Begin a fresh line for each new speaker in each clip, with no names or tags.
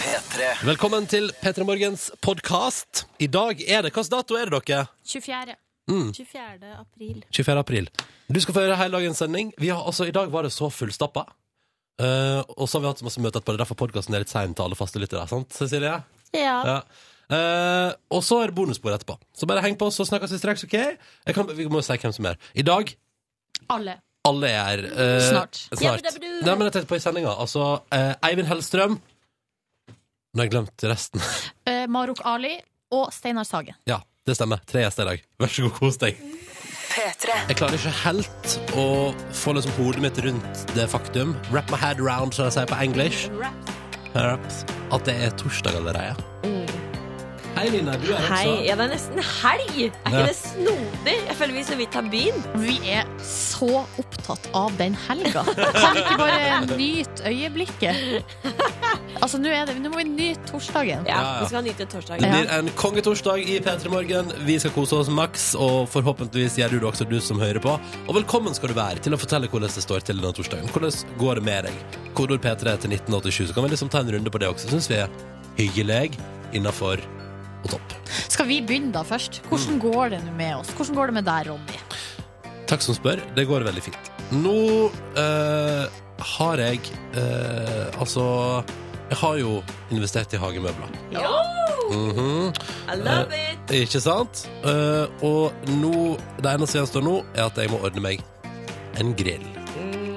P3.
Velkommen til P3 Morgens podkast. I dag er det Hvilken dato er det, dere?
24. 24. april.
24. april. Du skal få høre hele dagens sending. Vi har, altså, I dag var det så fullstappa. Eh, og så har vi hatt så masse møter etterpå. Det er derfor podkasten er litt sein til alle faste lyttere. Sant, Cecilie?
Ja.
Ja. Eh, og så er det bonusbord etterpå. Så bare heng på, så snakkes vi straks. ok? Jeg kan, vi må jo si hvem som er. I dag
Alle.
alle er her. eh,
Snart.
snart.
Jabba-dabba-doo.
Nei, men jeg tenkte på i sendinga. Altså eh, Eivind Hellstrøm Nå har jeg glemt resten.
Eh, Maruk Ali og Steinar Sagen.
ja, det stemmer. Tre gjester i dag. Vær så god, kos deg. Jeg klarer ikke helt å få liksom hodet mitt rundt det faktum. Wrap my head round, som de sier på engelsk. Wraps. At det er torsdag allerede. Hei, Line. Du er her
Mm. Hei.
også.
Ja, det er nesten helg! Er ikke
Ja.
det snodig? Jeg føler vi så vidt har begynt.
Vi er så opptatt av den helga. Kan vi ikke bare nyte øyeblikket? Altså, nå, er det, nå må vi nyte torsdagen.
Ja,
Ja, ja.
Vi skal nyte torsdag.
Det blir en kongetorsdag i P3 Morgen. Vi skal kose oss maks, og forhåpentligvis gjør du det også, du som hører på. Og velkommen skal du være til å fortelle hvordan det står til denne torsdagen. Hvordan går det med deg? Kodord P3 til 1987, så kan vi liksom ta en runde på det også. Syns vi er hyggelig, innafor og topp.
Skal vi begynne da først? Hvordan går det nå med oss? Hvordan går det med deg, Ronny?
Takk som spør. Det går veldig fint. Nå eh, har jeg eh, Altså Jeg har jo investert i hagemøbler. Mhm.
I love it!
Ikke sant? Eh, og nå, det eneste gjenstår nå, er at jeg må ordne meg en grill.
Mm.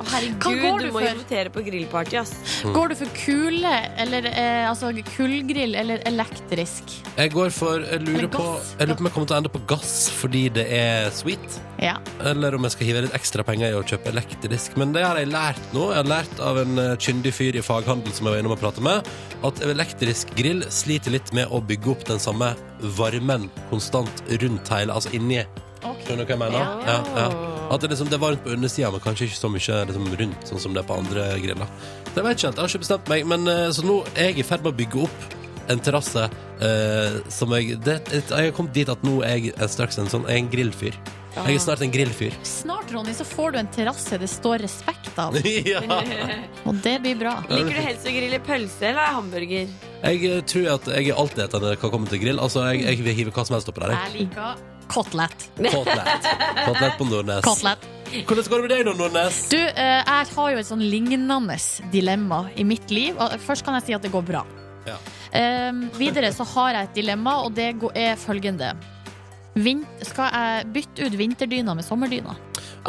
Å, herregud,
Hva går
du,
du
må
for?
invitere på grillparty, ass.
Går du for kule, eller eh, altså kullgrill, eller elektrisk?
Jeg går for Jeg lurer
Eller
på
gass.
Jeg lurer på om jeg kommer til å ende på gass fordi det er sweet,
Ja.
eller om jeg skal hive litt ekstra penger i å kjøpe elektrisk. Men det har jeg lært nå. Jeg har lært av en eh, kyndig fyr i faghandel som jeg var innom og pratet med, at elektrisk grill sliter litt med å bygge opp den samme varmen konstant rundt hele, altså inni.
Ok.
Skjønner du hva jeg mener?
Ja.
Ja, ja. At det, liksom, det er varmt på undersida, men kanskje ikke så mye liksom, rundt, sånn som det er på andre griller. Så jeg vet ikke helt, jeg har ikke bestemt meg, men eh, så nå er jeg i ferd med å bygge opp en terrasse eh, som jeg det, Jeg har kommet dit at nå er jeg er straks en sånn jeg er en grillfyr. Jeg er snart en grillfyr.
Snart, Ronny, så får du en terrasse det står respekt av.
ja.
Og det blir bra.
Liker du helst å grille pølse eller hamburger?
Jeg eh, tror at jeg er altetende hva kommer til grill. Altså, jeg, jeg vil hive hva som helst oppi der. jeg.
Jeg liker kotelett.
Kotelett. Kotelett på Nordnes.
Kotelett.
Hvordan går det med deg, da, Nordnes?
Du, eh, jeg har jo et sånn lignende dilemma i mitt liv. Og Først kan jeg si at det går bra.
Ja.
Eh, videre så har jeg et dilemma, og det går- er følgende. Vin skal jeg bytte ut vinterdyna med sommerdyna?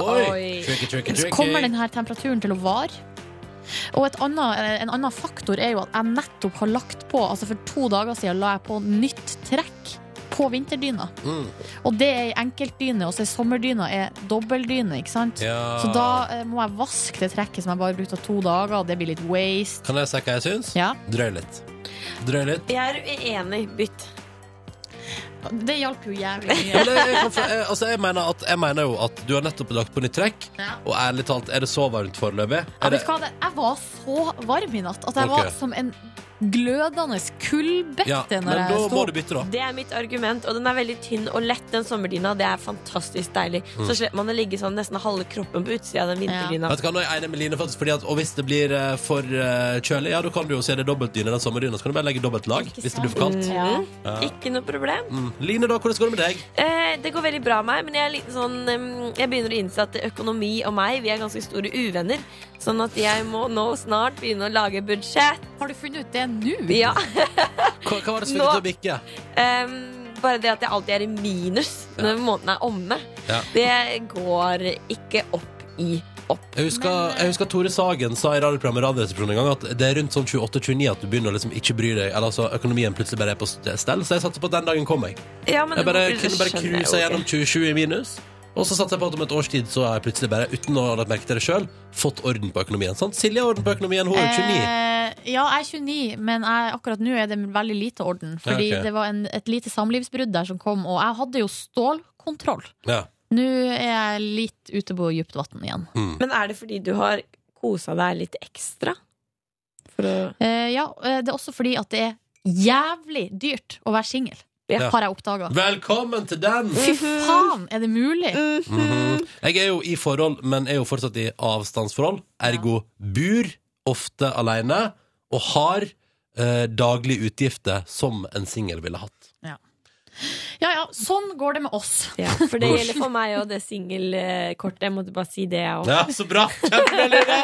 Oi!
Oi.
Tricky, tricky,
Så
tricky.
kommer denne temperaturen til å vare. Og et annet, eh, en annen faktor er jo at jeg nettopp har lagt på Altså For to dager siden la jeg på nytt trekk på vinterdyna.
Mm.
Og det er ei enkeltdyne, og så er sommerdyna er dobbeltdyne. Ikke sant?
Ja.
Så da eh, må jeg vaske det trekket som jeg bare brukte to dager, og det blir litt waste.
Kan jeg si hva jeg syns?
Ja,
Drøy litt. Drøy litt.
Jeg er uenig. Bytt.
Det hjalp jo jævlig mye.
Eller, jeg, kan få- jeg, altså, jeg, mener at, jeg mener jo at du har nettopp lagt på nytt trekk,
Ja.
og ærlig talt, er det så varmt foreløpig?
Ja,
Er
vet
det-
du hva, det- jeg var så varm i natt at jeg
Ok.
var som en glødende kullbette
Ja, men
når
da
jeg
må
sto.
du bytte, da.
Det er mitt argument, og den er veldig tynn og lett, den sommerdyna. Det er fantastisk deilig.
Mm.
Så slipper man å ligge sånn nesten halve kroppen på utsida av den vinterdyna.
Vet du hva, nå er jeg enig med Line, faktisk, fordi at, og hvis det blir eh, for eh, kjølig, ja, da kan du jo se det er dobbeltdyne den sommerdyna, så kan du bare legge dobbelt lag
Ikke
hvis det blir for
sant?
kaldt.
Ja.
Ja.
Ikke noe problem.
Mm. Line, da, hvordan går det med deg?
Eh, det går veldig bra med meg, men jeg, er litt sånn, em, jeg begynner å innse at økonomi og meg Vi er ganske store uvenner. Sånn at jeg må nå snart begynne å lage budsjett.
Har du funnet ut det nå?
Ja.
Hva, hva var det som fikk
Nå-
deg til å bikke?
Em, bare det at jeg alltid er i minus når måneden er omme,
Ja.
det går ikke opp i opp.
Jeg
eh,
husker, jeg husker Tore Sagen sa i radioprogrammet Radioresepsjonen en gang at det er rundt sånn 28-29 at du begynner å liksom ikke bry deg, eller altså økonomien plutselig bare er på stell, så jeg satser på at den dagen kommer jeg.
Ja, men
Jeg bare,
det-
kunne bare
skjønner jeg
cruise
jo
gjennom
ikke.
27 i minus. Og så satte jeg på at om et års tid så har jeg plutselig bare, uten å ha lagt merke til det sjøl, fått orden på økonomien. Sant? Silje har orden på økonomien, hun er 29.
Eh, ja, jeg er 29, men jeg, akkurat nå er det veldig lite orden. Fordi
Ja, ok.
det var en, et lite samlivsbrudd der som kom, og jeg hadde jo stålkontroll.
Ja.
Nå er jeg litt ute på dypt vann igjen.
Mm.
Men er det fordi du har kosa deg litt ekstra? For å
Eh, ja, eh, det er også fordi at det er jævlig dyrt å være singel,
Ja.
har jeg oppdaga.
Velkommen til den!
Fy
Uhuh.
faen, er det mulig?
Mm.
Mhm. Jeg er jo i forhold, men er jo fortsatt i avstandsforhold. Ergo bur ofte aleine og har eh, daglige utgifter som en singel ville hatt.
Ja ja, sånn går det med oss.
Ja, for det gjelder for meg og det singelkortet. Jeg måtte bare si det, jeg òg.
Ja, så bra! Kjempebra, Line!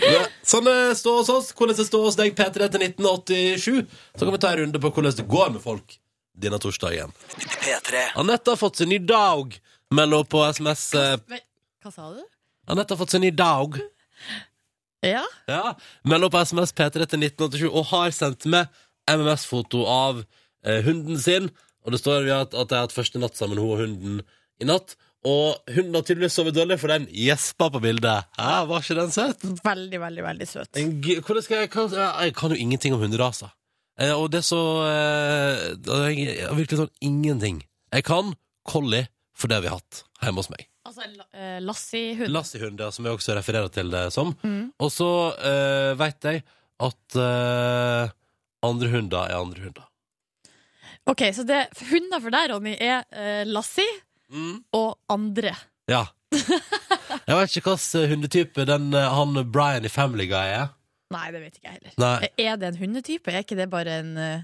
Ja, sånn eh, står hos oss. Hvordan det står hos deg, P3 til 1987. Så kan vi ta en runde på hvordan det går med folk denne torsdagen.
P3.
Anette har fått seg ny dag, melder hun på SMS. eh,
Hva sa du?
Anette har fått seg ny dag.
Ja.
Ja, Meld opp SMS P3 til 1987 og har sendt med MMS-foto av eh, hunden sin. Og det står at, at de har hatt første natt sammen, hun og hunden, i natt. Og hunden har tydeligvis sovet dårlig, for den gjespa på bildet. Hæ, var ikke den søt?
Veldig, veldig, veldig søt.
En gy- Hvordan skal jeg, hva- jeg kan jo ingenting om hunderaser. Eh, og det er så eh, da er jeg, jeg har Virkelig sånn ingenting. Jeg kan collie, for det har vi hatt hjemme hos meg.
Altså, en la- eh, Lassie-hund.
Lassihund, ja, som jeg også refererer til det som.
Mm.
Og så uh, veit jeg at eh, andre hunder er andre hunder.
Ok, så det, hunder for deg, Ronny, er eh, Lassie
Mm.
og andre.
Ja. Jeg veit ikke hvilken hundetype den, eh, han Brian i Family Guy er.
Nei, det vet ikke jeg heller.
Nei.
Er det en hundetype? Er ikke det bare en, eh,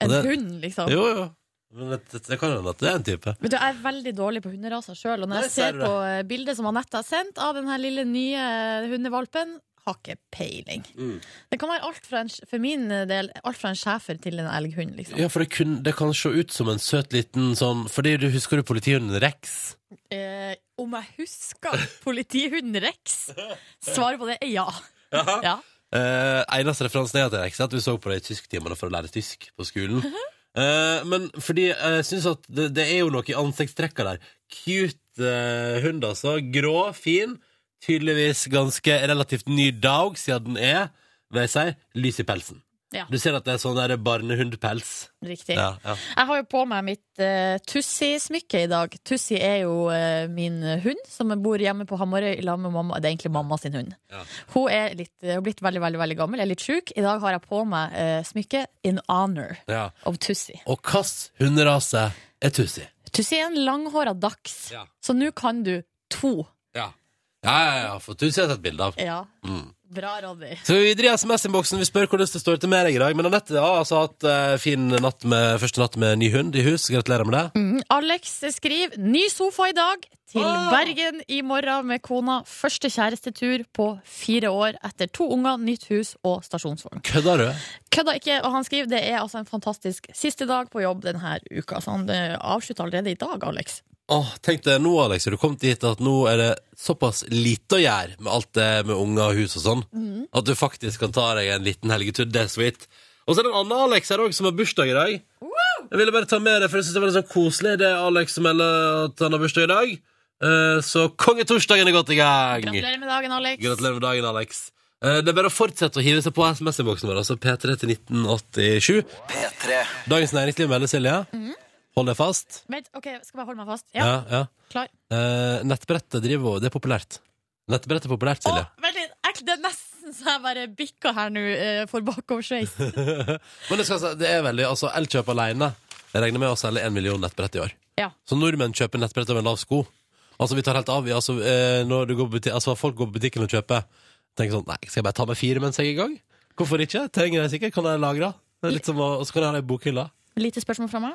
en
Det-
hund, liksom?
Jo, jo. Men det, det, det kan hende at det er en type.
Vet du, Jeg er veldig dårlig på hunderaser sjøl. Og når
Nei,
jeg
ser
ser
du det?
på eh, bildet som Anette har sendt av den her lille nye eh, hundevalpen, har ikke peiling.
Mm.
Det kan være alt fra en, for min del alt fra en schæfer til en elghund, liksom.
Ja, for det, kun, det kan se ut som en søt liten sånn Fordi du husker du politihunden Rex?
Eh, om jeg husker politihund Rex? Svaret på det er ja. ja.
Eh, eneste referansen jeg har til Rex, er at du så på det i tysktimene for å lære tysk på skolen.
Mhm.
Eh, men fordi eh, jeg syns at det, det er jo noe i ansiktstrekka der. Cute eh, hund, altså. Grå, fin. Tydeligvis ganske relativt ny dag, siden den er, vil jeg si, lys i pelsen.
Ja.
Du ser at det er sånn der barnehundpels.
Riktig.
Ja, ja.
Jeg har jo på meg mitt eh, Tussi-smykke i dag. Tussi er jo eh, min hund som bor hjemme på Hamarøy i lag med mamma. Det er egentlig mamma sin hund.
Ja.
Hun er litt, eh, har blitt veldig veldig, veldig gammel, er litt sjuk. I dag har jeg på meg eh, smykket in honor
ja.
of Tussi.
Og hvilken hunderase er Tussi?
Tussi er en langhåra dachs,
Ja.
så nå kan du to.
Ja. ja, ja, ja, for Tussi har jeg sett bilde av.
Ja.
Mm.
Bra, Ronny.
Så vi driver SMS-inboksen, vi spør hvordan det står til med deg i dag. Men Anette har altså hatt eh, fin natt med, første natt med ny hund i hus. Gratulerer med det.
Mm, Alex skriver ny sofa i dag til
Ah!
Bergen i morgen med kona. Første kjærestetur på fire år etter to unger, nytt hus og stasjonsvogn.
Kødder du?
Kødda ikke, og han skriver det er altså en fantastisk siste dag på jobb denne uka. Så han eh, avslutter allerede i dag, Alex.
Åh, tenk deg nå, Alex, har du kommet dit at nå er det såpass lite å gjøre med alt det med unger og hus og sånn,
Mm.
at du faktisk kan ta deg en liten helgetur. Det er sweet. Og så er det en annen Alex her òg, som har bursdag i dag. Jeg ville bare ta med det, for jeg synes det var litt sånn koselig. Det er Alex som melder at han har bursdag i dag. Eh, så kongetorsdagen er godt i gang.
Gratulerer med dagen, Alex.
Gratulerer med dagen, Alex. Eh, Det er bare å fortsette å hive seg på SMS-innboksen vår, altså P3 til 1987.
P3.
Dagens Næringsliv melder Silje. Hold deg fast.
Vent, ok, Skal bare holde meg fast.
Ja,
Ja,
ja.
klar.
Eh, nettbrettet driver og Det er populært. Nettbrett er populært,
Å,
Silje.
vent litt! ek- Det er nesten så jeg bare bikka her nå eh, for bakoversveis.
Men det, skal, altså- det er veldig Altså, Elkjøp alene Jeg regner med å selge en million nettbrett i år.
Ja.
Så nordmenn kjøper nettbrett over en lav sko. Altså, vi tar helt av. Vi, altså, eh, når du går på buti- altså, folk går på butikken og kjøper, tenker sånn Nei, skal jeg bare ta med fire mens jeg er i gang? Hvorfor ikke? Trenger jeg sikkert. Kan jeg lagre? Det er Litt som å, og så kan jeg ha det i bokhylla.
Lite spørsmål fra meg.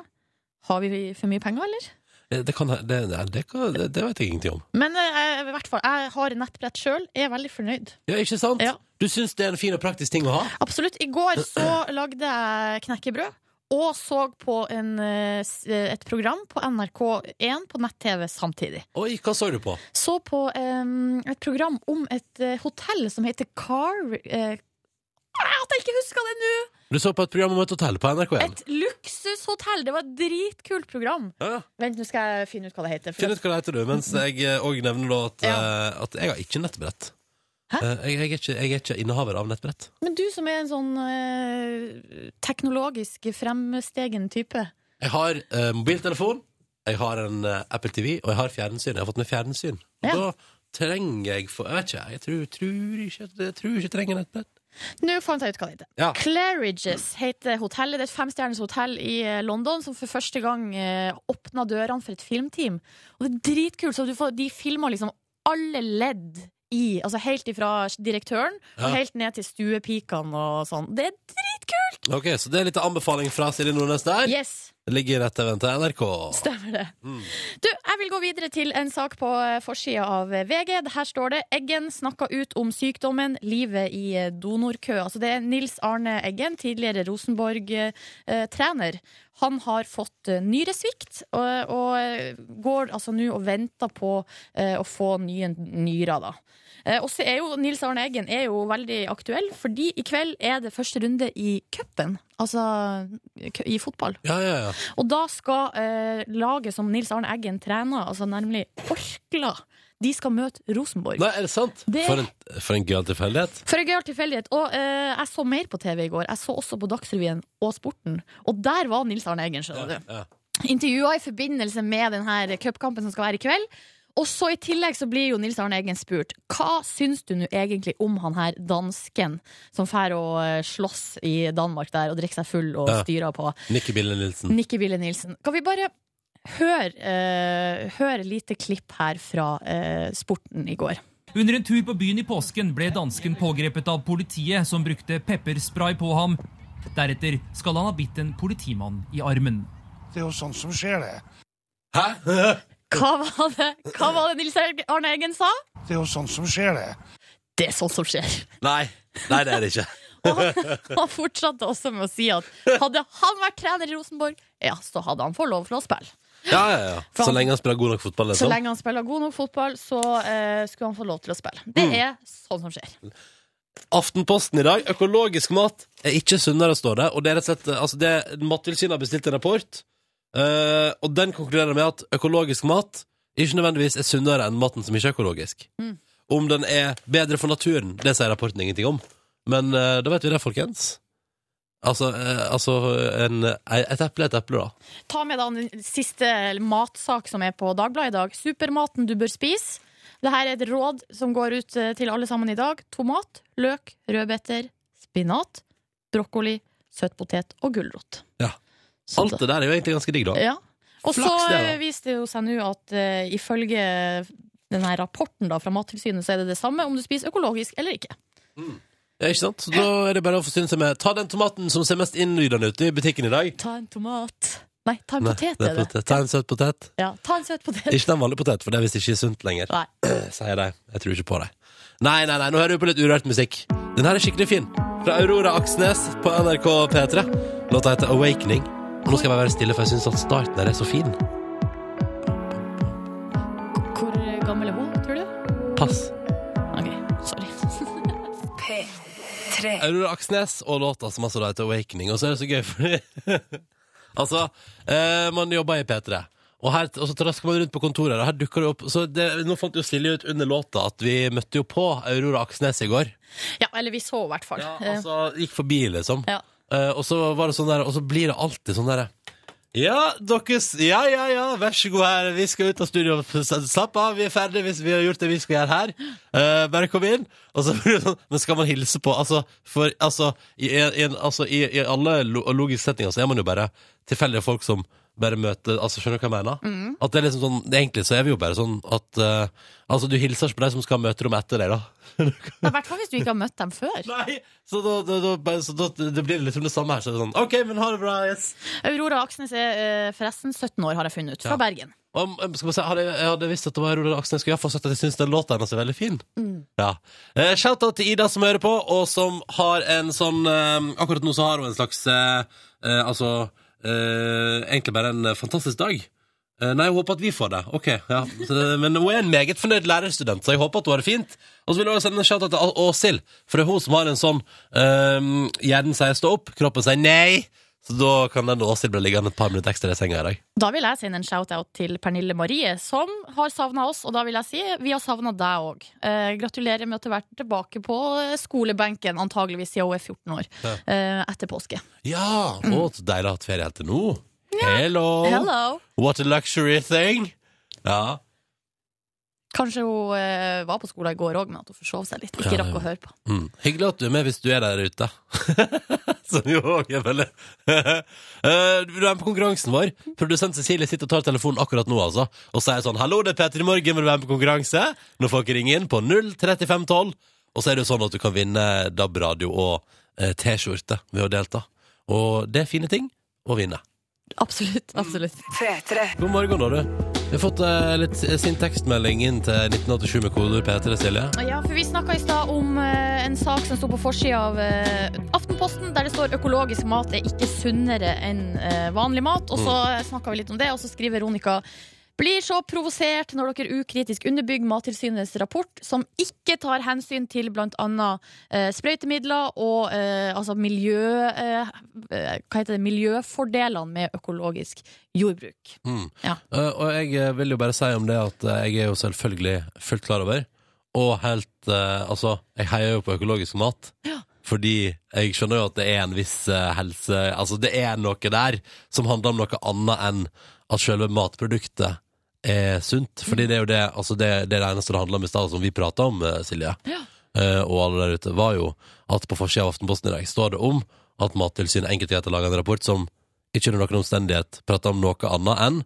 Har vi for mye penger, eller?
Eh, Det, kan, det, nei, det, kan, det, det vet jeg ingenting om.
Men eh, jeg- i hvert fall, jeg har nettbrett sjøl. Er veldig fornøyd.
Ja, ikke sant?
Ja.
Du syns det er en fin og praktisk ting å ha?
Absolutt. I går så lagde jeg knekkebrød. Og så på en, eh, s- et program på NRK1 på nett-TV samtidig.
Oi, hva så du på?
så på em, et program om et eh, hotell som heter Car... eh, ah, at jeg ikke husker det nå!
Du så på et program om et hotell på NRK1.
Et luksushotell! Det var et dritkult program.
Ja, ja.
Vent, nå skal jeg finne ut hva det heter.
Finn
For
ut hva det heter, du, mens jeg òg nevner da at, eh, at jeg har ikke nettbrett.
Hæ?
Eh, Jeg, jeg, er ikke, jeg er ikke innehaver av nettbrett.
at, men du som er en sånn eh, teknologisk fremstegen type.
Jeg har eh, mobiltelefon, jeg har en eh, Apple TV, og jeg har fjernsyn. Jeg har fått meg fjernsyn. Og
Ja.
Da trenger jeg for, Jeg vet ikke, jeg tror, tror ikke at- jeg tror ikke jeg trenger nettbrett.
Nå fant jeg ut hva det heter.
Ja.
Claridges heter hotellet. Det er et femstjerners hotell i eh, London som for første gang eh, åpna dørene for et filmteam. Og det er dritkult. Så du får, de filmer liksom alle ledd i. Altså helt ifra direktøren
Ja.
og helt ned til stuepikene og sånn. Det er dritkult! kult!
Ok, Så det er litt anbefaling fra Silje Nordnes der.
Yes,
Det Ligger rett til vente NRK.
stemmer det.
Mm.
Du, jeg vil gå videre til en sak på eh, forsida av VG. Her står det 'Eggen snakka ut om sykdommen livet i eh, donorkø'. Altså det er Nils Arne Eggen, tidligere Rosenborg-trener. Han har fått eh, nyresvikt, og, og eh, går altså nå og venter på eh, å få nye nyrer, da. Eh, Og så er jo Nils Arne Eggen er jo veldig aktuell, fordi i kveld er det første runde i cupen. Altså kø- i fotball.
Ja, ja, ja.
Og da skal eh, laget som Nils Arne Eggen trener, altså nemlig Orkla, de skal møte Rosenborg.
Nei, er det sant?
Det-
For en, for en gøyal tilfeldighet.
For en gøyal tilfeldighet. Og eh, jeg så mer på TV i går. Jeg så også på Dagsrevyen og Sporten. Og der var Nils Arne Eggen, skjønner du.
Ja.
Intervjua i forbindelse med denne cupkampen som skal være i kveld. Og så i tillegg så blir jo Nils Arne Eggen spurt hva syns du nå egentlig om han her dansken som fær å eh, slåss i Danmark der og drikker seg full og
Ja.
styrer på.
Nikki Bille Nilsen.
Nikki Bille Nilsen. Kan vi bare høre, eh, høre lite klipp her fra eh, sporten i går?
Under en tur på byen i påsken ble dansken pågrepet av politiet, som brukte pepperspray på ham. Deretter skal han ha bitt en politimann i armen.
Det er jo sånt som skjer, det.
Hæ?
Hva var det, Hva var det Nils Arne Eggen sa?
Det er jo sånt som skjer, det.
Det er sånt som skjer.
Nei. Nei, det er det ikke.
Og han, han fortsatte også med å si at hadde han vært trener i Rosenborg, ja, så hadde han fått lov til å spille.
Ja, ja, ja. Så lenge han spiller god nok fotball.
Så
Liksom.
lenge han spiller god nok fotball, så eh, skulle han få lov til å spille. Det er sånn som skjer.
Aftenposten i dag. Økologisk mat er ikke sunnere, står det. Og det er rett og slett altså det, Mattilsynet har bestilt en rapport, eh, og den konkluderer med at økologisk mat ikke nødvendigvis er sunnere enn maten som ikke er økologisk.
Mm.
Om den er bedre for naturen, det sier rapporten ingenting om. Men eh, da vet vi det, folkens. Altså, eh, altså en, eh, et eple er et eple, da.
Ta med da den siste matsak som er på Dagbladet i dag. Supermaten du bør spise. Dette er et råd som går ut eh, til alle sammen i dag. Tomat, løk, rødbeter, spinat, brokkoli, søtpotet og gulrot.
Ja.
Så
Alt
Sånn da-
det der er jo egentlig ganske digg, da.
Ja. Og så
Flaks det, da.
eh, viste det jo seg nå at eh, ifølge denne rapporten da, fra Mattilsynet, så er det det samme om du spiser økologisk eller ikke.
Ja, ikke sant? Så Da er det bare å forsyne seg med Ta den tomaten som ser mest innlydende ut i butikken i dag.
Ta en tomat Nei, ta en
Nei,
potet,
det er
er det.
potet. Ta en søt potet.
Ja, ta en søt potet.
Ikke den vanlige potet, for det er visst ikke sunt lenger.
Nei.
Sier de. Jeg tror ikke på dem. Nei, nei, nei, nå hører vi på litt urørt musikk. Den her er skikkelig fin. Fra Aurora Aksnes på NRK P3. Låta heter Awakening. Og nå skal jeg bare være stille, for jeg syns at starten her er så fin.
Hvor gammel er hun, tror du?
Pass.
OK, sorry.
Aurora Aksnes og låta som altså da heter Awakening. Og så er det så gøy, fordi Altså, eh, man jobber i P3, og, her, og så trasker man rundt på kontoret, og her dukker det opp så det, Nå fant jo Silje ut under låta at vi møtte jo på Aurora Aksnes i går.
Ja, eller vi så i hvert fall.
Ja,
Eh,
altså, gikk forbi, liksom.
ja.
Eh, og så var det sånn der, og så blir det alltid sånn der Ja, deres, ja, ja, ja, vær så god her Vi skal ut av studio Slapp av, vi er ferdige hvis vi har gjort det vi skal gjøre her Eh, Bare kom inn Og så blir det sånn, men skal man hilse på Altså, for, altså, i, i, en- altså, i, i alle lo logiske setninger Så er man jo bare tilfeldige folk som bare møter Altså, skjønner du hva jeg mener? At det er liksom sånn, egentlig så er vi jo bare sånn at eh, Altså, du hilser ikke på deg som skal ha møterom etter deg da
I hvert fall hvis du ikke har møtt dem før.
Nei, så da, da, da, bare- så da det blir liksom det samme her. Så det er sånn, OK, men ha det bra. Yes.
Aurora Aksnes er eh, forresten 17 år, har jeg funnet ut. Fra
Ja.
Bergen.
Om, om- skal man si, hadde, jeg hadde visst at det var Aurora Aksnes, skulle jeg iallfall sagt at jeg syns den låta hennes er veldig fin. Ja. Eh, Shout-out til Ida som hører på, og som har en sånn eh, Akkurat nå så har hun en slags eh, eh, Altså eh, egentlig bare en eh, fantastisk dag. Eh, nei, jeg håper at vi får det. Ok, ja. så, Men hun er en meget fornøyd lærerstudent, så jeg håper at hun har det fint. Og så vil jeg også sende en shout-out til Al- Åshild, for det er hun som har en sånn eh, Hjernen sier stå opp, kroppen sier nei. Så da kan den Åshild bli liggende et par minutter ekstra i senga i dag.
Da vil jeg sende en shout-out til Pernille Marie, som har savna oss. Og da vil jeg si vi har savna deg òg. Eh, gratulerer med at du har vært tilbake på eh, skolebenken, antageligvis siden hun er 14 år,
Ja.
eh, etter påske.
Ja, å, så deilig å ha hatt ferie helt til nå. Hello.
Hello!
What a luxury thing. Ja.
Kanskje hun eh, var på skolen i går òg, men at hun forsov seg litt.
Ja,
Ikke
det-
rakk å høre på.
Mm. Hyggelig at du er med hvis du er der ute. Som jo òg er veldig Eh, Du er med på konkurransen vår. Produsent Cecilie sitter og tar telefonen akkurat nå altså og sier sånn 'Hallo, det er P3 Morgen, vil du være med på konkurranse?' Nå får dere ringe inn på 03512. Og så er det jo sånn at du kan vinne DAB-radio og eh, T-skjorte ved å delta. Og det er fine ting å vinne.
Absolutt.
Mm.
absolutt.
God morgen, da, du. Vi har fått eh, litt sin tekstmelding inn til 1987 med kodeord P3, Silje.
Ja, for Vi snakka i stad om eh, en sak som sto på forsida av eh, Aftenposten, der det står 'økologisk mat er ikke sunnere enn eh, vanlig mat'. Og Så
Mm.
snakka vi litt om det, og så skriver Ronika blir så provosert når dere ukritisk underbygger Mattilsynets rapport, som ikke tar hensyn til bl.a. Eh, sprøytemidler og eh, altså miljø... Eh, eh, hva heter det? Miljøfordelene med økologisk jordbruk.
Mm.
Ja.
Eh, og jeg eh, vil jo bare si om det at eh, jeg er jo selvfølgelig fullt klar over, og helt eh, Altså, jeg heier jo på økologisk mat. Fordi jeg skjønner jo at det er en viss eh, helse Altså, det er noe der som handler om noe annet enn at selve matproduktet er sunt. Fordi det er jo det altså det, det, er det eneste det handler om i stad, som vi prata om, eh, Silje. Eh, og alle der ute, var jo at på forsida av Aftenposten i dag står det om at Mattilsynet enkelt har laga en rapport som ikke under noen omstendighet prater om noe annet enn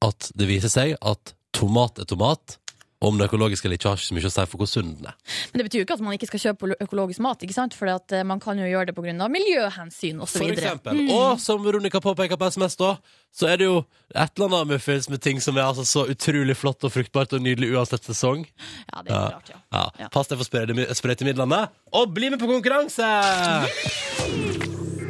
at det viser seg at tomat er tomat, og om det økologiske eller ikke har ikke så mye å si for hvor sunn den er.
Men det betyr jo ikke at man ikke skal kjøpe ø- økologisk mat, ikke sant? for at eh, man kan jo gjøre det pga. miljøhensyn osv.
For eksempel.
Mm.
Og som Veronica påpeker på SMS, da, så er det jo et eller annet muffins med ting som er altså så utrolig flott og fruktbart og nydelig uansett sesong.
Ja, det er klart, ja.
Ja. Pass deg for sprøytemi- sprøytemidlene, og bli med på konkurranse!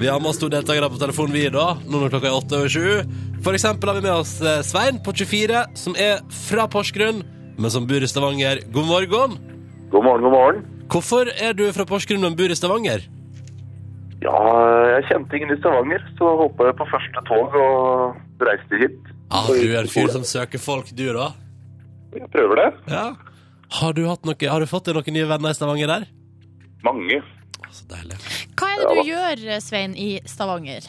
Vi har med oss to deltakere på telefonen, vi, da. Nå når klokka er åtte over sju. For eksempel har vi med oss eh, Svein på 24, som er fra Porsgrunn, men som bor i Stavanger. God morgen!
God morgen, god morgen.
Hvorfor er du fra Porsgrunn, men bor i Stavanger?
Ja, jeg kjente ingen i Stavanger, så hoppa jeg på første tog og reiste hit.
Ja, Ah, du er en fyr som søker folk, du, da.
Jeg prøver det.
Ja. Har du, hatt noe, har du fått deg noen nye venner i Stavanger der?
Mange.
Så deilig.
Hva er det du gjør, eh, Svein, i Stavanger?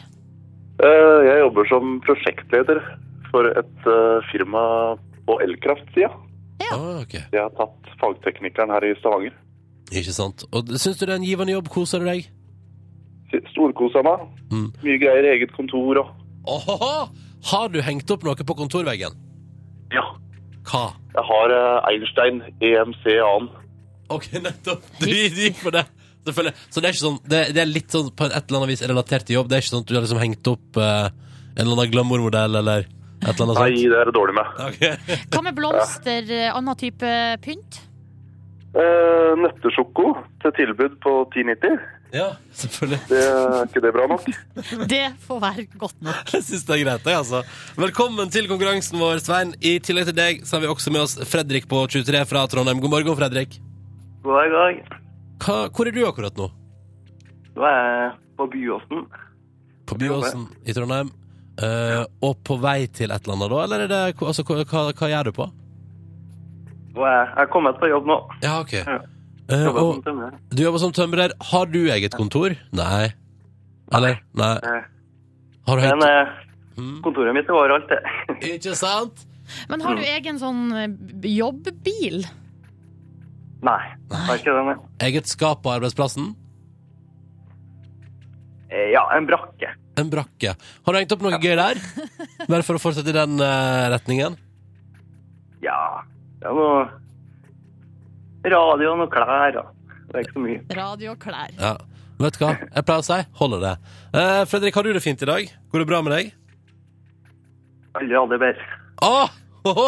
Eh, Jeg jobber som prosjektleder for et eh, firma på elkraftsida.
Ja.
Ah, ok.
Jeg har tatt fagteknikeren her i Stavanger.
Ikke sant. Og Syns du det er en givende jobb? Koser du deg?
Storkosa meg.
Mm.
Mye greier i eget kontor og
Åhåhå! Har du hengt opp noe på kontorveggen?
Ja.
Hva?
Jeg har eh, Einstein EMC annen.
Ok, nettopp. Du gikk på det. Selvfølgelig. Så det er ikke sånn det, det er litt sånn på et eller annet vis relatert til jobb. Det er ikke sånn at du har liksom hengt opp eh, en eller annen glamourmodell eller et eller annet
Nei,
sånt?
det er det dårlig med.
Ok.
Hva med blomster, eh, annen type pynt?
Eh, Nøttesjoko til tilbud på 1090.
Ja, selvfølgelig.
Det er ikke det bra nok?
Det får være godt nok.
Jeg syns det er greit, jeg, altså. Velkommen til konkurransen vår, Svein. I tillegg til deg så har vi også med oss Fredrik på 23 fra Trondheim. God morgen, Fredrik.
God dag.
Hva, hvor er du akkurat nå?
Nå er jeg på Byåsen.
På Byåsen i Trondheim. Eh, og på vei til et eller annet, da? Eller er det, altså, hva, hva, hva gjør du på?
Nå er jeg, jeg er kommet på jobb nå.
Ja, OK.
Ja.
Eh,
Jobber
og
som tømrer.
du jobber som tømrer. Har du eget kontor? Nei. Eller? Nei.
Nei.
Har du
Eh, Men
hengt
eh,
Mm.
kontoret mitt er overalt, det.
Ikke sant?
Men har du egen sånn eh, b- jobbbil?
Nei, jeg har ikke det. nei.
Eget skap på arbeidsplassen?
Eh, Ja, en brakke.
En brakke. Har du hengt opp noe gøy der? Bare for å fortsette i den eh, retningen?
Ja, det er noe radio og noe klær. og Det er ikke så mye.
Radio og klær.
Ja. Vet du hva? Jeg pleier å si holder det. Eh, Fredrik, har du det fint i dag? Går det bra med deg?
Aldri hadde det bedre.
Åh! Åhå!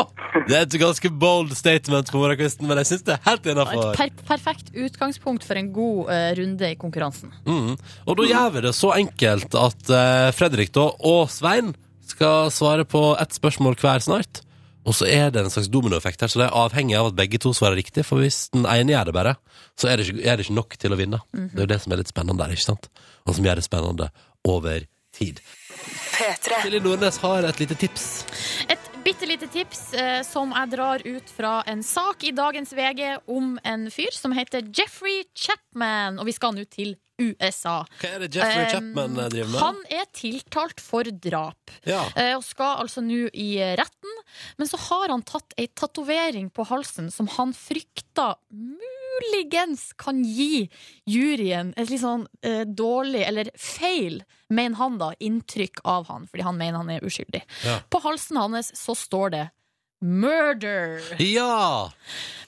Det er et ganske bold statement på morgenkvisten, men jeg syns det er helt
Et
innafor.
per perfekt utgangspunkt for en god eh, runde i konkurransen.
Mm. Og da gjør vi det så enkelt at eh, Fredrik da, og Svein skal svare på ett spørsmål hver snart. Og så er det en slags dominoeffekt her, så det er avhengig av at begge to svarer riktig. For hvis den ene gjør det bare, så er det ikke, er det ikke nok til å vinne. Det er jo det som er litt spennende der, ikke sant? Og som gjør det spennende over tid. Silje Nordnes har et lite tips.
Et bitte lite tips eh, som jeg drar ut fra en sak i dagens VG om en fyr som heter Jeffrey Chapman, og vi skal nå til USA.
Hva er det Jeffrey Chapman eh,
Eh,
driver med?
Han er tiltalt for drap
Ja.
eh, og skal altså nå i eh, retten. Men så har han tatt ei tatovering på halsen som han frykter muligens kan gi juryen et litt sånn eh, dårlig, eller feil, mener han da, inntrykk av han, fordi han mener han er uskyldig.
Ja.
På halsen hans så står det Murder.
Ja!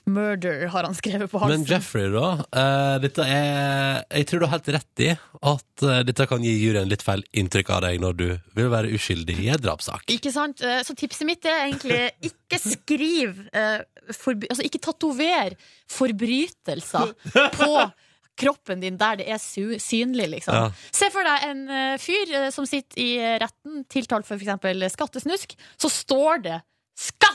Murder har han skrevet på
Men
halsen.
Jeffrey, da. eh, dette er Jeg tror du har helt rett i at eh, dette kan gi juryen litt feil inntrykk av deg når du vil være uskyldig i en drapssak.
Ikke sant? Eh, Så tipset mitt er egentlig ikke skriv eh, forby Altså ikke tatover forbrytelser på kroppen din der det er su synlig, liksom.
Ja.
Se for deg en eh, fyr eh, som sitter i retten tiltalt for f.eks. skattesnusk. Så står det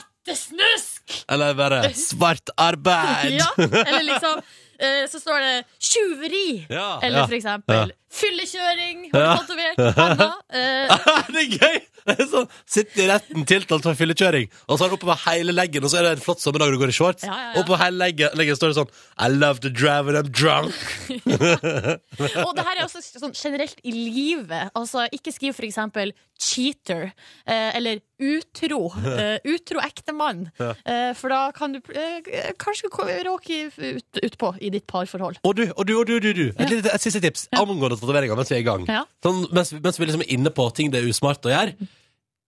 'skattesnusk'!
Eller bare 'svart arbeid'!
Ja, eller liksom eh, Så står det 'tjuveri'.
Ja,
Eller
ja.
for
Ja.
eksempel fyllekjøring, har
Ja.
du tatovert handa? Eh,
det er gøy! Det er sånn, Sitter i retten tiltalt for fyllekjøring, og så er det oppover hele leggen, og så er det en flott sommerdag når du går i shorts.
Ja, ja, ja.
Oppover hele leggen, leggen står det sånn I love to drive when I'm drunk.
Og det her er også sånn generelt i livet. Altså, ikke skriv for eksempel cheater eh, eller utro. Eh, utro ektemann. Eh, for da kan du eh, kanskje ko- råke ut- utpå i ditt parforhold.
Og du, og du, og du, du, du. Et, lite, et siste tips angående tatoveringer mens vi er i gang.
Ja.
Sånn, mens, mens vi liksom er inne på ting det er usmart å gjøre.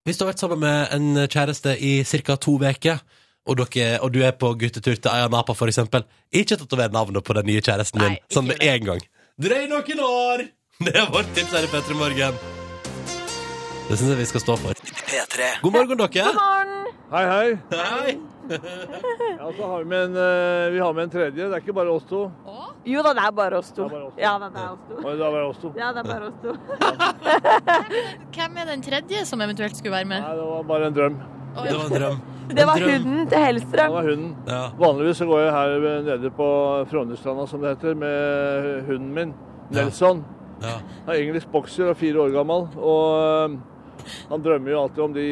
Hvis du har vært sammen med en kjæreste i ca. to uker, og, dere, og du er på guttetur til Ayanapa, for eksempel, ikke tatover navnet på den nye kjæresten din
Nei, ikke
sånn med
gjør
en gang. Drøy noen år! Det er vårt tips her i Petter Morgen. Det syns jeg vi skal stå for. God morgen, dere.
Hei, hei.
Hei.
Ja, så har vi, med en, eh, vi har med en tredje. Det er ikke bare oss to.
Jo da, det er bare oss to.
Det er bare oss to.
Ja,
Oi,
det er oss to.
det er bare oss to.
Ja, det er bare oss to.
Hvem er den tredje som eventuelt skulle være med?
Nei, det var bare en drøm.
Det var en drøm.
Det var
drøm.
hunden til
Det
Hellstrøm.
var hunden.
Ja.
Vanligvis så går jeg her ved- nede på Frognerstranda, som det heter, med hunden min, Nelson.
Ja.
Han er engelsk bokser og fire år gammel. Og eh, han drømmer jo alltid om de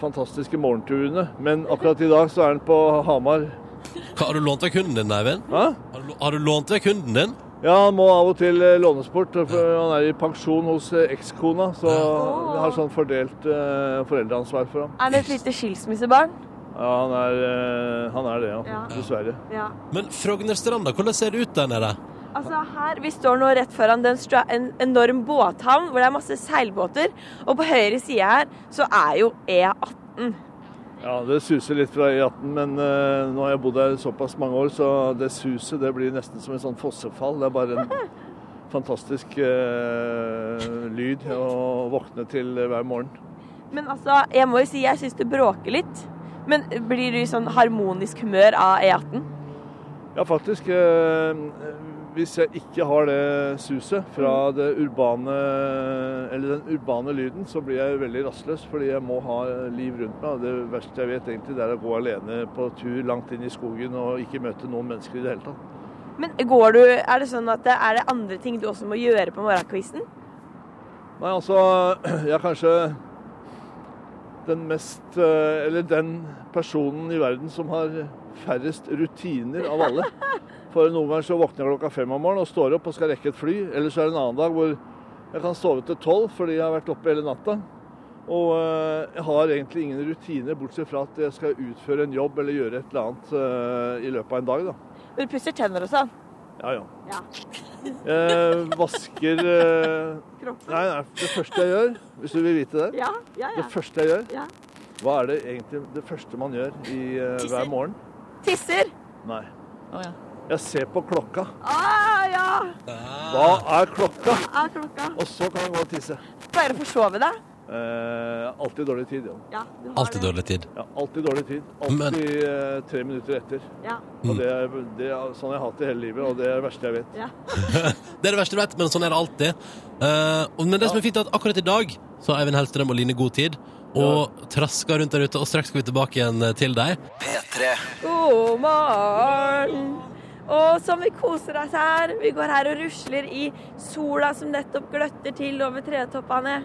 fantastiske morgenturene. Men akkurat i dag så er han på Hamar.
Hva, Har du lånt vekk hunden din, Eivind?
Hæ?
Har du, har du lånt vekk hunden din?
Ja, han må av og til eh, lånes bort. For han er i pensjon hos eh, ekskona, så jeg har sånn fordelt eh, foreldreansvar for ham.
Er det et lite skilsmissebarn?
Ja, han er, eh, han er det, ja.
Ja.
Dessverre.
Ja.
Men Frognerstranda, hvordan ser det ut der nede?
Altså her, Vi står nå rett foran den stra en enorm båthavn hvor det er masse seilbåter. Og på høyre side her så er jo E18.
Ja, Det suser litt fra E18, men eh, nå har jeg bodd her såpass mange år, så det suset det blir nesten som en sånn fossefall. Det er bare en fantastisk eh, lyd å våkne til hver morgen.
Men altså, jeg må jo si jeg syns det bråker litt. Men blir du i sånn harmonisk humør av E18?
Ja, faktisk. eh, Hvis jeg ikke har det suset fra det urbane, eller den urbane lyden, så blir jeg veldig rastløs, fordi jeg må ha liv rundt meg. og Det verste jeg vet egentlig, det er å gå alene på tur langt inn i skogen og ikke møte noen mennesker i det hele tatt.
Men går du, er det sånn at det er det andre ting du også må gjøre på morgenkvisten?
Nei, altså, jeg er kanskje den mest eh, Eller den personen i verden som har færrest rutiner av alle. For noen ganger så våkner jeg klokka fem om morgenen og står opp og skal rekke et fly. Eller så er det en annen dag hvor jeg kan sove til tolv fordi jeg har vært oppe hele natta. Og eh, jeg har egentlig ingen rutiner, bortsett fra at jeg skal utføre en jobb eller gjøre et eller annet eh, i løpet av en dag, da.
Når du pusser tenner og sånn?
Ja, ja.
Ja.
Jeg vasker eh,
Kroppen?
Nei, nei, det første jeg gjør, hvis du vil vite det
Ja, ja,
det første jeg gjør?
Ja.
Hva er det egentlig det første man gjør i, eh,
Tisser.
hver morgen?
Tisser?
Nei.
Å, ja.
Jeg ser på klokka.
Å Ah, ja!
Hva er klokka?
Er klokka?
Og så kan jeg gå og tisse.
Pleier du å forsove deg?
Eh, alltid dårlig tid, Jon.
Ja,
Altså,
du har
Alltid dårlig tid.
Ja, alltid dårlig tid.
Men-
Alltid eh, tre minutter etter.
Ja.
Og det er, det er sånn jeg har hatt det hele livet, og det er det verste jeg vet.
Det er det verste du vet, men sånn er det alltid. Eh, og- men det som er fint, er at akkurat i dag så har Eivind Hellstrøm og Line god tid. Og trasker rundt der ute, og straks skal vi tilbake igjen til deg.
God morgen! Og som vi koser oss her. Vi går her og rusler i sola som nettopp gløtter til over tretoppene.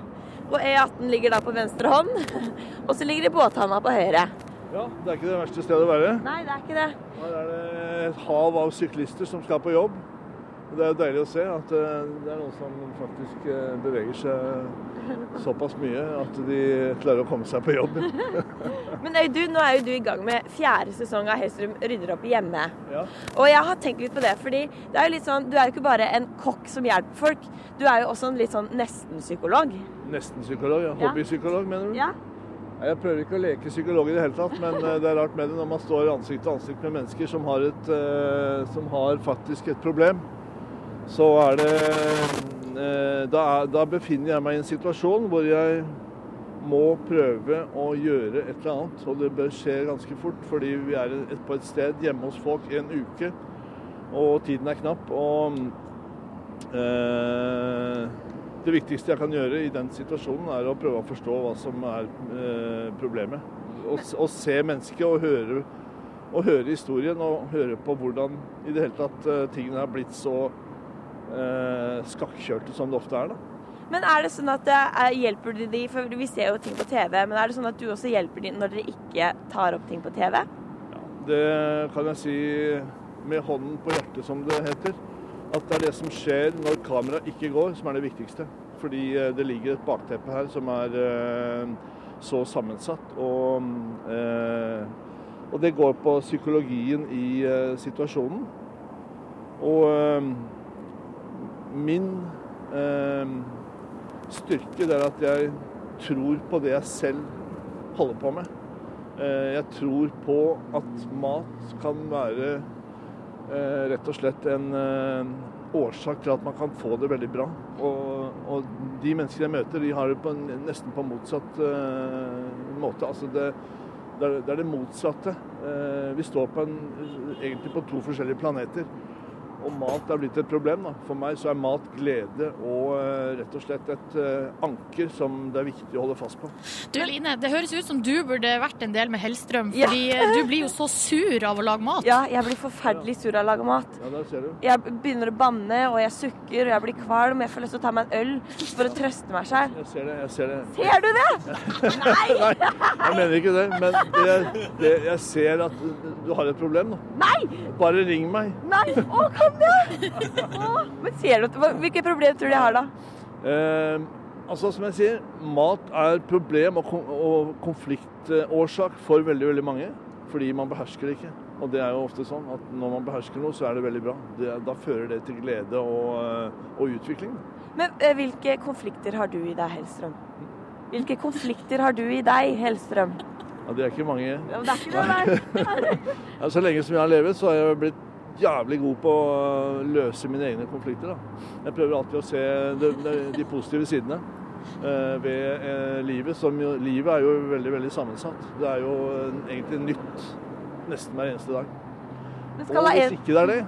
Og E18 ligger da på venstre hånd. Og så ligger det båthavna på høyre.
Ja, Det er ikke det verste stedet å være.
Nei, det er ikke det.
Her er det et hav av syklister som skal på jobb. Og Det er jo deilig å se at eh, det er noen som faktisk eh, beveger seg såpass mye at de klarer å komme seg på jobb.
Men Audun, nå er jo du i gang med fjerde sesong av Hellstrøm rydder opp hjemme.
Ja.
Og jeg har tenkt litt på det, fordi det er jo litt sånn, du er jo ikke bare en kokk som hjelper folk. Du er jo også en litt sånn nesten-psykolog.
Nesten psykolog, ja.
Ja.
Hobbypsykolog, mener du?
Ja.
Nei, Jeg prøver ikke å leke psykolog i det hele tatt, men eh, det er rart med det når man står ansikt til ansikt med mennesker som har, et, eh, som har faktisk et problem. Så er det eh, da, er- da befinner jeg meg i en situasjon hvor jeg må prøve å gjøre et eller annet. Og det bør skje ganske fort, fordi vi er et- på et sted hjemme hos folk i en uke, og tiden er knapp. Og eh, det viktigste jeg kan gjøre i den situasjonen, er å prøve å forstå hva som er eh, problemet. Å s- å se mennesket og høre, og høre historien og høre på hvordan i det hele tatt eh, tingene er blitt så eh, skakkjørte som det ofte er. da.
Men er det sånn at det er, hjelper du de, for vi ser jo ting på TV, men er det sånn at du også hjelper de når dere ikke tar opp ting på TV?
Det kan jeg si med hånden på hjertet, som det heter. At det er det som skjer når kameraet ikke går, som er det viktigste. Fordi eh, det ligger et bakteppe her som er eh, så sammensatt. Og, eh, og det går på psykologien i eh, situasjonen. Og eh, min eh, styrke det er at jeg tror på det jeg selv holder på med. Eh, Jeg tror på at mat kan være eh, rett og slett en eh, årsak til at man kan få det veldig bra. Og, og de menneskene jeg møter, de har det på en, nesten på motsatt eh, måte. Altså det, det, er, det er det motsatte. Eh, vi står på en, egentlig på to forskjellige planeter. Og mat er blitt et problem. Da. For meg så er mat glede og eh, rett og slett et eh, anker som det er viktig å holde fast på.
Du Line, det høres ut som du burde vært en del med Hellstrøm,
Ja.
fordi eh, du blir jo så sur av å lage mat.
Ja, jeg blir forferdelig sur av å lage mat.
Ja, der ser du.
Jeg begynner å banne, og jeg sukker, og jeg blir kvalm. Jeg får lyst til å ta meg en øl for å trøste meg sjøl.
Jeg ser det. Jeg ser det.
Ser du det? Nei!
Jeg mener ikke det, men det, jeg- det, jeg ser at du har et problem. Da.
Nei!
Bare ring meg.
Nei! Å, kom det! Å, men ser du at- hva- Hvilke problemer tror du jeg har da?
Eh, altså, som jeg sier, mat er problem og, kon- og konfliktårsak for veldig, veldig mange. Fordi man behersker det ikke. Og det er jo ofte sånn at når man behersker noe, så er det veldig bra. Det, da fører det til glede og, eh, og utvikling.
Men eh, hvilke konflikter har du i deg, Hellstrøm? Hvilke konflikter har du i deg, Hellstrøm?
Ja, det er ikke mange
Ja, men Det er ikke noe der.
Ja, Så lenge som jeg har levet, så har jeg blitt jævlig god på å løse mine egne konflikter. Da. Jeg prøver alltid å se de, de, de positive sidene eh, ved eh, livet. Som jo, livet er jo veldig, veldig sammensatt. Det er jo eh, egentlig nytt nesten hver eneste dag.
Men
Og
skal ha
hvis
en...
ikke det er det,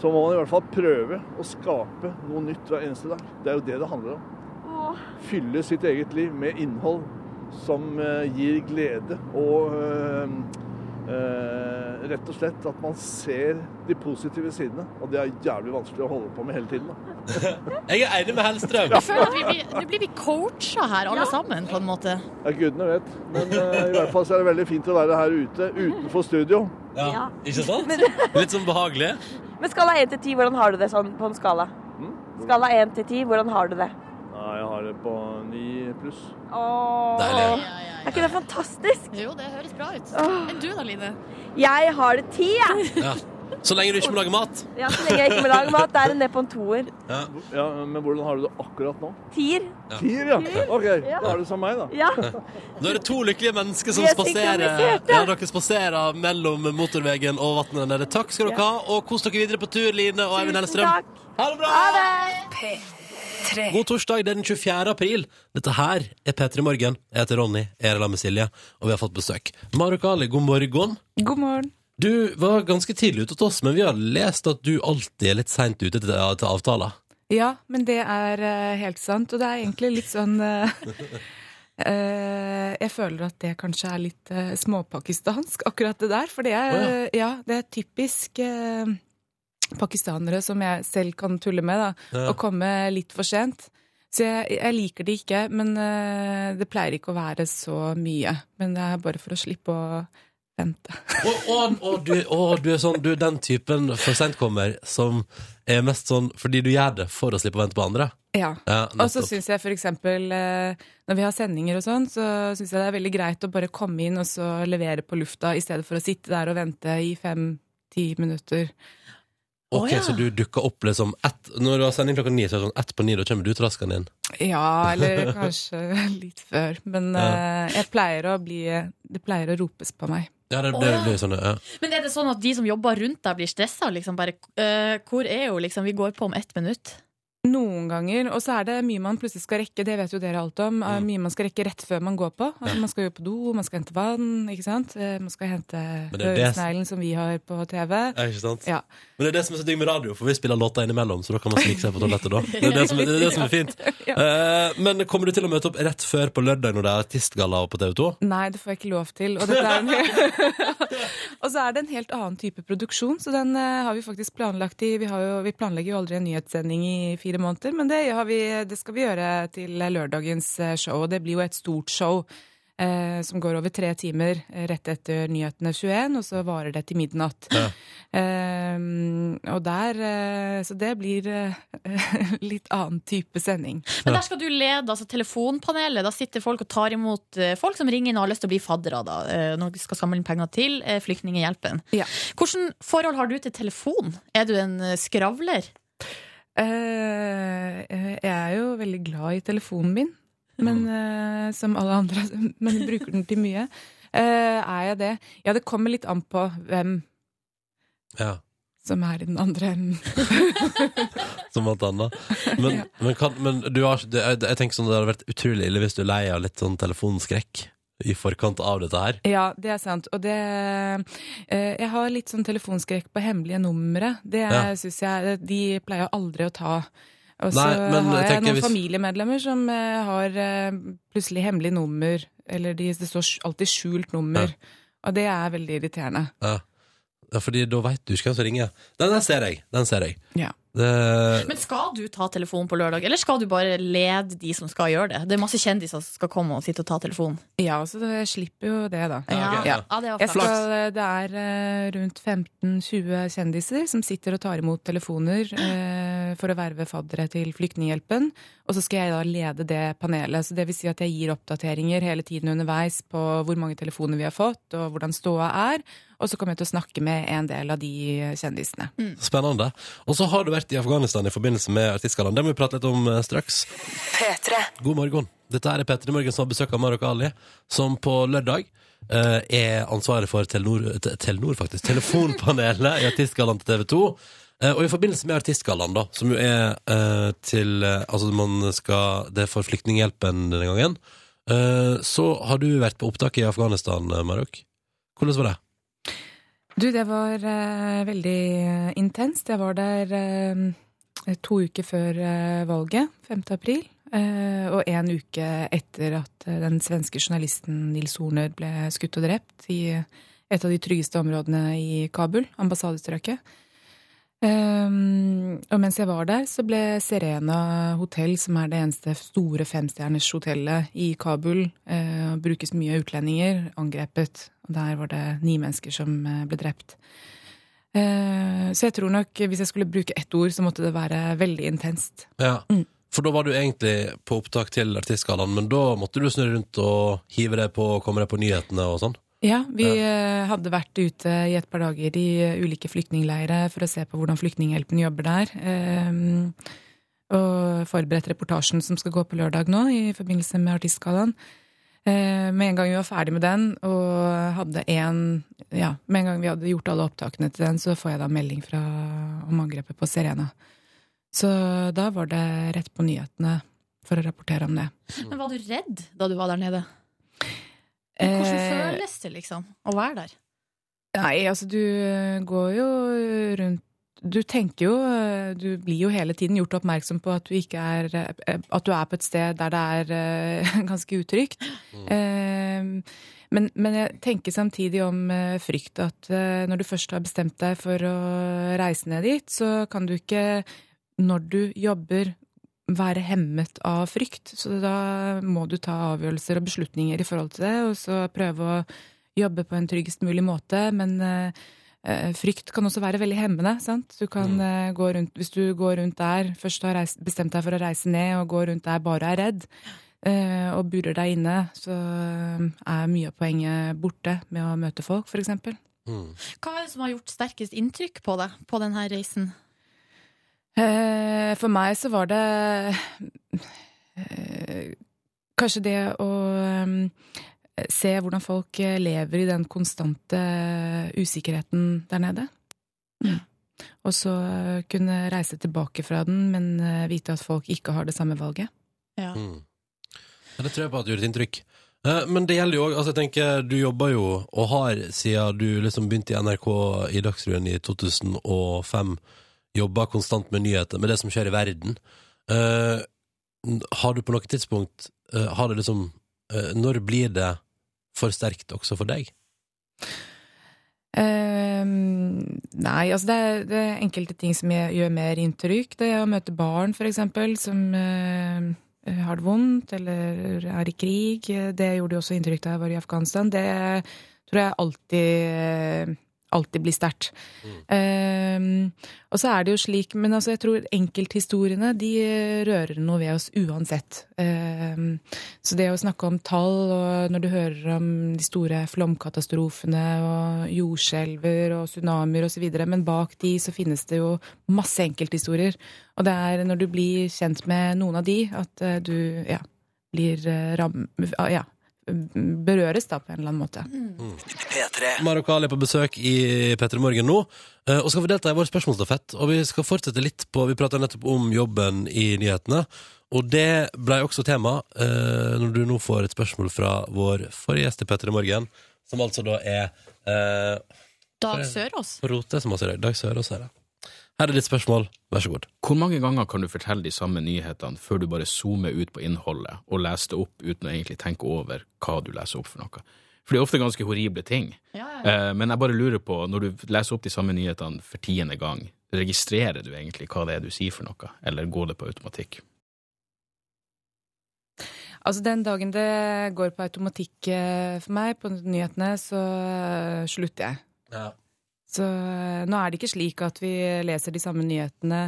så må man i hvert fall prøve å skape noe nytt hver eneste dag. Det er jo det det handler om.
Åh,
Fylle sitt eget liv med innhold som eh, gir glede og eh, eh, rett og slett at man ser de positive sidene. Og det er jævlig vanskelig å holde på med hele tiden. Da.
Jeg er enig med Hellstrøm.
Jeg føler at vi blir, Nå blir vi coacha her, alle sammen, på en måte.
Ja, gudene vet. Men eh, i hvert fall så er det veldig fint å være her ute utenfor studio.
Ja, ikke sant? Litt sånn behagelig.
Men skala 1 til 10, hvordan har du det sånn på en skala?
Mm,
Skala 1 til 10, hvordan har du det?
Nei, jeg har det på ni pluss.
Åh.
Deilig.
Ja, ja,
Er ikke det fantastisk?
Jo, det høres bra ut. Men du da, Line?
Jeg har det 10, jeg.
Ja. Så lenge du ikke må lage mat.
Ja, så lenge jeg ikke må lage mat, da er det ned på en toer.
Ja, men hvordan har du det akkurat nå?
Tier.
Tier, ja. OK, da er det som meg, da.
Ja.
Da er det to lykkelige mennesker som
Vi er
spaserer
synkroniserte.
Ja, dere spaserer mellom motorveien og vannet der nede. Takk skal dere ha, og kos dere videre på tur, Line og Eivind
Tusen
Hellstrøm.
takk.
Ha det bra!
Ha det!
God torsdag, det er den 24. april. Dette her er P3 Morgen. Jeg heter Ronny, jeg er sammen med Silje, og vi har fått besøk. Maruk Ali, god morgen.
God morgen.
Du var ganske tidlig ute til oss, men vi har lest at du alltid er litt seint ute til, til avtaler.
Ja, men det er eh, helt sant. Og det er egentlig litt sånn eh, eh, Jeg føler at det kanskje er litt eh, småpakistansk, akkurat det der. For det er,
Å
ja, det er typisk eh, pakistanere som jeg selv kan tulle med, da.
Ja.
Å komme litt for sent. Så jeg, jeg liker det ikke, men eh, det pleier ikke å være så mye. Men det er bare for å slippe å vente.
Og, og, og, du, og du er sånn, du er den typen for seint kommer som er mest sånn fordi du gjør det for å slippe å vente på andre.
Eh,
Ja.
Ja,
Og så
nettopp.
syns jeg f.eks. når vi har sendinger og sånn, så syns jeg det er veldig greit å bare komme inn og så levere på lufta, i stedet for å sitte der og vente i fem-ti minutter.
Ok,
Å, ja.
Så du dukker opp liksom ett Når du har sending klokka ni, så er det sånn ett på ni, da kommer du traskende inn.
Ja, eller kanskje litt før. Men eh, jeg pleier å bli Det pleier å ropes på meg.
Ja, det,
Å,
det
ja.
blir sånn, ja.
Men er det sånn at de som jobber rundt deg, blir stressa? Liksom bare, eh, hvor er hun, liksom? Vi går på om ett minutt.
Noen ganger. Og så er det mye man plutselig skal rekke, det vet jo dere alt om.
Mm.
eh, Mye man skal rekke rett før man går på. Altså, man skal jo på do, man skal hente vann, ikke sant. Eh, Man skal hente
det er det-
øresneglen som vi har på TV.
Ja, ikke sant?
Ja.
Men det er det som er så digg med radio, for vi spiller låter innimellom, så da kan man snike seg på toalettet da. Det er det som er, det er, det som er fint. Eh, men kommer du til å møte opp rett før på lørdag når det er artistgalla på TV 2?
Nei, det får jeg ikke lov til. Og, dette er en og så er det en helt annen type produksjon, så den eh, har vi faktisk planlagt i vi, har jo, vi planlegger jo aldri en nyhetssending i fire måneder, men det, har vi, det skal vi gjøre til lørdagens eh, show. Og det blir jo et stort show eh, som går over tre timer eh, rett etter nyhetene 21, og så varer det til midnatt. Eh, og der eh, Så det blir eh, litt annen type sending.
Men der skal du lede altså, telefonpanelet. Da sitter folk og tar imot eh, folk som ringer inn og har lyst til å bli faddere. Da. Eh, Nå skal samle inn penger til eh, Flyktninghjelpen.
Ja.
Hvordan forhold har du til telefon? Er du en eh, skravler?
Eh, eh, jeg er jo veldig glad i telefonen min, men,
Mm.
eh, som alle andre, men bruker den til mye. Eh, er jeg det? Ja, det kommer litt an på hvem
Ja,
som er i den andre enden.
som alt annet. Men, men, kan, men du har, ikke- det, jeg, jeg tenker sånn det hadde vært utrolig ille hvis du er lei av litt sånn telefonskrekk i forkant av dette her.
Ja, det er sant. Og det eh, Jeg har litt sånn telefonskrekk på hemmelige numre. Det
Ja.
syns jeg De pleier jeg aldri å ta. Og så
Nei, men
har
jeg
jeg
tenker
noen
hvis-
familiemedlemmer som eh, har eh, plutselig hemmelig nummer, eller de, det står alltid skjult nummer. Og det er veldig irriterende.
Ja. Ja, fordi da veit du ikke hvem som ringer. Den, den ser jeg. Den ser jeg.
Ja.
Det,
Men skal du ta telefonen på lørdag, eller skal du bare lede de som skal gjøre det? Det er masse kjendiser som skal komme og sitte og ta telefonen.
Ja, så det- jeg slipper jo det, da.
Ja, ok, ja.
det var
Jeg
flaks.
skal, det er eh, rundt 15-20 kjendiser som sitter og tar imot telefoner eh, for å verve faddere til Flyktninghjelpen. Og så skal jeg da lede det panelet. Så det vil si at jeg gir oppdateringer hele tiden underveis på hvor mange telefoner vi har fått, og hvordan ståa er. Og så kommer jeg til å snakke med en del av de kjendisene.
Mm. Spennende. Og så har du vært i Afghanistan i forbindelse med artistgallaen. Det må vi prate litt om eh, straks. God morgen. Dette her er Petter i Morgen som har besøk av Marok Ali, som på lørdag eh, er ansvaret for Telenor, te- Telenor faktisk, telefonpanelet i artistgallaen til TV 2. Eh, og i forbindelse med artistgallaen, da, som jo er eh, til eh, Altså, man skal Det er for Flyktninghjelpen denne gangen. eh, så har du vært på opptak i Afghanistan, eh, Marok. Hvordan var det?
Du, det var eh, veldig eh, intenst. Jeg var der eh, to uker før eh, valget, 5. april. eh, og én uke etter at eh, den svenske journalisten Nils Horner ble skutt og drept i eh, et av de tryggeste områdene i Kabul, ambassadestrøket. Ehm, og mens jeg var der, så ble Serena hotell, som er det eneste store femstjerners hotellet i Kabul, eh, og brukes mye av utlendinger, angrepet. Og der var det ni mennesker som eh, ble drept. Eh, så jeg tror nok, hvis jeg skulle bruke ett ord, så måtte det være veldig intenst.
Ja, for da var du egentlig på opptak til Artistgallaen, men da måtte du snu deg rundt og hive deg på og komme deg på nyhetene og sånn.
Ja, vi eh, hadde vært ute i et par dager i eh, ulike flyktningleirer for å se på hvordan Flyktninghjelpen jobber der. ehm, Og forberedt reportasjen som skal gå på lørdag nå i forbindelse med Artistgallaen. Eh, Med en gang vi var ferdig med den, og hadde en Ja, med en gang vi hadde gjort alle opptakene til den, så får jeg da melding fra, om angrepet på Serena. Så da var det rett på nyhetene for å rapportere om det.
Mm. Men var du redd da du var der nede? Hvordan
Eh,
føles det liksom å være der?
Nei, altså du eh, går jo rundt Du tenker jo eh, Du blir jo hele tiden gjort oppmerksom på at du ikke er eh, At du er på et sted der det er eh, ganske utrygt. Eh, Men, men jeg tenker samtidig om eh, frykt at eh, når du først har bestemt deg for å reise ned dit, så kan du ikke, når du jobber, være hemmet av frykt. Så da må du ta avgjørelser og beslutninger i forhold til det, og så prøve å jobbe på en tryggest mulig måte, men eh, eh, frykt kan også være veldig hemmende. Sant? Du kan, eh, gå rundt, hvis du går rundt der, først har reist, bestemt deg for å reise ned og går rundt der bare er redd, eh, og burer deg inne, så eh, er mye av poenget borte med å møte folk, f.eks.
Mm.
Hva er det som har gjort sterkest inntrykk på deg på denne reisen?
Eh, For meg så var det eh, kanskje det å eh, se hvordan folk eh, lever i den konstante usikkerheten der nede. Mm. Og så eh, kunne reise tilbake fra den, men eh, vite at folk ikke har det samme valget.
Mm. Ja, det tror jeg på at gjorde et inntrykk. Eh, Men det gjelder jo òg altså jeg tenker, Du jobber jo, og har siden du liksom begynte i NRK i Dagsrevyen i 2005, jobba konstant med nyheter, med det som skjer i verden. Eh, n- har du på noe tidspunkt eh, Har det liksom eh, Når blir det for sterkt også for deg?
Eh, nei, altså det er, det er enkelte ting som gjør gjør mer inntrykk. Det er å møte barn, for eksempel, som eh, har det vondt eller er i krig. Det gjorde jo også inntrykk da jeg var i Afghanistan. Det tror jeg alltid, eh, alltid blir sterkt.
Mm.
Eh, og så er det jo slik, men altså jeg tror enkelthistoriene de eh, rører noe ved oss uansett. Eh, så det å snakke om tall, og når du hører om de store flomkatastrofene og jordskjelver og tsunamier osv., men bak de så finnes det jo masse enkelthistorier. Og det er når du blir kjent med noen av de, at eh, du ja, blir eh, ram... Ja, berøres da på en eller annen måte.
Maro Kali er på besøk i P3 Morgen nå, eh, og skal få delta i vår spørsmålsstafett. Og vi skal fortsette litt på Vi prata nettopp om jobben i nyhetene, og det blei også tema eh, når du nå får et spørsmål fra vår forrige gjest i P3 Morgen, som altså da er eh,
Dag Sørås?
Rote, som også er Dag Sørås her. ja. Her er ditt spørsmål, vær så god.
Hvor mange ganger kan du fortelle de samme nyhetene før du bare zoomer ut på innholdet og leser det opp uten å egentlig tenke over hva du leser opp for noe? For det er ofte ganske horrible ting.
Ja, ja.
Eh, Men jeg bare lurer på, når du leser opp de samme nyhetene for tiende gang, registrerer du egentlig hva det er du sier for noe, eller går det på automatikk?
Altså Den dagen det går på automatikk eh, for meg på nyhetene, så eh, slutter jeg. Så eh, nå er det ikke slik at vi leser de samme nyhetene.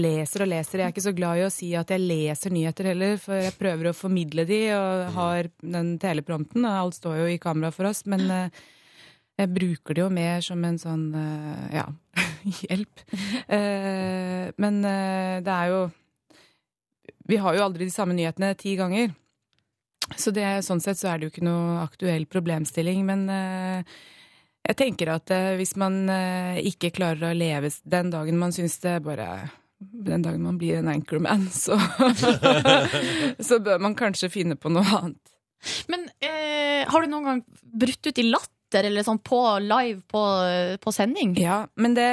Leser og leser. Jeg er ikke så glad i å si at jeg leser nyheter heller, for jeg prøver å formidle de og har den teleprompten, og alt står jo i kamera for oss, men eh, jeg bruker det jo mer som en sånn eh, ja, hjelp. Eh, Men eh, det er jo Vi har jo aldri de samme nyhetene ti ganger. Så det, sånn sett så er det jo ikke noe aktuell problemstilling, men eh, jeg tenker at eh, hvis man eh, ikke klarer å leve s- den dagen man syns det bare Den dagen man blir en anchorman, så, så bør man kanskje finne på noe annet.
Men eh, har du noen gang brutt ut i latter eller sånn på live på, eh, på sending?
Ja, men det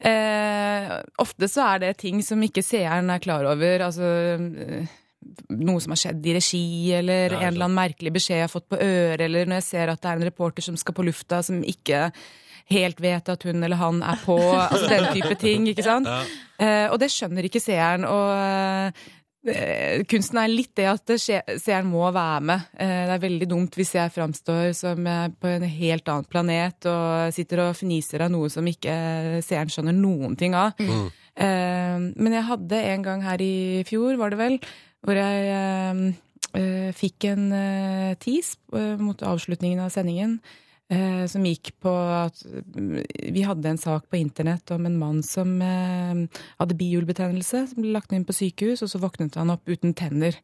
eh, Ofte så er det ting som ikke seeren er klar over. Altså eh, noe som har skjedd i regi, eller
Ja,
en eller annen merkelig beskjed jeg har fått på øret, eller når jeg ser at det er en reporter som skal på lufta, som ikke helt vet at hun eller han er på. Altså den type ting, ikke sant? Eh, og det skjønner ikke seeren. Og eh, kunsten er litt det at det skje- seeren må være med. Eh, det er veldig dumt hvis jeg framstår som eh, på en helt annen planet og sitter og fniser av noe som ikke eh, seeren skjønner noen ting av.
Mm.
Mm.
Mm.
Eh, men jeg hadde en gang her i fjor, var det vel, hvor jeg eh, eh, fikk en eh, tease eh, mot avslutningen av sendingen. eh, som gikk på at mm, vi hadde en sak på internett om en mann som eh, hadde bihulebetennelse, som ble lagt inn på sykehus, og så våknet han opp uten tenner.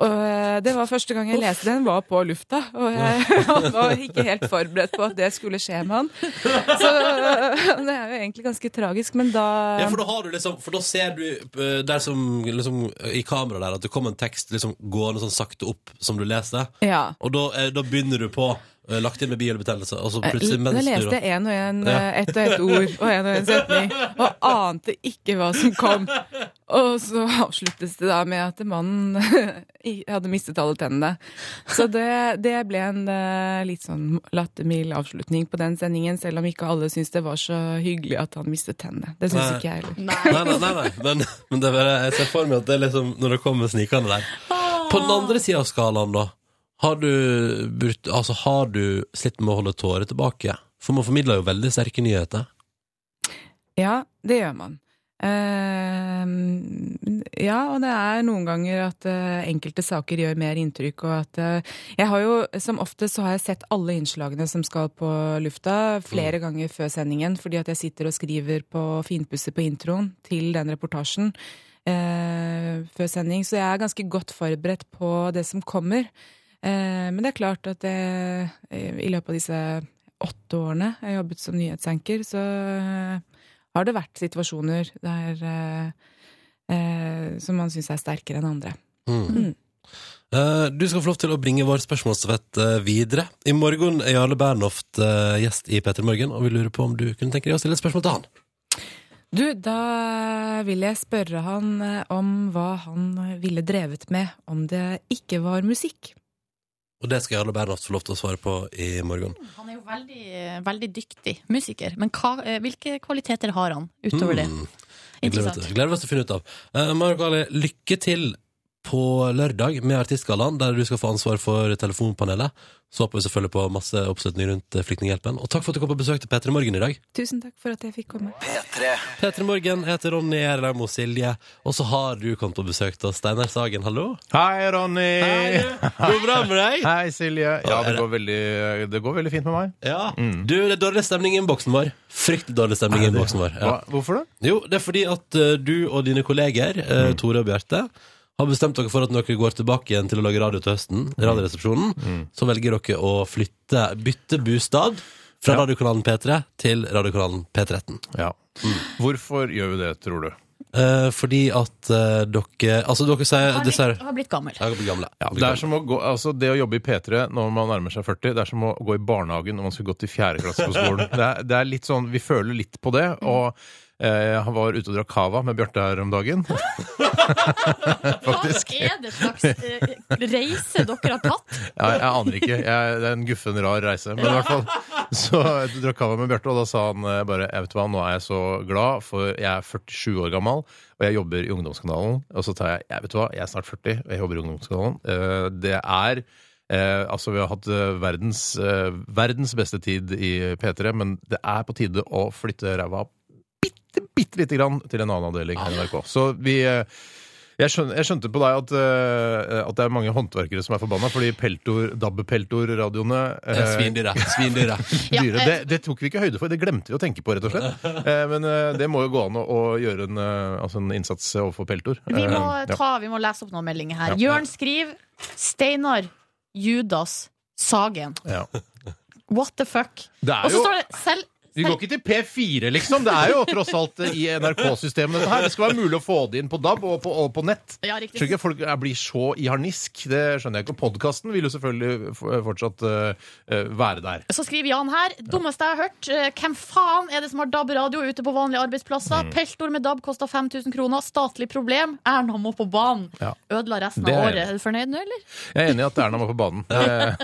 Og eh, det var første gang jeg leste den, var på lufta. Og jeg han var ikke helt forberedt på at det skulle skje med han. Så eh, det er jo egentlig ganske tragisk, men da
Ja, for da har du liksom For da ser du eh, der som liksom eh, I kameraet der at det kommer en tekst liksom gående sånn sakte opp som du leser,
ja.
og da, eh, da begynner du på eh, lagt inn med bihulebetennelse, og så
Eh,
plutselig
Da
mens du
leste jeg én og én, ett og ett ord og én og én setning, og ante ikke hva som kom. Og så avsluttes det da med at mannen i- hadde mistet alle tennene. Så det, det ble en eh, litt sånn lattermild avslutning på den sendingen, selv om ikke alle syntes det var så hyggelig at han mistet tennene. Det syns
Nei.
ikke jeg heller.
Nei, nei, nei, nei. Men, men det er bare, jeg ser for meg at det er liksom når det kommer snikende der. På den andre sida av skalaen, da, har du, brutt, altså, har du slitt med å holde tårer tilbake? For man formidler jo veldig sterke nyheter.
Ja, det gjør man. Eh, ja, og det er noen ganger at eh, enkelte saker gjør mer inntrykk. Og at eh, jeg har jo som oftest så har jeg sett alle innslagene som skal på lufta, flere ganger før sendingen, fordi at jeg sitter og skriver på finpusser på introen til den reportasjen eh, før sending. Så jeg er ganske godt forberedt på det som kommer. Eh, men det er klart at det, eh, i løpet av disse åtte årene jeg har jobbet som nyhetsanker, så eh, har det vært situasjoner der eh, eh, som man syns er sterkere enn andre.
Mm. Eh, du skal få lov til å bringe vår spørsmålsvett eh, videre. I morgen er Jarle Bernhoft eh, gjest i Petter Morgen, og vi lurer på om du kunne tenke deg å stille et spørsmål til han.
Du, da vil jeg spørre han eh, om hva han ville drevet med om det ikke var musikk.
Og det skal Jarle Bernhoft få lov til å svare på i morgen.
Han er jo veldig, veldig dyktig musiker, men hva, eh, hvilke kvaliteter har han utover det?
Mm. Jeg Gleder meg til- gleder meg til å finne ut av. Uh, Mark Ali, lykke til på lørdag med Artistgallaen, der du skal få ansvar for telefonpanelet. Så håper vi selvfølgelig på masse oppslutning rundt eh, Flyktninghjelpen. Og takk for at du kom på besøk til P3 Morgen i dag.
Tusen takk for at jeg fikk komme.
P3 Morgen jeg heter Ronny Erlaug og Silje, og så har du kommet på besøk til oss. Steinar Sagen, hallo.
Hei, Ronny! Hei.
Går det bra med deg?
Hei, Silje. Ja, det går veldig, det går veldig fint med meg. Mm.
Ja. Du, det er dårlig stemning i innboksen vår. Fryktelig dårlig stemning i innboksen vår. Ja.
Hva- Hvorfor det?
Jo, det er fordi at eh, du og dine kolleger,
Mm.
eh, Tore og Bjarte, har bestemt dere for at når dere går tilbake igjen til å lage radio til høsten,
Mm.
Radioresepsjonen, så velger dere å flytte, bytte bostad fra radiokanalen P3 til radiokanalen P13. Mm.
Ja. Hvorfor gjør vi det, tror du?
Eh, fordi at eh, dere Altså, dere sier
Han har blitt, har blitt gammel.
Jeg har blitt gamle.
Ja, det, er som å gå, altså det å jobbe i P3 når man nærmer seg 40, det er som å gå i barnehagen når man skulle gått i fjerde klasse på skolen. Det er, det er litt sånn, Vi føler litt på det. og eh, jeg var ute og drakk cava med Bjarte her om dagen. Faktisk.
Hva er det slags eh, reise dere har tatt?
Ja, jeg aner ikke. Jeg, det er en guffen, rar reise. Men i hvert fall så jeg drakk kava med Bjarte, og da sa han eh, bare jeg vet hva, nå er jeg så glad, for jeg er 47 år gammel, og jeg jobber i Ungdomskanalen. Og så tar jeg jeg vet hva, jeg er snart 40, og jeg jobber i Ungdomskanalen. Eh, Det er eh, altså, vi har hatt eh, verdens, eh, verdens beste tid i P3, men det er på tide å flytte ræva bitte, bitte lite grann til en annen avdeling her i NRK. Så vi eh, jeg skjønte, jeg skjønte på deg at, eh, at det er mange håndverkere som er forbanna, fordi Peltor, DAB-Peltor-radioene
Det er svindyre, svindyre.
eh,
dyre. Det, det tok vi ikke høyde for, det glemte vi å tenke på, rett og slett. Eh, Men eh, det må jo gå an å, å gjøre en, eh, altså en innsats overfor Peltor.
Vi må,
Eh, ja.
ta, vi må lese opp noen meldinger her.
Ja.
Jørn skriver Steinar Judas Sagen.
Ja.
What the fuck?
Det er
Og så
jo-
står det selv
Vi går ikke til P4, liksom. Det er jo tross alt eh, i NRK-systemet, dette her. Det skal være mulig å få det inn på DAB og på, og på nett.
Ja, riktig.
Skjønner ikke folk jeg blir så i harnisk. Det skjønner jeg ikke. Og podkasten vil jo selvfølgelig f- fortsatt eh, eh, være der.
Så skriver Jan her. Dummeste jeg har hørt. Eh, Hvem faen er det som har DAB-radio ute på vanlige arbeidsplasser?
Mm.
Peltor med DAB kosta 5000 kroner. Statlig problem. Erna må på banen.
Ja.
Ødela resten
Det er
av
jeg
året. Er du fornøyd nå, eller?
Jeg er enig i at Erna må på banen.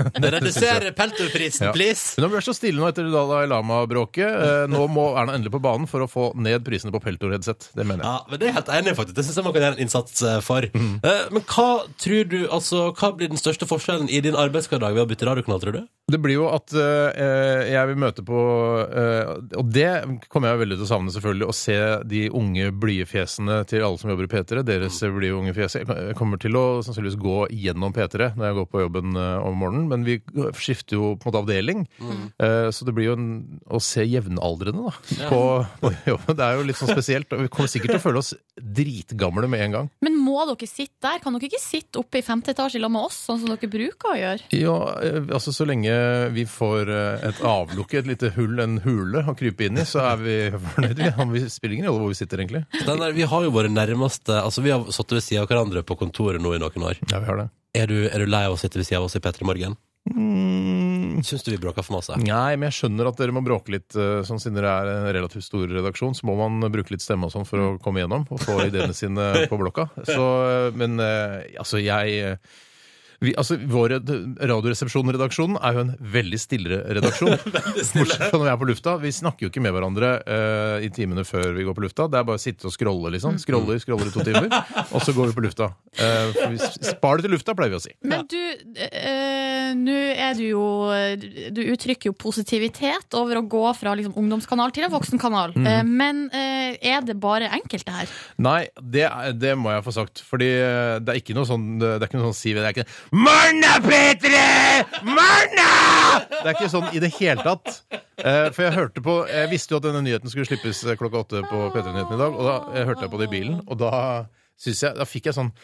Reduser peltorprisen, please!
Hun har vært så stille nå etter Dalai Lama-bråket. Eh, Nå må Erna endelig på banen for å få ned prisene på Peltor-headset. Det mener jeg.
Ja, men Det er jeg helt enig, i, faktisk. Det syns jeg man kan gjøre en innsats eh, for.
Mm.
Eh, Men hva tror du, altså, hva blir den største forskjellen i din arbeidshverdag ved å bytte radiokanal, tror du?
Det blir jo at eh, jeg vil møte på eh, Og det kommer jeg veldig til å savne, selvfølgelig. Å se de unge blidefjesene til alle som jobber i P3. Deres blide unge fjes. Jeg kommer til å sannsynligvis gå gjennom P3 når jeg går på jobben eh, om morgenen, men vi skifter jo på en måte avdeling. Eh, så det blir jo en, å se jevnaldrende da, på, på jobben. Det er jo litt sånn spesielt. og Vi kommer sikkert til å føle oss dritgamle med en gang.
Men må dere sitte der? Kan dere ikke sitte oppe i femte etasje sammen med oss, sånn som dere bruker å gjøre?
Ja, eh, altså så lenge vi får eh, et avlukke, et lite hull, en hule å krype inn i, så er vi fornøyd. Vi, om vi spiller ingen rolle hvor vi sitter, egentlig.
Den der, vi har jo våre nærmeste Altså Vi har sittet ved siden av hverandre på kontoret nå i noen år.
Ja, vi har det.
Er du, er du lei av å sitte ved siden av oss i P3 Morgen? Syns du vi bråker for masse?
Mm. Nei, men jeg skjønner at dere må bråke litt, eh, sånn siden dere er en relativt stor redaksjon, så må man bruke litt stemme og sånn for å
Mm.
komme gjennom og få ideene sine på blokka. Så, eh, men eh, altså, jeg eh, vi, altså, vår red- Radioresepsjon-redaksjonen er jo en veldig stillere redaksjon. Bortsett fra når vi er på lufta. Vi snakker jo ikke med hverandre eh, i timene før vi går på lufta. Det er bare å sitte og scrolle,
Mm.
liksom. Scroller, scroller i to timer, og så går vi på lufta. Eh, for vi s- spar det til lufta, pleier vi å si.
Men du, eh, eh, nå er du jo Du uttrykker jo positivitet over å gå fra liksom, ungdomskanal til en voksenkanal.
Mhm.
Eh, men eh, er det bare enkelte her?
Nei, det, er- det må jeg få sagt. Fordi eh, det er ikke noe sånn Det er ikke noe sånn Siv Det er ikke Morna, Petre! Morna! Det er ikke sånn i det hele tatt. Eh, for jeg hørte på Jeg visste jo at denne nyheten skulle slippes eh, klokka åtte på P3-nyheten i dag, og da eh, hørte jeg på det i bilen, og da synes jeg Da fikk jeg sånn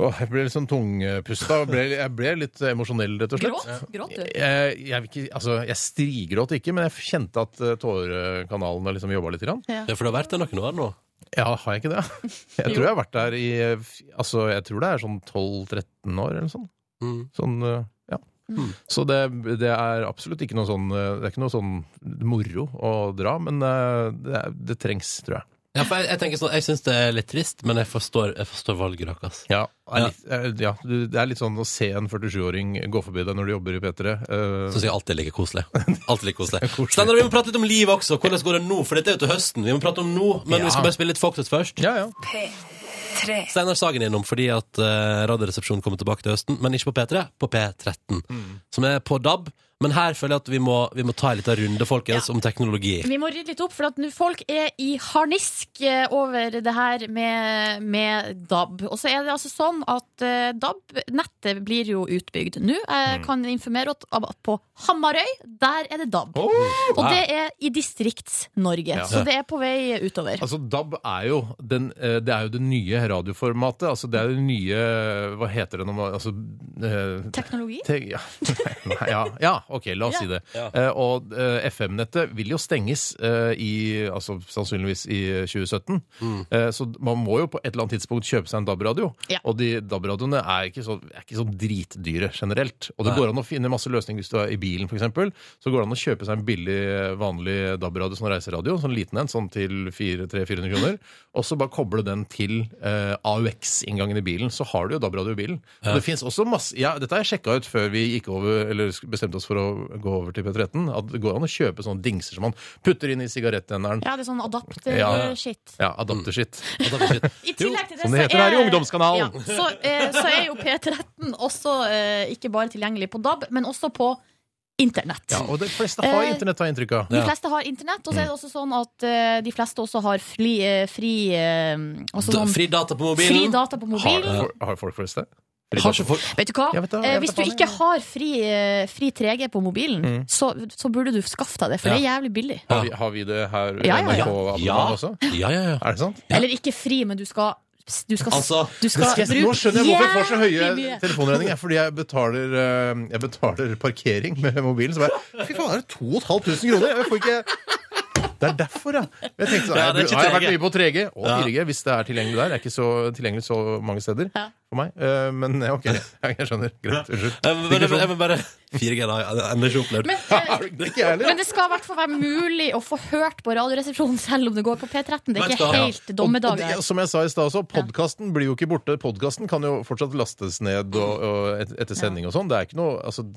Åh, jeg ble litt sånn tungpusta. og ble- Jeg ble litt eh, emosjonell, rett og slett.
Gråt? Gråt du?
Jeg, jeg, vil ikke- altså, jeg strigråt ikke, men jeg kjente at eh, tårekanalen liksom jobba litt. Grann.
Ja.
Ja, for det har vært der noen år nå.
Ja, har jeg ikke det? Jeg tror jeg har vært der i eh, f- Altså, jeg tror det er sånn 12-13 år eller sånn.
Mm.
Sånn, eh, ja.
Mm.
Så det, det er absolutt ikke noe sånn eh, Det er ikke noe sånn moro å dra, men eh, det, er- det trengs, tror jeg.
Ja, for jeg, jeg tenker sånn, jeg syns det er litt trist, men jeg forstår, jeg forstår valget deres.
Ja, det er litt, eh, ja, du- det er litt sånn å se en 47-åring gå forbi deg når du jobber i P3. Uh,
Syns jeg alltid er like koselig. Alltid like koselig. Steinar, vi må prate litt om livet også. Hvordan går det nå? For dette er jo til høsten. Vi må prate om nå, men
Ja.
vi skal bare spille litt Foxes først.
Ja, ja.
P3.
Steinar Sagen innom fordi at eh, Radioresepsjonen kommer tilbake til høsten, men ikke på P3, på P13.
Mm.
Som er på DAB. Men her føler jeg at vi må, vi må ta en liten runde, folkens, om teknologi.
Vi må rydde litt opp, for at nå folk er i harnisk eh, over det her med, med DAB. Og så er det altså sånn at eh, DAB-nettet blir jo utbygd nå. Jeg
Mm.
kan informere at- om at på Hamarøy, der er det DAB. Og det er i Distrikts-Norge,
Oh, Ja.
så det er på vei utover.
Altså, DAB er jo, den, eh, det er jo det nye radioformatet. Altså, det er det nye Hva heter det når man altså, eh,
Teknologi?
Te ja. Nei, ja. ja, ok, la oss si det. Eh, og eh, FM-nettet vil jo stenges eh, i altså, sannsynligvis i 2017. Eh, så man må jo på et eller annet tidspunkt kjøpe seg en DAB-radio. Og de DAB-radioene er ikke så, er ikke så dritdyre generelt. Og det
Nei.
går an å finne masse løsninger hvis du er i bilen, f.eks. Så går det an å kjøpe seg en billig, vanlig DAB-radio, sånn reiseradio, sånn liten en, sånn til 300-400 kroner. Og så bare koble den til eh, AUX-inngangen i bilen. Så har du jo DAB-radio i bilen. Og det finnes også masse ja, Dette har jeg sjekka ut før vi gikk over, eller bestemte oss for å gå over til P13, at det går an å kjøpe sånne dingser som man putter inn i sigarettenneren.
Ja, det er sånn
Ja.
adapter-shit.
Ja, adapter-shit.
I tillegg til det,
som det heter
så er,
her i Ungdomskanalen.
Ja, så, eh, så er jo P13 også eh, ikke bare tilgjengelig på DAB, men også på internett.
Ja, og de fleste har
Eh,
internett, har jeg inntrykk av.
De fleste har internett, og så
Mm.
er det også sånn at eh, de fleste også har fri, eh, fri eh, altså
Da,
sånn-
fri data på mobilen.
Fri data på mobilen.
Har, har folk flest det?
Har ikke folk
Vet du hva?
Jeg vet det, Mm.
Eh,
jeg
hvis
vet
du
faen,
ikke har fri, eh, fri 3G på mobilen, så, så burde du skaffe deg det, for det er jævlig billig.
Har vi, har vi det her i
Ja, ja, ja.
NRK-abonnement
Ja.
også?
Ja, ja, ja.
Er det sant?
Eller ikke fri, men du skal, du skal,
Altså,
du skal
det skal jeg- nå
bruke
skjønner jeg hvorfor jeg får så
jævlig mye.
høye telefonregninger. Fordi jeg betaler, eh, jeg betaler parkering med mobilen. Så bare Fy faen, er det 2500 kroner? Jeg får ikke det er derfor, ja. Jeg tenkte, sånn, jeg,
Ja, det er ikke
har jeg vært
3G.
mye på 3G og
Ja.
4G hvis det er tilgjengelig der. Det er ikke så tilgjengelig så mange steder for meg. Eh, Men ja, ok, jeg skjønner. Greit.
Jeg vil bare- jeg
Unnskyld.
vil bare 4G, da. Jeg har ennå ikke opplevd.
eh,
Ikke jeg heller.
Men det skal i hvert fall være mulig å få hørt på Radioresepsjonen selv om det går på P13. Det er ikke helt
Og- og
dommedag.
det- altså-
her.
Som jeg sa i stad også, podkasten blir jo ikke borte. Podkasten kan jo fortsatt lastes ned
Mm.
og, og et, etter sending og sånn. Det er ikke noe altså,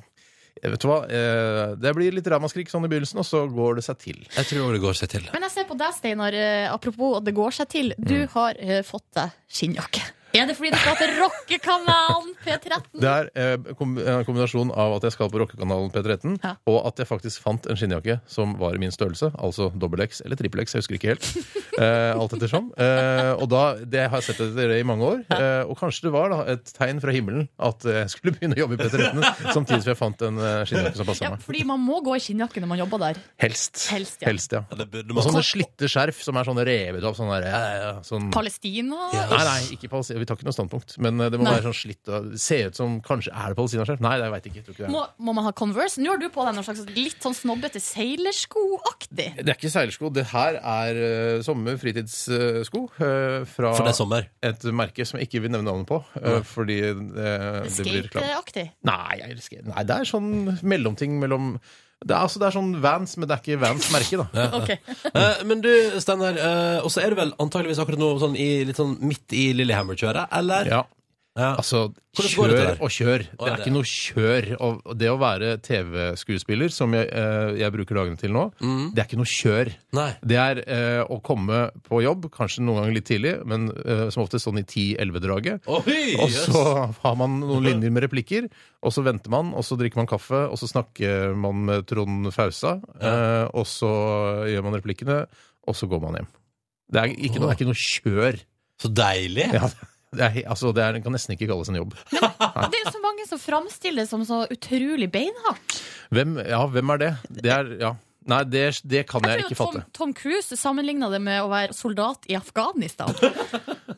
jeg Vet du hva? eh, Det blir litt ramaskrik sånn i begynnelsen, og så går det seg til.
Jeg tror det går seg til.
Men jeg ser på deg, Steinar, eh, apropos at det går seg til.
Mm.
Du har eh, fått deg skinnjakke. Er det fordi du skal til rockekanalen P13?
Det er eh, kom- en kombinasjon av at jeg skal på rockekanalen P13, og at jeg faktisk fant en skinnjakke som var i min størrelse, altså dobbel X eller trippel X, jeg husker ikke helt. Eh, alt ettersom. Eh, og da, det har jeg sett etter dere i mange år, eh, og kanskje det var da et tegn fra himmelen at eh, jeg skulle begynne å jobbe i P13, samtidig som jeg fant en eh, skinnjakke som passa
Ja,
meg.
fordi man må gå i skinnjakke når man jobber der.
Helst.
Helst, ja.
Helst, ja. Og sånne slitte skjerf som er sånne revet opp, sånn der ja, ja, ja, sånn
Palestina?
Nei, nei, ikke Palestina. Vi tar ikke noe standpunkt. Men eh, det må
Nei.
være sånn slitt og se ut som Kanskje er det palestinaskjerf? Nei, det veit jeg ikke. Jeg tror ikke det,
Må, må man ha Converse? Nå har du på deg noen slags litt sånn snobbete seilerskoaktig.
er. det er ikke seilersko. Det her er eh, sommer fritidssko. eh, fra
For det er sommer.
et merke som jeg ikke vil nevne navnet på. eh, fordi eh, det blir reklame.
Skateaktig.
Nei, jeg elsker Nei, det er sånn mellomting mellom det er, altså, det er sånn Vans, men det er ikke Vans-merke, da.
Eh, Men du, Steinar, eh, og så er du vel antageligvis akkurat nå sånn i, litt sånn midt i Lillehammer-kjøret, eller?
Ja. Altså,
Hvordan går
kjør
det der?
og kjør.
Å,
Det
ja,
er
det.
ikke noe kjør. Og det å være TV-skuespiller, som jeg, eh, jeg bruker dagene til nå,
Mm.
det er ikke noe kjør. Det er eh, å komme på jobb, kanskje noen ganger litt tidlig, men eh, som ofte sånn i 10-11-draget.
Oi,
Og
jøss.
så har man noen linjer med replikker, og så venter man, og så drikker man kaffe, og så snakker man med Trond Fausa, eh, og så gjør man replikkene, og så går man hjem. Det er ikke noe, det er ikke noe kjør.
Så deilig!
Ja, det, er, altså, det, er, det kan nesten ikke kalles en jobb.
Det er jo så mange som framstiller det som så utrolig beinhardt.
Hvem, ja, hvem er det? Det er, ja. Nei, det, det kan jeg,
Jeg
ikke
tror
fatte.
Tom, Tom Cruise sammenligna det med å være soldat i Afghanistan.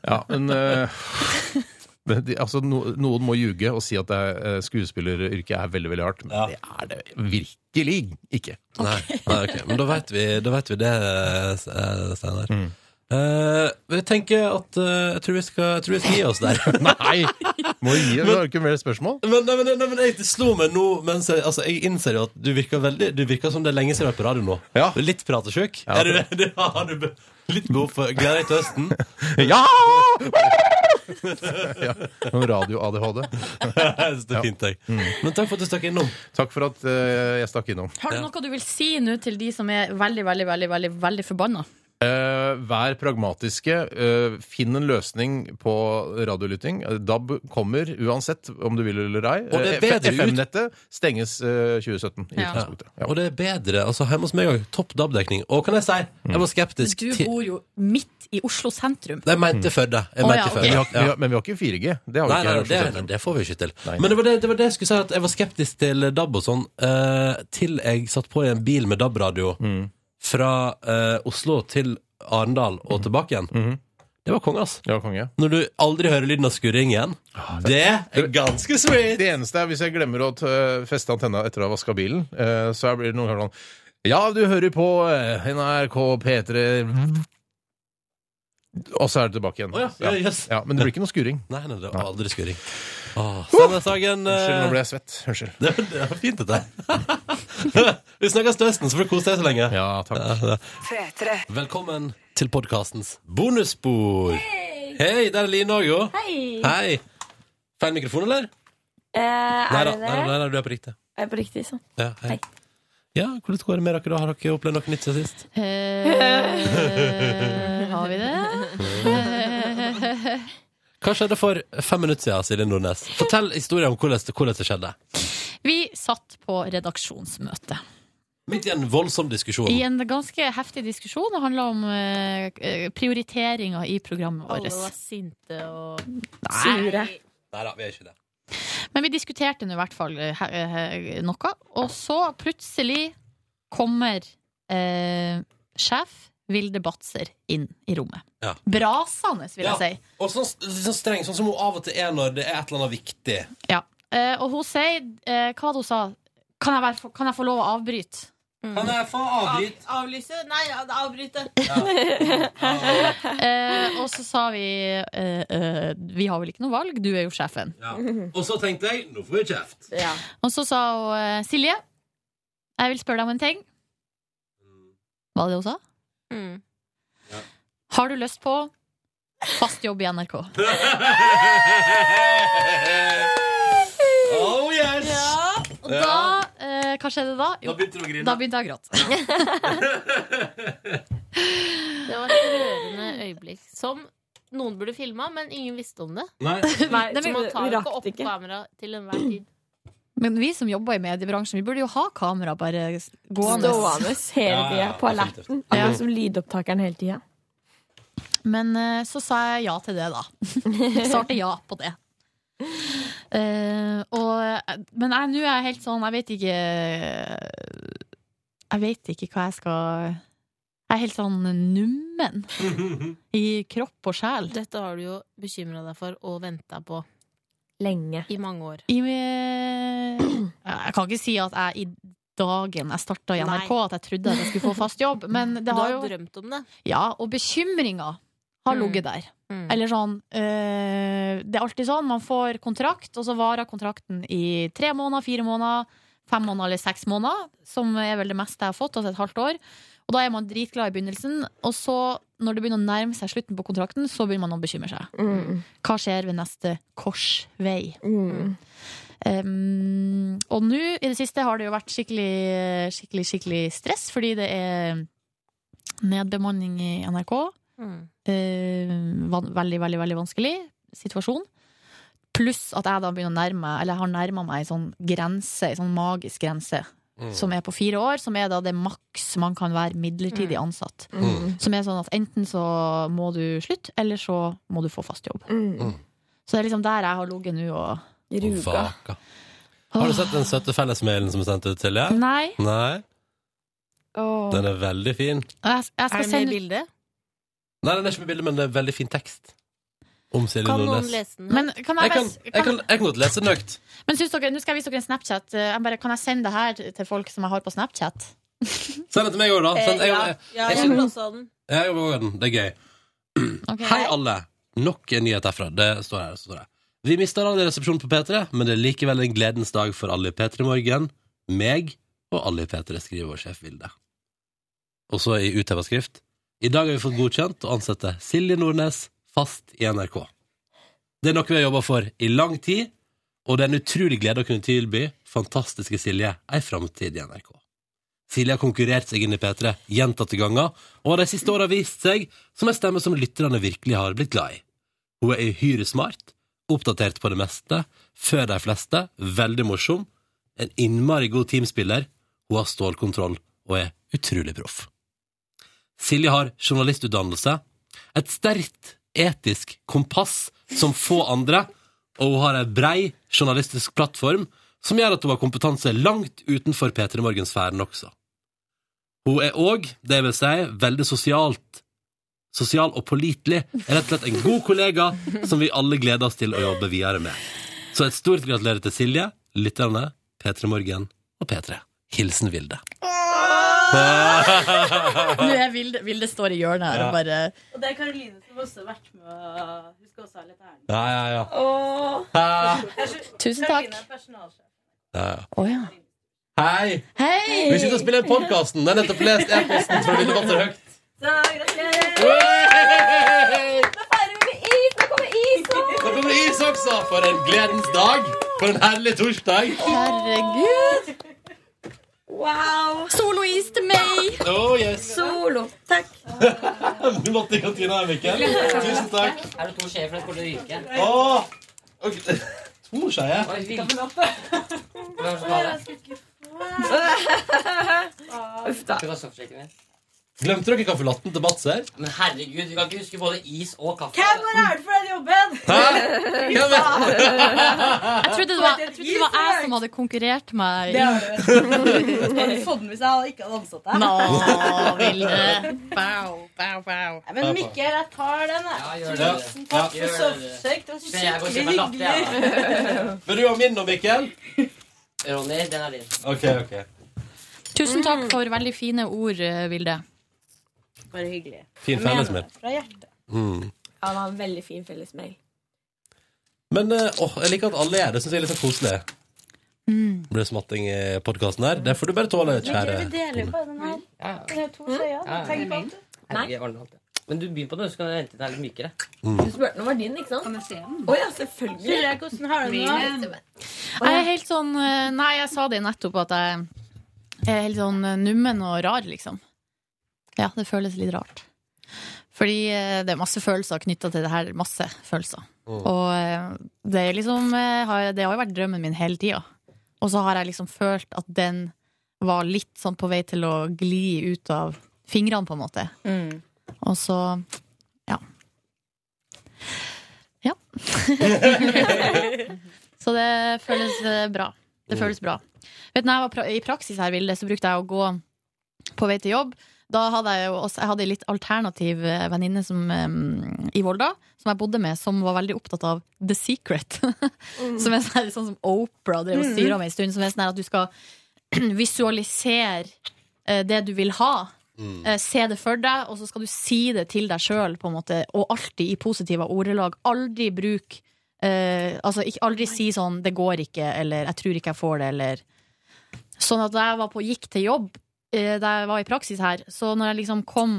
Ja, men eh, men de, altså, no, noen må ljuge og si at det er, eh, skuespilleryrket er veldig veldig hardt, men det er det virkelig ikke.
Nei, nei ok. Men da vet vi, da vet vi det, eh, Steinar.
Mm.
Eh, men jeg tenker at eh, jeg, tror vi skal, jeg tror vi skal gi oss der.
nei! Må gi oss, har du ikke mer spørsmål?
Men, nei, men, nei, men jeg slo meg nå mens jeg, altså, jeg innser jo at du virker veldig Du virker som det er lenge siden du har vært på radio nå. Du er litt pratesjuk. Er du, du, har du be- litt behov for Gleder deg til høsten?
Ja! ja. Noen radio-ADHD.
Jeg synes det er fint, jeg. Men takk for at du stakk innom.
Mm. Takk for at eh, jeg stakk innom.
Har du noe du vil si nå til de som er veldig, veldig, veldig, veldig, veldig forbanna?
Eh, vær pragmatiske. eh, finn en løsning på radiolytting. Eh, DAB kommer uansett, om du vil eller ei.
Og det er
Eh, F-
bedre ut-
FM-nettet stenges eh, 2017. i
Ja.
utgangspunktet.
Og det er bedre. altså Hjemme hos meg òg. Topp DAB-dekning. Og kan jeg si, jeg var skeptisk
Du
til
bor jo midt i Oslo sentrum.
Jeg mente Førde. Jeg
Å,
mente
ja,
Førde.
ok.
Vi har- vi har- Men vi har ikke 4G. Det har vi
Nei,
ikke
nei,
her altså. i
nei,
Oslo
det,
sentrum.
det får vi ikke til. Men det var det, det var det jeg skulle si, at jeg var skeptisk til DAB og sånn, eh, til jeg satt på i en bil med DAB-radio
Mm.
fra eh, Oslo til Arendal og tilbake igjen. Det var konge,
Mm.
ass.
Mm-hmm. Det var konge.
Når du aldri hører lyden av skurring igjen. Det er ganske sweet!
Det eneste er hvis jeg glemmer å t- feste antenna etter å ha vaska bilen, eh, så blir det noen ganger sånn Ja, du hører på eh, NRK P3 Og så er det tilbake igjen.
Å ja, ja, yes.
ja, men det blir ikke noe skuring.
Nei, nei, det var aldri skurring. Åh, Steinar Sagen eh,
Unnskyld, nå ble jeg svett. Unnskyld.
Det, det var fint, dette. Vi snakkes til høsten, så får du kose deg så lenge.
Ja, takk.
Velkommen til podkastens bonusspor. Hei! der er Line òg, jo.
Hei.
Hei. Feil mikrofon, eller?
Eh, er
Nei da,
det det?
nei, nei, nei, du er på riktig.
Er det på riktig, sånn?
Ja, hei. ja, hvordan går det med dere? da? Har dere opplevd noe nytt siden sist?
Eh, har vi det? Eh,
Hva skjedde for fem minutter siden, Silje Nordnes? Fortell historien om hvordan det, hvordan det skjedde.
vi satt på redaksjonsmøte.
Midt i en voldsom diskusjon.
I en ganske heftig diskusjon. Det handla om eh, eh, prioriteringer i programmet vårt.
Alle var sinte og
Sure.
Nei da, vi er ikke det.
Men vi diskuterte nå i hvert fall eh, he- he- noe, og så plutselig kommer eh, sjef Vilde Batzer inn i rommet.
Ja.
Brasende, vil jeg si.
Og sånn, sånn streng, sånn som hun av og til er når det er et eller annet viktig.
Ja. Eh, og hun sier eh, Hva var det hun sa? Kan jeg, være, for- kan jeg få lov å avbryte?
Mm.
Kan jeg få avbryte?
Av, avlyse? Nei, av- avbryte.
Eh, og så sa vi eh, eh, Vi har vel ikke noe valg, du er jo sjefen.
Ja. Og så tenkte jeg nå får vi kjeft.
Og så sa hun eh, Silje, jeg vil spørre deg om en ting.
Mm.
Hva var det hun sa? Har du lyst på fast jobb i NRK?
Oh yes!
Og da, eh, hva skjedde da? Jo,
Da begynte du å grine.
Da begynte jeg å gråte.
Det var et rørende øyeblikk som noen burde filma, men ingen visste om det.
Nei.
Nei,
så man
vi-
tar
vi
jo
rakk
ikke opp
ikke.
kamera til enhver tid.
Men vi som jobber i mediebransjen, vi burde jo ha kamera bare gående.
Stående hele
Ja,
tida,
ja,
på alerten. Akkurat som lydopptakeren hele tida.
Men eh, så sa jeg ja til det, da. Svarte ja på det. Eh, og, eh, men jeg- nå er jeg helt sånn Jeg vet ikke eh, Jeg vet ikke hva jeg skal Jeg er helt sånn nummen i kropp og sjel.
Dette har du jo bekymra deg for og venta på.
Lenge.
I mange år.
I, eh, jeg kan ikke si at jeg i dagen jeg starta i NRK,
Nei.
at jeg trodde at jeg skulle få fast jobb, men det
du
har
har
jo
drømt om det.
Ja, og bekymringer har
Mm.
ligget der.
Mm.
Eller sånn eh, Det er alltid sånn. Man får kontrakt, og så varer kontrakten i tre måneder, fire måneder, fem måneder eller seks måneder, som er vel det meste jeg har fått, altså et halvt år. Og da er man dritglad i begynnelsen, og så, når det begynner å nærme seg slutten på kontrakten, så begynner man å bekymre seg.
Mm.
Hva skjer ved neste korsvei?
Mm.
Um, og nå i det siste har det jo vært skikkelig, skikkelig, skikkelig stress, fordi det er nedbemanning i NRK.
Mm.
Eh, van veldig, veldig, veldig vanskelig situasjon. Pluss at jeg da begynner å nærme meg, eller jeg har nærma meg en sånn grense, en sånn magisk grense,
Mm.
som er på fire år, som er da det maks man kan være midlertidig ansatt.
Mm.
Som er sånn at enten så må du slutte, eller så må du få fast jobb.
Mm.
Mm,
Så det er liksom der jeg har ligget nå og
Vaka. Har du sett den søte fellesmailen som er sendt ut til deg?
Nei.
Nei.
Åh.
Den er veldig fin.
Jeg, jeg skal
Er det med i
sende-
bildet?
Nei, den er ikke med bilde, men det er veldig fin tekst. Om Silje
Kan
Nordnes.
noen lese den?
Men kan jeg,
Jeg kan,
bare-
jeg, kan, jeg kan godt lese den høyt.
Men syns dere, nå skal jeg vise dere en Snapchat. Eh, Jeg bare, kan jeg sende det her til folk som jeg har på Snapchat?
Send den til meg òg, da. Send, jeg, jeg,
Eh, Ja,
jeg-
jeg vil også ha den.
jeg jobber med den. Det er gøy. Hei, alle. Nok en nyhet herfra. Det står her. Så står det. Vi mister all resepsjon på P3, men det er likevel en gledens dag for alle i P3 Morgen. Meg og alle i P3, skriver vår sjef Vilde. Og så i utheva skrift. I dag har vi fått godkjent å ansette Silje Nordnes fast i NRK. Det er noe vi har jobba for i lang tid, og det er en utrolig glede å kunne tilby fantastiske Silje ei framtid i NRK. Silje har konkurrert seg inn i P3 gjentatte ganger, og har de siste åra vist seg som en stemme som lytterne virkelig har blitt glad i. Hun er uhyre smart, oppdatert på det meste, før de fleste, veldig morsom, en innmari god teamspiller, hun har stålkontroll og er utrolig proff. Silje har journalistutdannelse, et sterkt etisk kompass som få andre, og hun har ei brei journalistisk plattform som gjør at hun har kompetanse langt utenfor P3 Morgen-sfæren også. Hun er òg, det vil si, veldig sosialt sosial og pålitelig, er rett og slett en god kollega som vi alle gleder oss til å jobbe videre med. Så et stort gratulerer til Silje, lytterne, P3 Morgen og P3. Hilsen Vilde.
Nå er Vilde, Vilde står i hjørnet her og bare
Og det er Karoline som også har vært med og Hun skal også ha litt æren.
Ja, ja, ja.
Ah.
Tusen takk.
Karoline er personalsjef.
ja.
Å, ja.
Hei!
Hei!
Vi sitter og spiller podkasten. Jeg har nettopp lest e-posten fra Lille Vatter Høgt.
Så
Hey!
gratulerer! Da feirer vi med is! Da kommer is
Nå kommer det is også! For en gledens dag! For en herlig torsdag!
Herregud!
Wow!
Solois til meg!
Oh, yes.
Solo. Takk.
Du måtte i kantina, Mikkel. Tusen takk.
Er det to skjeer for det skulle ryke?
Åh! Ok, To skeier?
Oi, vi- Hvem som har det?
Uff da.
Du kan stoppsjekke den.
Glemte dere kaffelatten til Batser?
Men herregud, du kan ikke huske både is og kaffe.
Hvem er æren for den jobben?
Hæ?
Fy faen.
Jeg trodde det var jeg, trodde det var jeg som hadde konkurrert meg.
Det har du. Hadde
Nå,
fått den hvis jeg hadde ikke hadde ansatt deg.
Vilde. Bow, bow, bow.
Nei, Men Mikkel, jeg tar den. jeg.
gjør det.
Tusen
Ja,
takk
gjør det.
for sovesjekk. Det var
Så jeg går og
skikkelig
kjøper latte,
hyggelig.
Vil du ha min nå, Mikkel?
Ronny, den er din.
Ok, ok.
Tusen takk for veldig fine ord, eh, Vilde.
Bare hyggelig.
Fin
Jeg mener
fellesmail.
det Fra hjertet.
Mm.
Ja, det var en veldig fin fellesmail.
Men eh, åh, jeg liker at alle er det. Det syns jeg er litt så koselig.
Mm.
Blir det smatting i podkasten her? Det får du bare tåle, kjære.
Vi deler bare den her. Den har to skjeer.
Ja,
Tenk på
min.
alt.
Herregud, jeg ordner alt, ja. Men du begynner på den, så kan jeg vente til den er litt mykere.
Du spurte om var din, ikke sant? Kan jeg se den? Å ja, selvfølgelig. Silje, hvordan har du den nå?
Jeg er helt sånn eh, Nei, jeg sa det nettopp at jeg er helt sånn eh, nummen og rar, liksom. Ja, det føles litt rart. Fordi eh, det er masse følelser knytta til det her. Masse følelser.
Mm.
Og eh, det er liksom eh, har, Det har jo vært drømmen min hele tida. Og så har jeg liksom følt at den var litt sånn på vei til å gli ut av fingrene, på en måte. Og så ja. Ja. så det føles eh, bra. Det føles bra. Vet du, når jeg var pra I praksis her, Vilde, så brukte jeg å gå på vei til jobb. Da hadde jeg jo også, jeg hadde en litt alternativ eh, venninne som, eh, i Volda, som jeg bodde med, som var veldig opptatt av The Secret. som er sånn, sånn som Opera drev og
Mm.
styra med en stund. Som er sånn her at du skal visualisere eh, det du vil ha.
Mm.
Eh, Se det for deg, og så skal du si det til deg sjøl, og alltid i positive ordelag. Aldri bruk eh, Altså, ikke, aldri si sånn 'det går ikke', eller 'jeg tror ikke jeg får det', eller Sånn at da jeg var på, gikk til jobb eh, da jeg var i praksis her, så når jeg liksom kom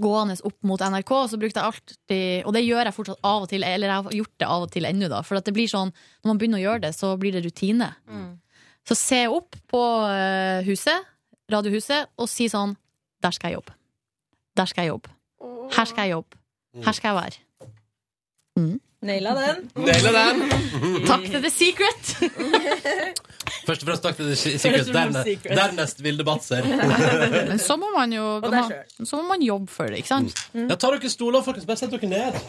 gående opp mot NRK, så brukte jeg alltid Og det gjør jeg fortsatt av og til, eller jeg har gjort det av og til ennå, da. For at det blir sånn, når man begynner å gjøre det, så blir det rutine.
Mm.
Så ser jeg opp på eh, huset, radiohuset, og sier sånn Der skal jeg jobbe. Der skal jeg jobbe. Her skal jeg jobbe. Her skal jeg være. Mm.
Naila den.
Naila den.
Takk til The Secret!
Først og fremst takk til The Secret.
Først og fremst
Dernest,
Secret.
dernest Vilde Batzer.
Men så må man jo
Og deg selv. Mm.
så må man jobbe for det, ikke sant?
Ja, ta dere stoler, folkens. Bare sett dere ned.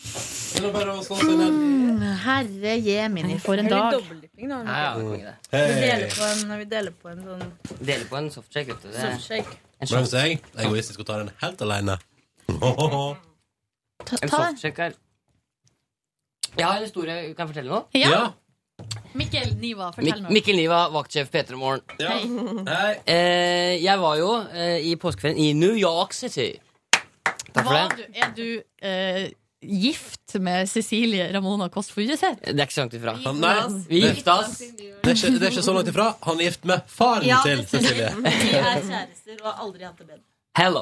Det er bare å slå seg ned.
Mm, Herre jemini, for en dag.
dobbeltdypping, da.
Ja, ja, det er poenget, det.
Vi deler på en, vi deler på en sånn
Deler på en softshake, vet du. Det er
softshake.
en
Men
shot.
hvis jeg er egoistisk og tar den helt alene
En sånn softshake er Jeg har en historie. Kan jeg fortelle noe?
Ja. Mikkel Niva, fortell
Mik
noe.
Mikkel Niva, vaktsjef P3 Morgen.
Hei.
Eh, jeg var jo eh, i påskeferien i New York City. Takk for
Var
det.
du, er du eh, gift med Cecilie Ramona Kåss Furuseth?
Det er ikke så langt ifra.
Han- nei.
Vi gifta oss.
Det er, ikke, det er ikke så langt ifra. Han er gift med faren
Ja,
til Cecilie.
Vi er kjærester og har aldri hatt det bedre.
Hello.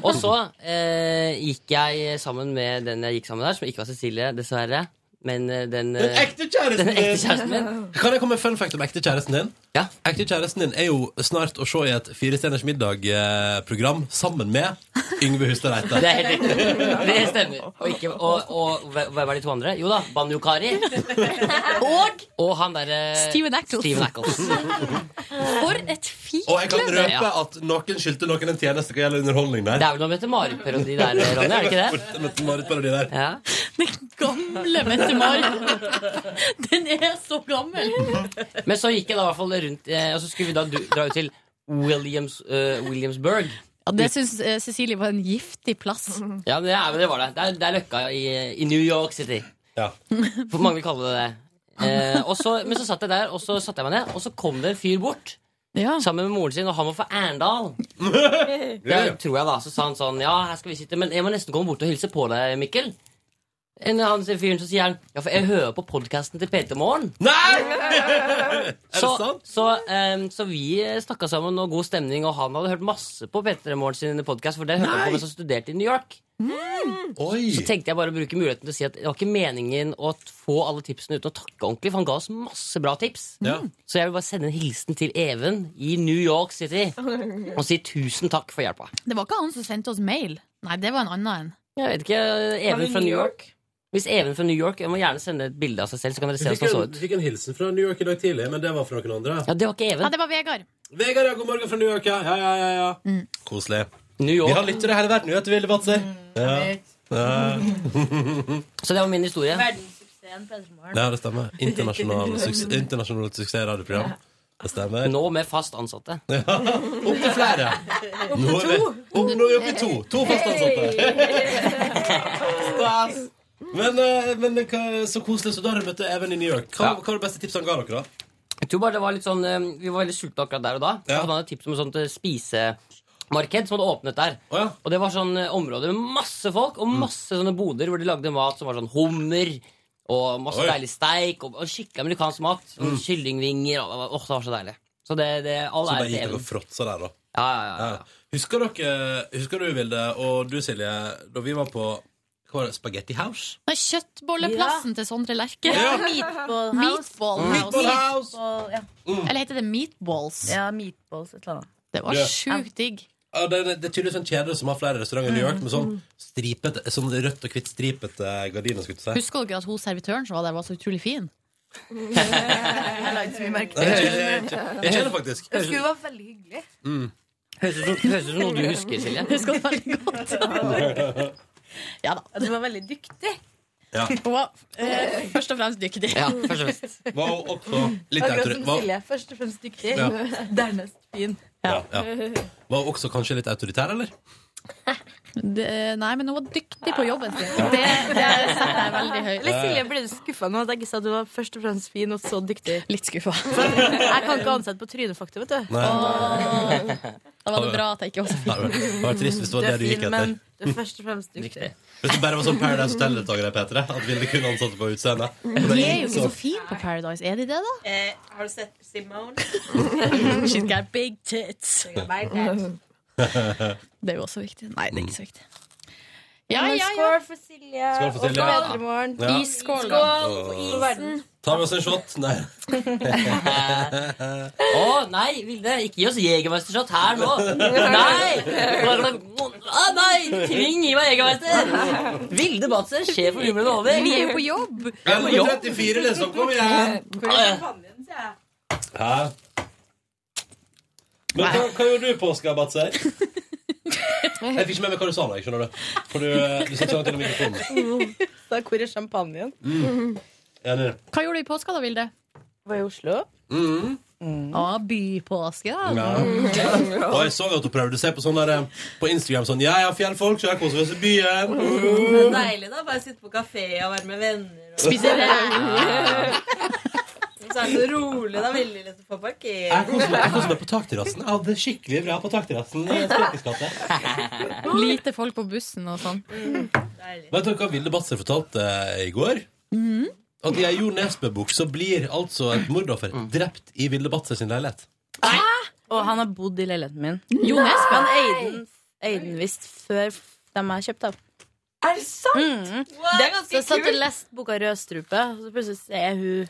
Og så eh, gikk jeg sammen med den jeg gikk sammen der, som ikke var Cecilie, dessverre. Men eh, den, eh,
Den ekte kjæresten
den ekte kjæresten min.
sånn,
Kan jeg komme med en fun fact om ekte kjæresten din? Ekte kjæresten din er jo snart å se i et Fire stjerners middag-program sammen med Yngve Hustad Reite.
Det er helt riktig. Det stemmer. Og, ikke, og, og hvem er de to andre? Jo da, Banjo-Kari. Og Og han derre
Steven Ackles.
Steven Ackles.
For et fint
Og jeg kan
kløver.
røpe at noen skyldte noen en tjeneste hva gjelder underholdning der.
Det er vel noe Mette-Marit-parodi der, Ronny? er det ikke det?
Mette-Marit-parodi der.
Ja.
Gamle Mette-Marit. Den er så gammel!
Men så gikk jeg da i hvert fall rundt, eh, og så skulle vi da du, dra ut til Williams, eh, Williamsburg.
Ja, det syns eh, Cecilie var en giftig plass.
Ja, men det, er, men det var det. Det er, det er Løkka i, i New York City.
Ja.
For mange vil kalle det det. Eh, og så, men så satt jeg der, og så satte jeg meg ned, og så kom det en fyr bort. Sammen med moren sin, og han var fra Arendal. Det tror jeg, da. Så sa han sånn Ja, her skal vi sitte, men jeg må nesten komme bort og hilse på deg, Mikkel. En annen sier fyren, så sier han Ja, for jeg hører på podkasten til PT Morgen. Så, så, ehm, så vi snakka sammen, og god stemning, og han hadde hørt masse på PT Morgen sin podkast, for det hørte han på mens han studerte i New York. Så tenkte jeg bare å bruke muligheten til å si at det var ikke meningen å t- få alle tipsene uten å takke ordentlig, for han ga oss masse bra tips. Så jeg vil bare sende en hilsen til Even i New York City og si tusen takk for hjelpa.
Det var ikke han som sendte oss mail. Nei, det var en annen en.
Jeg vet ikke, Even fra New York. Hvis Even fra New York, jeg må gjerne sende et bilde av seg selv, så kan dere se
Vi fikk,
hvordan han så
en,
ut. sånn.
vi fikk en hilsen fra New York i dag tidlig, men det var fra noen andre.
Ja, det var ikke Even.
Ja, det var Vegard.
Vegard, ja, god morgen fra New York, ja. ja, ja, ja, ja. Koselig.
York.
Vi har lyttere i hele verden, vet du, Vilde Batzer. Ja. Ja.
Så det var min historie.
Verdenssuksessen P3morgen.
ja, det stemmer. Internasjonalt suksess, internasjonal suksess radioprogram. Det stemmer.
Nå med fast ansatte.
Ja. Opp til flere. Nå er vi opp, nå er vi oppe i to. To fast ansatte. Stas. Men, eh, men hva, så koselig. Så da har du møtt Even i New York. Hva, hva var det beste tipset han ga dere, da?
Jeg tror bare det var litt sånn eh, Vi var veldig sultne akkurat der og da. Så hadde han et tips om et sånt eh, spisemarked som hadde åpnet der. Og det var sånn eh, område med masse folk
Mm.
og masse sånne boder hvor de lagde mat som var sånn hummer og masse
Oi.
deilig steik og, og skikkelig amerikansk mat. Sånn
Mm.
Kyllingvinger og Åh, det var så deilig. Så det, det all
Så bare
ære til
gikk dere
Even.
og fråtsa der, da.
Ja, ja, ja,
Husker dere, husker du, Vilde, og du, Silje, da vi var på hva var det, Spaghetti House?
Nei, Kjøttbolleplassen til Sondre Lerche.
Ja.
Meatball House.
Meatball
Mm.
House.
Meatball House.
Meatball, ja.
Eller heter det Meatballs?
ja, meatballs et eller annet.
Det var
Ja.
sjukt digg.
Ja, det, det er tydeligvis en kjede som har flere restauranter i New York med sånn, stripete, sånn rødt og hvitt stripete eh, gardiner. skulle jeg til å si.
Husker dere at hun servitøren som var der, var så utrolig fin?
Jeg la ikke så mye merke
Nei, jeg- jeg- jeg- jeg kjenner faktisk.
Jeg skulle være veldig hyggelig.
Mm.
Høres ut som- høres ut som noe du husker, Silje.
Husker det veldig godt. Ja da.
Du var veldig dyktig.
Ja.
Hun var eh, først og fremst dyktig.
Ja, først og fremst.
Var hun også litt
Akkurat
autori-
som
var,
Silje. Først og fremst dyktig.
Ja.
Dernest fin.
Ja, ja. var hun også kanskje litt autoritær, eller?
Det- nei, men hun var dyktig på jobben sin. Det, det setter jeg veldig høyt.
Eller Silje, ble du skuffa nå at jeg ikke sa at du var først og fremst fin og så dyktig?
Litt skuffa.
Jeg kan ikke ansette på trynefaktor, vet du.
Nei.
Åh.
Da var det bra at jeg ikke var så
Nei,
fin.
det var trist hvis det var det du gikk
fin, men
etter.
Det er først og fremst dyktig.
Hvis det bare var sånn Paradise Hotel-deltakere, Petre, at ville kun ansatte på utseende.
De Mm. er jo ikke så fine på Paradise, er de det, da?
Eh, har du sett Simone?
She's got big tits. Det er jo også viktig. Nei, det er ikke så viktig. Ja,
Men
ja, ja.
Skål for Silje.
Skål for Silje.
Og for Petremorgen.
Ja.
I skål.
Skål.
for isen.
Ta med oss en shot. Nei.
Å nei, Vilde! Ikke gi oss jegermestershot her nå! Nei! Bare, å, nei! Tving i meg jegermester! Vilde Batzer, sjef for Humlen over.
Vi er jo på jobb.
Jeg er på jobb. 34, liksom. Kom igjen.
Hvor er champagnen, sier jeg?
Hæ? Men hva, hva gjorde du påska, Batzer? Jeg fikk ikke med meg hva du sa, nei, skjønner du. For du, eh, du satt så langt gjennom mikrofonen.
Mm. Da, hvor er champagnen?
Mm. Enig.
Hva gjorde du i påska, da, Vilde?
Var i Oslo.
Mm.
Å, bypåske, da.
Ja.
Mm.
Og jeg så at hun prøvde seg på sånn der, eh, på Instagram sånn Ja, ja, fjellfolk, så jeg koser oss i byen.
Det er deilig, da. Bare sitte på kafé og være med venner. Og...
Spise
rev. Så er det så rolig. Det er veldig lett å få
Jeg koser meg, jeg
parkert.
koser meg på takterrassen. Jeg hadde det skikkelig bra på takterrassen. i Spøkelsesgata.
Lite folk på bussen og sånn.
Mm.
Vet dere hva Vilde Batzer fortalte eh, i går?
Mhm.
At i ei Jo Nesbø-bok så blir altså et mordoffer drept i Vilde Batzer sin leilighet.
Og han har bodd i leiligheten min.
Jo Nesbø?
Han eide den- eide den visst før de er kjøpt av. Er det sant?
Det er ganske
så jeg satt og
kult.
leste boka Rødstrupe, og så plutselig ser jeg hun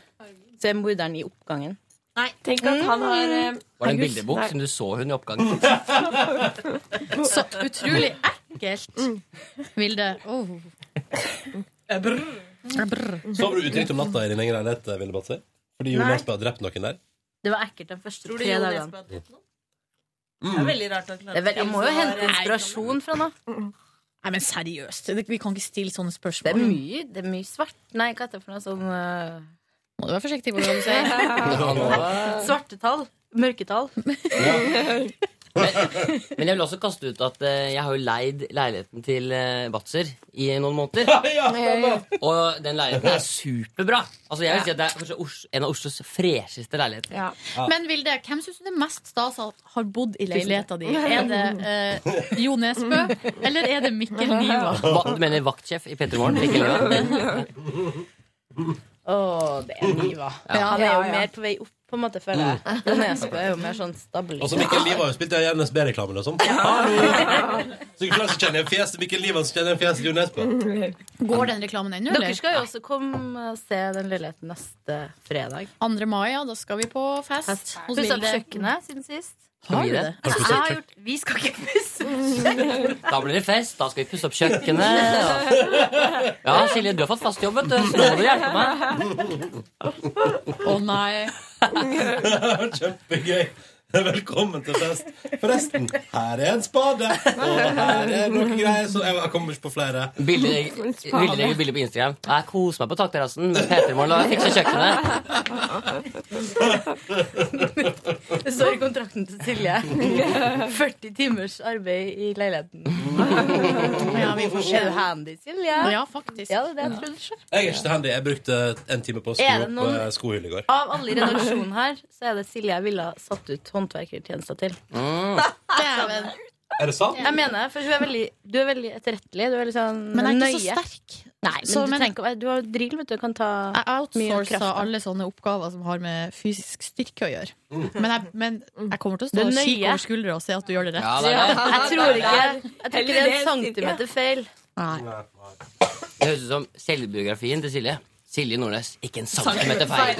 ser morderen i oppgangen. Mm.
Nei, tenk
Mm.
at han har eh,
Var det en
August?
bildebok
Nei.
som du så hun i oppgangen?
Så utrolig ekkelt. Vilde. Oh.
Eh,
Eh, Brr.
Sov du utrygt om natta i din egen leilighet, eh, Vilde Batzer? Fordi Jo
Nei.
Nesbø har drept noen der?
Det var ekkelt den første
Tror du
tre
Jo
dagene.
Nesbø har drept noen?
Mm.
Det er veldig rart at han
Det er vel- jeg må jo hente inspirasjon fra noe.
Nei, men seriøst. det- Vi kan ikke stille sånne
Det
spørsmål.
er mye, det er mye svart. Nei, hva heter det for noe sånn eh,
Må du være forsiktig med hva du sier.
Svarte tall. Mørketall.
Men jeg vil også kaste ut at eh, jeg har jo leid leiligheten til eh, Batzer i noen måneder. Og den leiligheten er superbra. Altså jeg vil si at Det er kanskje Os en av Oslos fresheste leiligheter. Ja.
Men Vilde, hvem syns du det er mest stas at har bodd i leiligheta di? Er det eh, Jo Nesbø, eller er det Mikkel Niva?
Hva, du mener vaktsjef i P3 Morgen? Ikke Løa?
Å, det er Niva.
Ja.
Han er jo
Ja, ja.
mer på vei opp, på en måte, føler
Mm.
jeg. Jo Nesbø er jo mer sånn stabil.
Og så Altså, Mikkel Liv har jo spilt i NSB-reklamen og sånn. Hallo! Så ikke klart så kjenner jeg fjeset til Mikkel Liv, så kjenner jeg fjeset til Jo Nesbø.
Går den reklamen ennå,
Dere skal jo også komme og se den leiligheten neste fredag.
2. mai, ja. Da skal vi på fest.
Fest.
hos
Pussa opp
Vilde.
kjøkkenet siden sist.
Har du det?
Altså, jeg har gjort, vi skal ikke pusse.
Da blir det fest, da skal vi pusse opp kjøkkenet. og- Ja, Silje, du har fått fast jobb, vet du. Så nå må du hjelpe meg.
Å nei.
Kjempegøy. Velkommen til fest. Forresten, her er en spade, og her er noen greier. Så jeg jeg kommer ikke på flere.
Bilder jeg- Ville legge bilde på Instagram. Jeg koser meg på takterrassen med P3morgen og fikser kjøkkenet.
Det står i kontrakten til Silje. 40 timers arbeid i leiligheten.
Ja, vi får se.
Er du handy, Silje?
Ja, faktisk.
Ja, det er det jeg trodde selv.
Jeg er ikke så handy. Jeg brukte en time på å
Er
skru
det
opp
noen-
eh, skohullet i går.
Av alle i redaksjonen her, så er det Silje jeg ville ha satt ut håndverkertjenester til.
Ah.
Dæven.
Er det sant?
Jeg mener det, for hun er veldig, du er veldig etterrettelig. Du er veldig sånn
Men jeg er ikke så
nøye.
sterk.
Nei, men
Så,
du
men-
trenger ikke å være Du har jo drill, vet du. Du kan ta
Jeg
mye kraft.
outsourcer alle sånne oppgaver som har med fysisk styrke å gjøre.
Mm.
Men jeg, men jeg kommer til å
Du
stå
er
og kikke
nøye.
over skuldra og se at du gjør det
Ja,
rett.
det er det.
Jeg tror ikke, jeg tror ikke det er en
Heller det enn
centimeter feil.
Det høres ut som selvbiografien til Silje. Silje Nordnes, ikke en centimeter feil.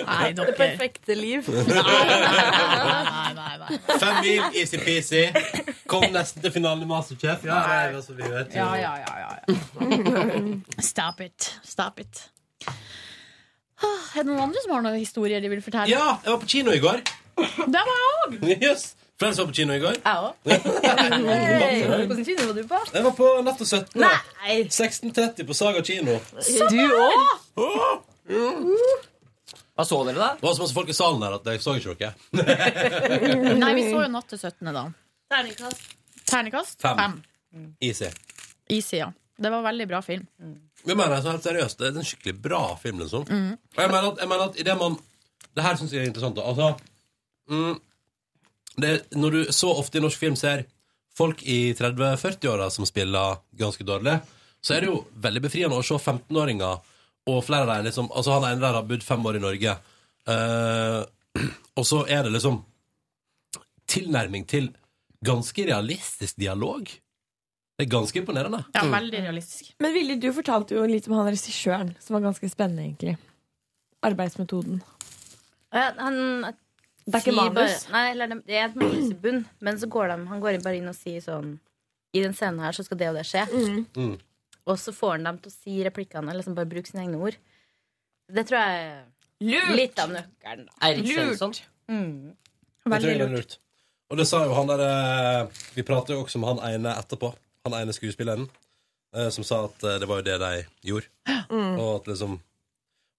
Nei,
Det perfekte liv.
Fem mil, easy-peasy. Kom nesten til finalen i Masterchef. Ja, det er jo så vi vet.
Ja, ja, ja, ja, Stop it. Stop it. Ah, Er det noen andre som har noen historier de vil fortelle?
Ja, jeg var på kino i går.
Der var jeg òg!
Yes. Flere som var på kino i går.
Jeg Hvordan kino var du på?
Jeg var på Natt og 17. da. 16.30 på Saga kino.
Du òg?
Hva så dere, da?
Det var så masse folk i salen her at jeg så ikke dere.
Nei, vi så jo Natt til 17. da.
Terningkast.
Ternekast
Fem.
fem.
Easy.
Easy, ja. Det var en veldig bra film.
Jeg mener altså, helt seriøst, det er en skikkelig bra film, liksom.
Mm.
Og jeg mener at, jeg mener at i det man Det her syns jeg er interessant. da. Altså mm, det, Når du så ofte i norsk film ser folk i 30-40-åra som spiller ganske dårlig, så er det jo veldig befriende å se 15-åringer, og flere av dem liksom Altså, han ene der har bodd fem år i Norge, eh, og så er det liksom tilnærming til ganske realistisk dialog. Det er ganske imponerende.
veldig realistisk.
Men Willy, du fortalte jo litt om han regissøren, som var ganske spennende, egentlig. Arbeidsmetoden.
Ja, han
Det er ikke
sier
manus?
Bare, nei, eller det det er et manus i bunn, men så går de, han går bare inn og sier sånn I den scenen her så skal det og det skje. Og så får han dem til å si replikkene, eller liksom bare bruke sine egne ord. Det tror jeg er
Lurt!
litt av nøkkelen. da.
Eirik Svensson.
sånn?
Mm.
Jeg tror det er lurt. Og det sa jo han der eh, Vi pratet jo også om han ene etterpå. Han ene skuespilleren eh, som sa at eh, det var jo det de gjorde. Og at liksom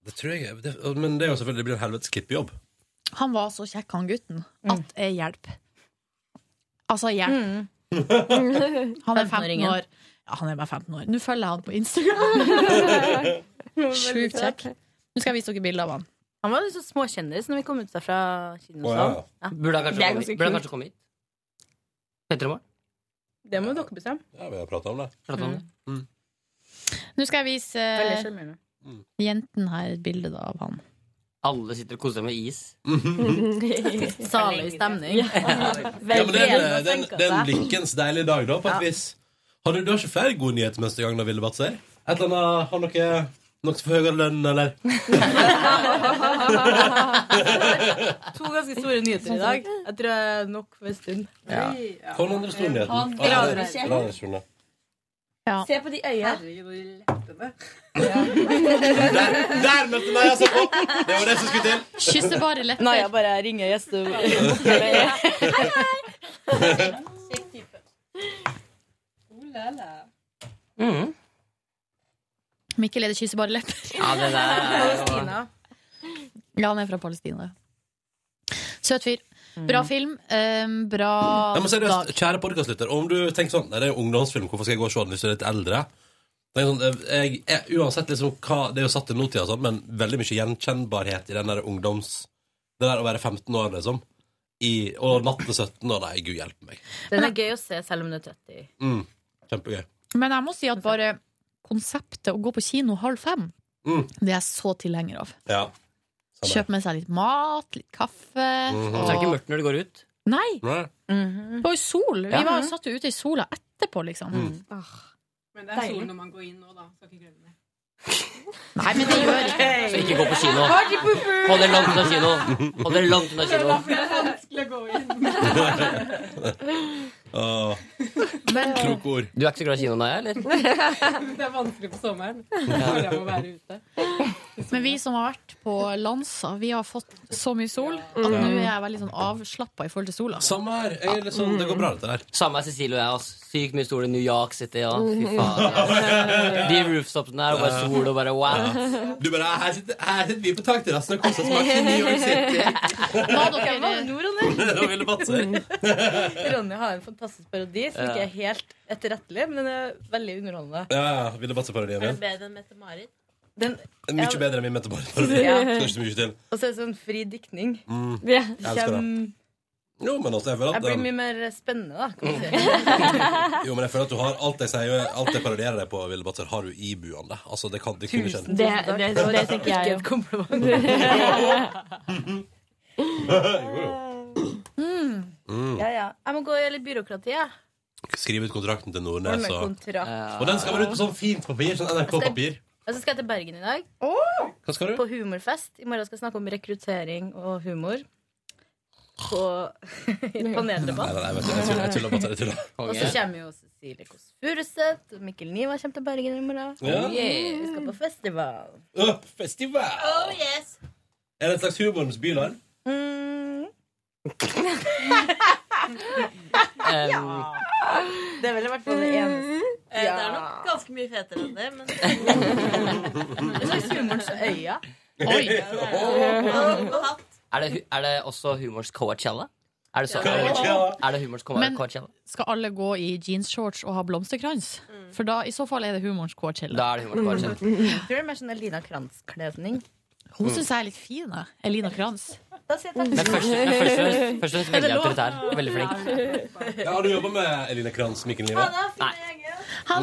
Det tror jeg det, Men det er jo selvfølgelig det blir en helvetes klippejobb.
Han var så kjekk, han gutten, at eh, hjelp. Altså, hjelp. Han er 15
Femtenåringen.
år. Ja, han er bare 15 år. Nå følger jeg han på Instagram. Sjukt kjekk. Nå skal jeg vise dere bilde av han.
Han var jo så småkjendis når vi kom ut derfra sånn. kinosalen.
Å, Burde han kanskje,
Det er
komme,
ganske
hit? burde han
kult.
kanskje komme hit? Petter og Morn?
Det må dere bestemme.
Ja, vi har prata om det.
Pratet om det.
Mm.
Nå skal jeg vise
Veldig
eh,
sjarmerende.
Mm.
jenten her et bilde da, av han.
Alle sitter og koser seg med is.
Salig stemning.
Ja, men eh, det er en- det er en- det er en blikkens deilig dag, da, på et vis. Har du, du har ikke flere gode nyheter neste gang, da, Ville Batser? Et eller annet Har dere noe for høyere lønn, eller?
To ganske store nyheter i dag. Jeg tror jeg er nok for en stund.
Ja. Hva er den andre store nyheten?
Han-
Ah, det er- det er-
Mm.
Se på de øya.
Der, der møtte Naja seg på! Det var det som skulle til.
bare lepper.
Nei, jeg bare ringer gjester. Oh,
Mikkel er det kysser bare lepper.
Mm. Ja, det der
Palestina.
Ja, han er fra Palestina. ja. Søt fyr.
Mm.
Bra film. eh, bra
Nei, men
dag.
seriøst, kjære podcastlytter, om du tenker sånn Nei, det er jo ungdomsfilm, hvorfor skal jeg gå og se den hvis du er litt eldre? Det er sånn, jeg, jeg, uansett liksom hva Det er jo satt til nåtida, og sånn, men veldig mye gjenkjennbarhet i den der ungdoms Det der å være 15 år, liksom. I, og natt til 17 år. Nei, gud hjelpe meg.
Den er gøy å se selv om du er 30.
Mm, kjempegøy.
Men jeg må si at bare konseptet å gå på kino halv fem,
Mm,
det er jeg så tilhenger av.
ja.
Kjøpe med seg litt mat, litt kaffe.
Mhm.
Og så er Mhm. det ikke mørkt når du går ut.
Nei!
Mhm.
Det var jo sol. Vi
Ja. Mm.
var, satt jo ute i sola etterpå, liksom. Ah.
Men det er
Deilig.
sol når man går inn nå, da. Skal ikke glemme det.
Nei, men det gjør ikke
Så ikke gå på kino. Hold dere langt unna kino. Hold dere langt unna
Det
kino.
var fordi det er vanskelig å gå inn.
Åh. Kloke ord.
Du er ikke så glad i kino, Naja? eller?
det er vanskelig på sommeren. Bare jeg må være ute.
Men vi som har vært på Lanza, vi har fått så mye sol at
Mm.
nå er jeg veldig sånn avslappa i forhold til sola.
Samme her. Jeg er litt sånn, det går bra, dette her.
Samme er Cecilie og jeg. ass. Sykt mye sol i New York City. Ja. Fy faen. ass. De rooftopene der, og bare sol og bare wow.
Du bare, her sitter, her sitter vi på takterrassen og koser oss med i New York City.
Hva dere Nord, Ronny?
Det var veldig batser.
Ronny har en fantastisk parodi som ikke er helt etterrettelig, men den er veldig underholdende.
Ja, ja. Ville Batser-parodien min.
bedre enn Mette-Marit? Den,
Mye bedre enn min Mette-Marit-parodi.
Ja.
Skal ikke så mye til.
Og så er det sånn fri diktning.
Mm.
Ja,
Jeg elsker det.
kjem-
Jo, men også, jeg føler
Jeg
at Mm.
blir
um,
mye mer spennende, da. Kan du si.
Jo, men jeg føler at du har alt jeg sier Alt jeg parodierer deg på, Ville Batzer, har du i buene. Altså, det kan det kunne
Tusen
skjedd.
Det, det, det, tenker jeg
Ikke et kompliment. Mm.
Jo, jo. Mm.
Ja, ja. Jeg må gå i litt byråkrati, jeg.
Skriv ut kontrakten til Nordnes.
Ordne
Og,
kontrakt.
og den skal være ute på sånn fint papir. Sånn NRK-papir.
Og så skal jeg til Bergen i dag.
Hva skal du?
På humorfest. I morgen skal jeg snakke om rekruttering og humor. På i en
Nei, nei,
paneldebatt.
nei, vet du, jeg tuller, jeg tuller Batzer. Jeg tuller.
Og så kommer jo Cecilie Kåss Furuseth. og Mikkel Niva kommer til Bergen i morgen. Oh,
Ja.
Yeah. Vi skal på festival.
Åh, festival!
Altså- Oh yes!
Er det et slags humorens bylarm?
Mm.
Um,
Det er vel i hvert fall det eneste.
Eh, Det er nok ganske mye fetere enn det, men
Det er slags humorens øya.
Oi.
Åh.
Er det, hu- er det også humors Coachella? Er det, så,
Coachella.
er det humors
Men-
Coachella?
Skal alle gå i jeansshorts og ha blomsterkrans? For da, i så fall er det humorens Coachella.
Da er det humorens Coachella.
Jeg tror det er mer sånn Elina Krantz-kledning.
Hun syns jeg er litt fin, jeg. Elina Kranz.
Da sier jeg takk.
Men først- men først og fremst- først og fremst veldig autoritær. Veldig flink.
Ja, har du jobba med Eline Kranz Mikkelniva?
Nei.
Mm.
Ha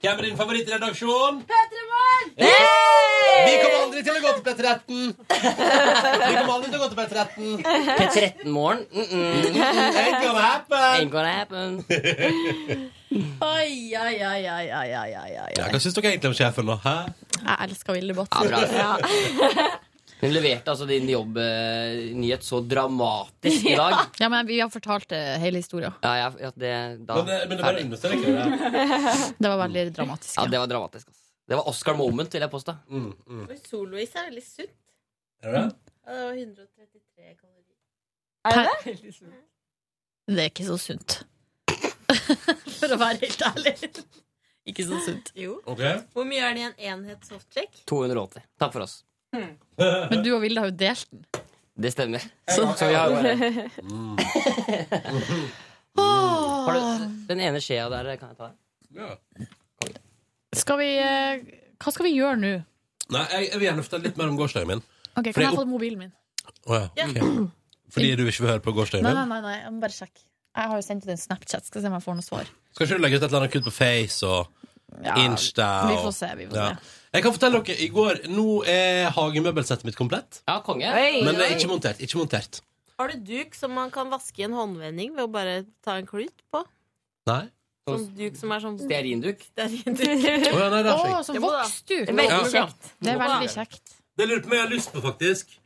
Hvem er din favorittredaksjon?
Petremorgen!
Vi kommer aldri til å gå til P13! Vi kommer aldri til å gå til P13.
P13-morgen. Mm -mm.
Ain't gonna happen.
Ain't gonna happen.
Oi, oi, oi, oi, oi, oi, oi, oi.
Ja, hva syns dere egentlig om sjefen, da? Hæ?
Jeg elsker Vilde Båt.
Ja, bra. Hun leverte altså din jobbnyhet så dramatisk i dag.
Ja, men vi har fortalt eh, hele historien.
Ja, ja, ja det, da,
Men det- men det bare
ferdig.
understreker jo det.
Det var veldig dramatisk.
Ja, det var dramatisk. ass. Det var Oscar moment, vil jeg påstå.
Mm,
Solois er veldig sunt.
Er det det?
Ja, det var 133 kalorier.
Er det Det er ikke så sunt. For å være helt ærlig. Ikke så sunt.
Jo.
Ok.
Hvor mye er det i en enhet softcheck?
280. Takk for oss.
Hmm. Men du og Vilde har jo delt den.
Det stemmer. Så, så vi har
Mm.
Mm. Har du den ene skjea der? Kan jeg ta den?
Skal vi eh, Hva skal vi gjøre nå?
Nei, jeg, jeg vil gjerne fortelle litt mer om gårsdagen min.
Ok,
Fordi
Kan jeg
opp-
få mobilen min?
Å ja, ok. Fordi du ikke vil høre på gårsdagen
Nei, nei,
min?
nei, nei, jeg må bare sjekke. Jeg har jo sendt ut en Snapchat. Skal se om jeg får noe svar.
Skal ikke du legge ut et eller annet kutt på Face og Insta?
vi
og-
får se, vi får
Ja. Jeg kan fortelle dere, i går, Nå er hagemøbelsettet mitt komplett.
Ja, konge.
Oi,
men det er
oi.
ikke montert. Ikke montert.
Har du duk som man kan vaske i en håndvending ved å bare ta en klut på?
Nei.
Sånn duk som er sånn
Stearinduk?
Stearinduk.
Å, ja, nei, det er
Å,
slik.
sånn
som
Det må da.
voksduk.
Det må
Veldig
da.
kjekt.
Det er veldig
kjekt.
Det lurer jeg på om jeg har lyst på, faktisk.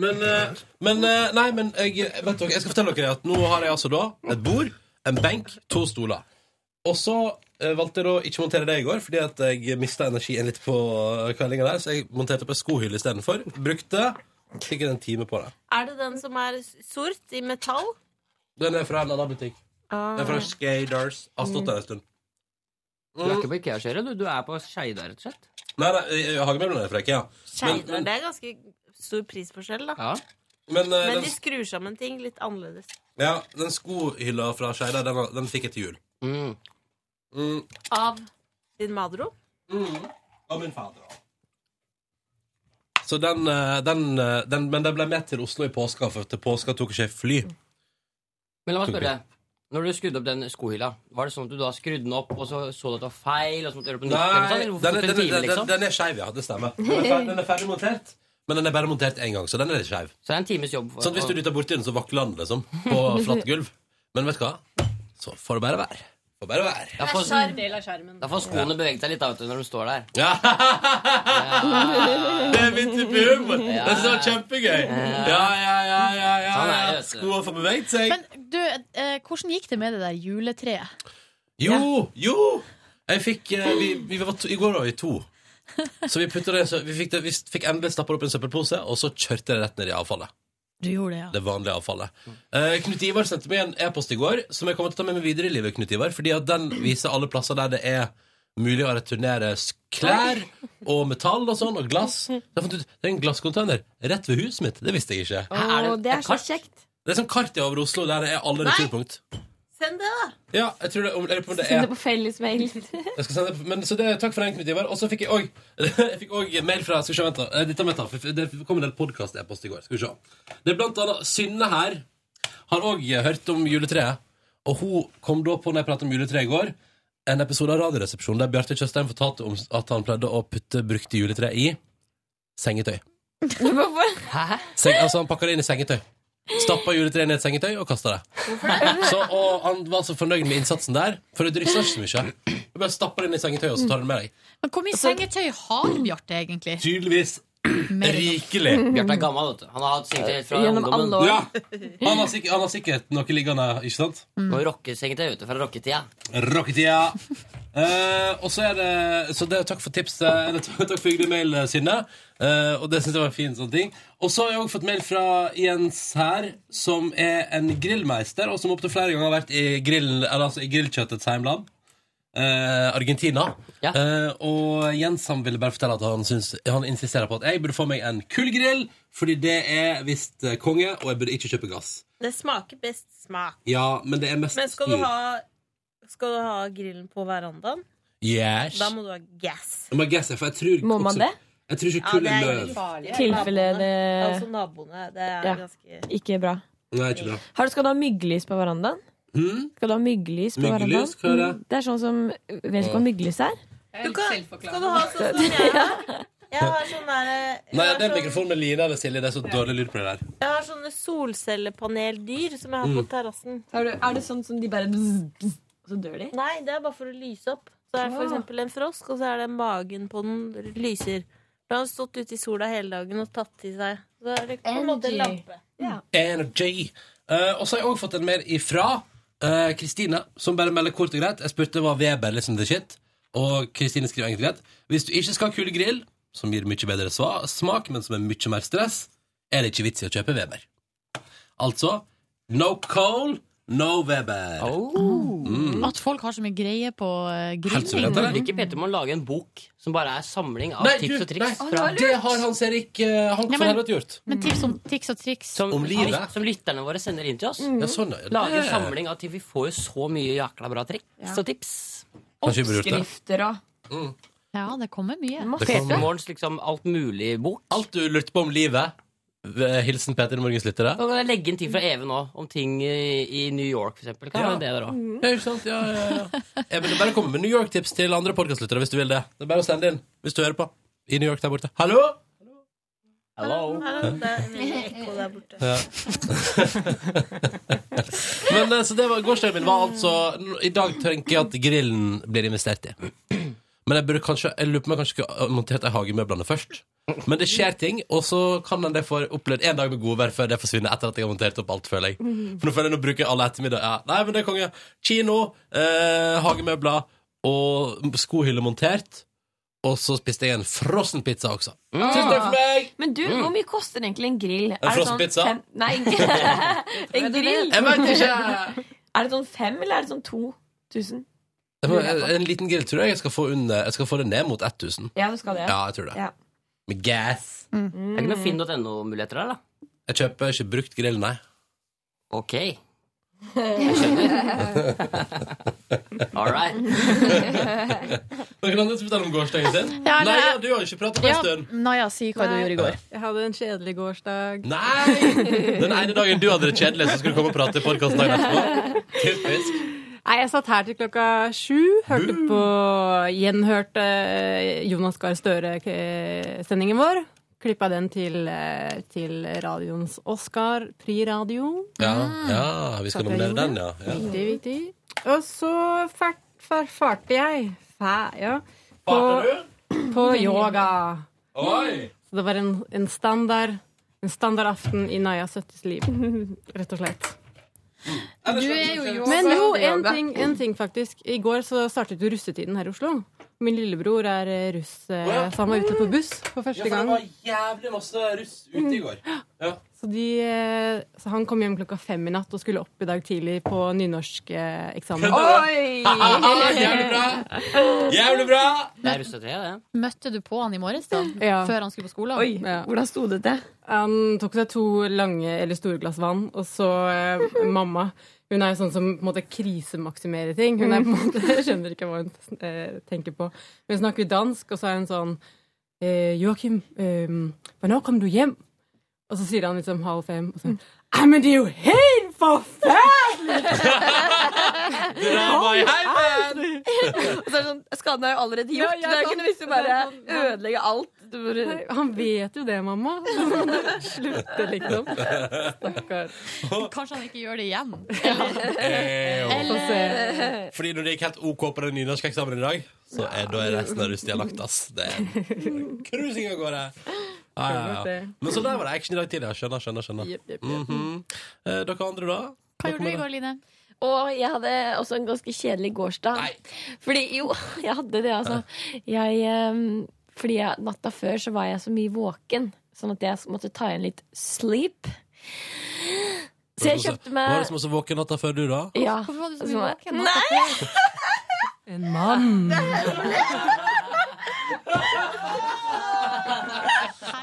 Men, eh, men eh, Nei, men jeg, vet dere, jeg skal fortelle dere at nå har jeg altså da et bord, en benk, to stoler. Og så eh, valgte jeg da ikke å montere det i går, fordi at jeg mista energien litt på eh, kveldinga der, så jeg monterte på ei skohylle istedenfor. Brukte sikkert en time på det.
Er det den som er sort i metall?
Den er fra en annen butikk. Den er
Ah.
fra Skaders. Har stått der en stund.
Ah. Du er ikke på Ikea-skjea, du. Du er på Skeida, rett og slett.
Nei, nei, eh, hagemøblene er fra IKEA. Men,
Skeidar. Det er ganske stor prisforskjell, da.
men, eh,
Men
den,
de skrur sammen ting litt annerledes.
ja, den skohylla fra Skeida, den, var- den fikk jeg til jul. Mm.
Av din madro?
Og Mm. min fader òg. Så den, eh, den, eh, den Men den ble med til Oslo i påska, for til påska tok ikke jeg fly.
Men la meg spørre
Tok
deg. Når du skrudde opp den skohylla, var det sånn at du da skrudde den opp, og så så du at det var feil, og så måtte du gjøre det på nytt? eller noe sånt,
Nei, den,
eller sånn hvorfor tok
er- den,
det en time,
er- den,
liksom?
den er skeiv, ja. Det stemmer. Den er, ferdig, den er ferdig montert, men den er bare montert én gang, så den er litt skeiv.
Så det er en times jobb.
Sånn at hvis du dytter borti den, så vakler den, liksom. På flatt gulv. Men vet du hva? Så får det bare være. Får bare være.
Da får,
del av skjermen.
da får skoene beveget seg litt da, vet du, når de står der.
Ja. Det er min type humor! Det synes jeg var kjempegøy. Ja, ja, ja. ja, ja,
Sånn er
ja.
det, vet du.
Skoene får beveget seg.
Men du, eh, hvordan gikk det med det der juletreet?
Jo, jo! Jeg fikk, eh, vi, vi var to, I går var vi to. Så vi, puttet det, så vi, fikk, det, vi fikk endelig stappa opp i en søppelpose, og så kjørte jeg det rett ned i avfallet.
Du gjorde det, ja.
Det vanlige avfallet. Eh, Knut Ivar sendte meg en e-post i går som jeg kommer til å ta med meg videre i livet. Knut Ivar, Fordi at den viser alle plasser der det er mulig å returnere s- klær og metall og sånn, og glass. Så Jeg fant ut, det er en glasscontainer rett ved huset mitt. Det visste jeg ikke.
Å, det er så kjekt.
Det er sånn kart ja, over Oslo der det er alle
Nei.
returpunkt.
Send det, da.
Ja, jeg tror det, om- jeg lurer på om det
Send
er
det på fellesmail.
jeg skal sende, men, så det, takk for den, Knut Ivar. Og så fikk jeg òg jeg fikk også mail fra Skal vi se, vent, da. Eh, Dette må jeg ta, for det kom en del podkast-e-post i går. Skal vi se. Det er blant annet Synne her har òg hørt om juletreet. Og hun kom da på, når jeg pratet om juletreet i går, en episode av Radioresepsjonen der Bjarte Tjøstheim fortalte om at han pleide å putte brukte juletre i sengetøy.
Hæ?
Seng, altså, han pakka det inn i sengetøy. Stappa juletreet ned i et sengetøy og kasta det. Så, og han var så fornøyd med innsatsen der, for det drysser ikke så mye. Du bare stapper det inn i sengetøyet, og så tar du det med deg.
Men hvor mye sengetøy har Bjarte egentlig?
Tydeligvis rikelig.
Bjarte er gammel, vet du. Han har hatt sengetøy helt fra
Gjennom
ungdommen.
alle år.
Ja. Han, har sikkert, han har sikkert noe liggende, ikke sant?
Og rockesengetøy ute fra rocketida.
Rocketida. Eh, og så er det Så det er takk for tipset. Eller, takk takk for hyggelig mail, Synne. Eh, og det syns jeg var en fin sånn ting. Og så har jeg også fått mail fra Jens her, som er en grillmeister, og som opptil flere ganger har vært i, grill, eller, altså, i grillkjøttets heimland. eh, Argentina. Eh, og Jens han ville bare fortelle at han, syns, han insisterer på at jeg burde få meg en kullgrill, fordi det er visst eh, konge, og jeg burde ikke kjøpe gass.
Det smaker best smak.
Ja, men det er mest
Men skal du
styr.
ha, skal du ha grillen på verandaen,
Yes.
da må du ha gass.
Jeg må gasse, for jeg tror
Må man
også,
det?
Jeg tror ikke
Ja,
kull
det
er
er
løv.
egentlig farlig.
Tilfelle det
Naboene, Altså naboene. Det er
Ja.
ganske
Ikke bra.
Nei, ikke bra.
Har du, skal du ha myggelys på verandaen?
Hmm?
Skal du ha myggelys på
Myggelys,
verandaen?
hva er det?
Mm, Det er sånn som Vet du hva myggelys er?
Du kan, skal du ha sånn som jeg har? Jeg har sånn derre-
Nei, den mikrofonen med Line eller Silje, det er så dårlig lyd på det der.
Jeg har sånne solcellepaneldyr som jeg har på
Mm.
terrassen.
Er det sånn som de bare Og så dør de?
Nei, det er bare for å lyse opp. Så er det for
Ah.
eksempel en frosk, og så er det magen på den lyser. Da har den stått ute i sola hele dagen og tatt til seg. Så er det på en måte en
Energy.
lampe.
Energy. Eh, og så har jeg også fått en mer ifra eh, Kristine, som bare melder kort og greit. Jeg spurte hva Weber liksom the shit, og Kristine skriver egentlig greit. Hvis du ikke skal ha kulegrill, som gir mye bedre sva- smak, men som er mye mer stress, er det ikke vits i å kjøpe Weber. Altså no coal, no Weber. Mm.
At folk har så mye greie på eh, grilling.
Helsevesenet.
Ikke Peter må lage en bok som bare er samling av
Nei, du,
tips og
nei,
triks.
Å, det har Hans Erik eh, han
Ja,
for
men-
helvete gjort.
Men tips om tics og triks.
Som,
Om livet.
lyt- som lytterne våre sender inn til oss.
Ja, sånn, ja.
Lage en
Det-
samling av tips. Vi får jo så mye jakla bra triks og tips.
Kanskje vi burde gjort det. Mm.
òg.
Ja, det kommer mye.
Petermorgens liksom alt mulig-bok.
Alt du lurte på om livet. Ved Hilsen Peter Morgens lyttere.
Og Legge inn ting fra Even òg, om ting i, i New York f.eks. Kan
Ja.
være det der også.
Mm.
Ja, ikke sant? Ja, ja, ja. Jeg vil bare komme med New York-tips til andre podkastlyttere hvis du vil det. Det er bare å sende inn hvis du hører på. I New York der borte. Hallo!
Hallo, det er mye ekko der borte.
Ja. Men eh, så det var gårsdagen min var altså I dag tenker jeg at grillen blir investert i. Men jeg burde kanskje Jeg lurer på om jeg kanskje skulle ha montert de hagemøblene først. Men det skjer ting, og så kan en det få opplevd en dag med godvær før det forsvinner etter at jeg har montert opp alt, føler jeg. For nå føler jeg nå bruker jeg alle ettermiddag. Ja. Nei, men det er konge. Kino, eh, hagemøbler og skohylle montert. Og så spiste jeg en frossen pizza også. Tusen
Ah.
takk for meg!
Men du,
Mm.
hvor mye koster egentlig en grill? Er det sånn
frossen pizza?
Fem? Nei, en grill.
Jeg vet ikke.
Er det sånn fem, eller er det sånn to tusen?
Det var en- En liten grill tror jeg jeg skal få, under, jeg skal få det ned mot 1000.
Ja, du skal det. Mm.
Ja, Mm. jeg tror det.
Ja.
Med gas.
Mm.
Det er ikke noe finn.no-muligheter der, da.
Jeg kjøper ikke brukt grill, nei.
Ok. Jeg skjønner. All right.
Noen andre som forteller om gårsdagen sin?
Ja,
nei,
nei.
ja, du har ikke pratet på en stund.
Naja, si hva du gjorde i går.
Jeg hadde en kjedelig gårsdag.
Nei! Den ene dagen du hadde det kjedelig, så skulle du komme og prate i podkasten dagen etterpå. Typisk.
Nei, jeg satt her til klokka sju, hørte på gjenhørte eh, Jonas Gahr Støre-sendingen vår. Klippa den til, eh, til radioens Oscar, Priradio.
Ja, ja, vi skal
Ah. Satt jeg
nominere
gjorde?
den, ja.
Viktig,
ja.
viktig. Og så fart, fart, farte jeg. Fæ, ja. På, på yoga.
Oi!
Så det var en, en standard en standard aften i Naya Søttes liv, rett og slett.
Du er jo yoga.
Men jo, en ting, en ting faktisk. I går så startet jo russetiden her i Oslo. Min lillebror er eh, russ, eh, så han var ute på buss for første gang. Mm.
jævlig masse russ ute i går. Ja.
Så, de, eh, så han kom hjem klokka fem i natt og skulle opp i dag tidlig på eh, nynorskeksamen.
Jævlig bra!
Det er russetøyet, det.
Møtte du på han i morges, da?
Ja.
Før han skulle på skolen?
Hvordan sto det til? Han tok seg to lange eller store glass vann, og så eh, mamma. Hun er jo sånn som på en måte krisemaksimerer ting. Hun er på en måte, jeg skjønner ikke hva hun eh, tenker på. Men hun snakker dansk, og så er hun sånn eh, Joakim, eh, når kom du hjem? Og så sier han liksom halv fem. Og så, Nei, men det er jo helt forferdelig!
Og så er det sånn, Skaden er jo allerede
Ja,
gjort. det er
ja,
jo
sant.
ikke noe vits i å bare
Det er sånn-
ødelegge alt. Du bare...
Nei, Han vet jo det, mamma. Slutte, liksom. Stakkar.
Kanskje han ikke gjør det igjen?
Eller... Eh, Fordi når det gikk helt OK på den nynorskeksamen i dag, så er da er resten av russetida lagt, ass. Det er cruising av gårde. Ja, ja, ja. Men så der var det action i dag tidlig. ja. Skjønner, skjønner. skjønner Mhm. eh, Dere andre, da? Dere med det?
Line?
Og jeg hadde også en ganske kjedelig gårsdag. Fordi jo, jeg hadde det, altså. Jeg, ehm, fordi jeg, natta før så var jeg så mye våken, sånn at jeg måtte ta igjen litt sleep. Så jeg kjøpte meg
Var det som også våken natta før du, da?
Ja.
Hvorfor var du så
Altså,
mye våken?
Nei!
En mann.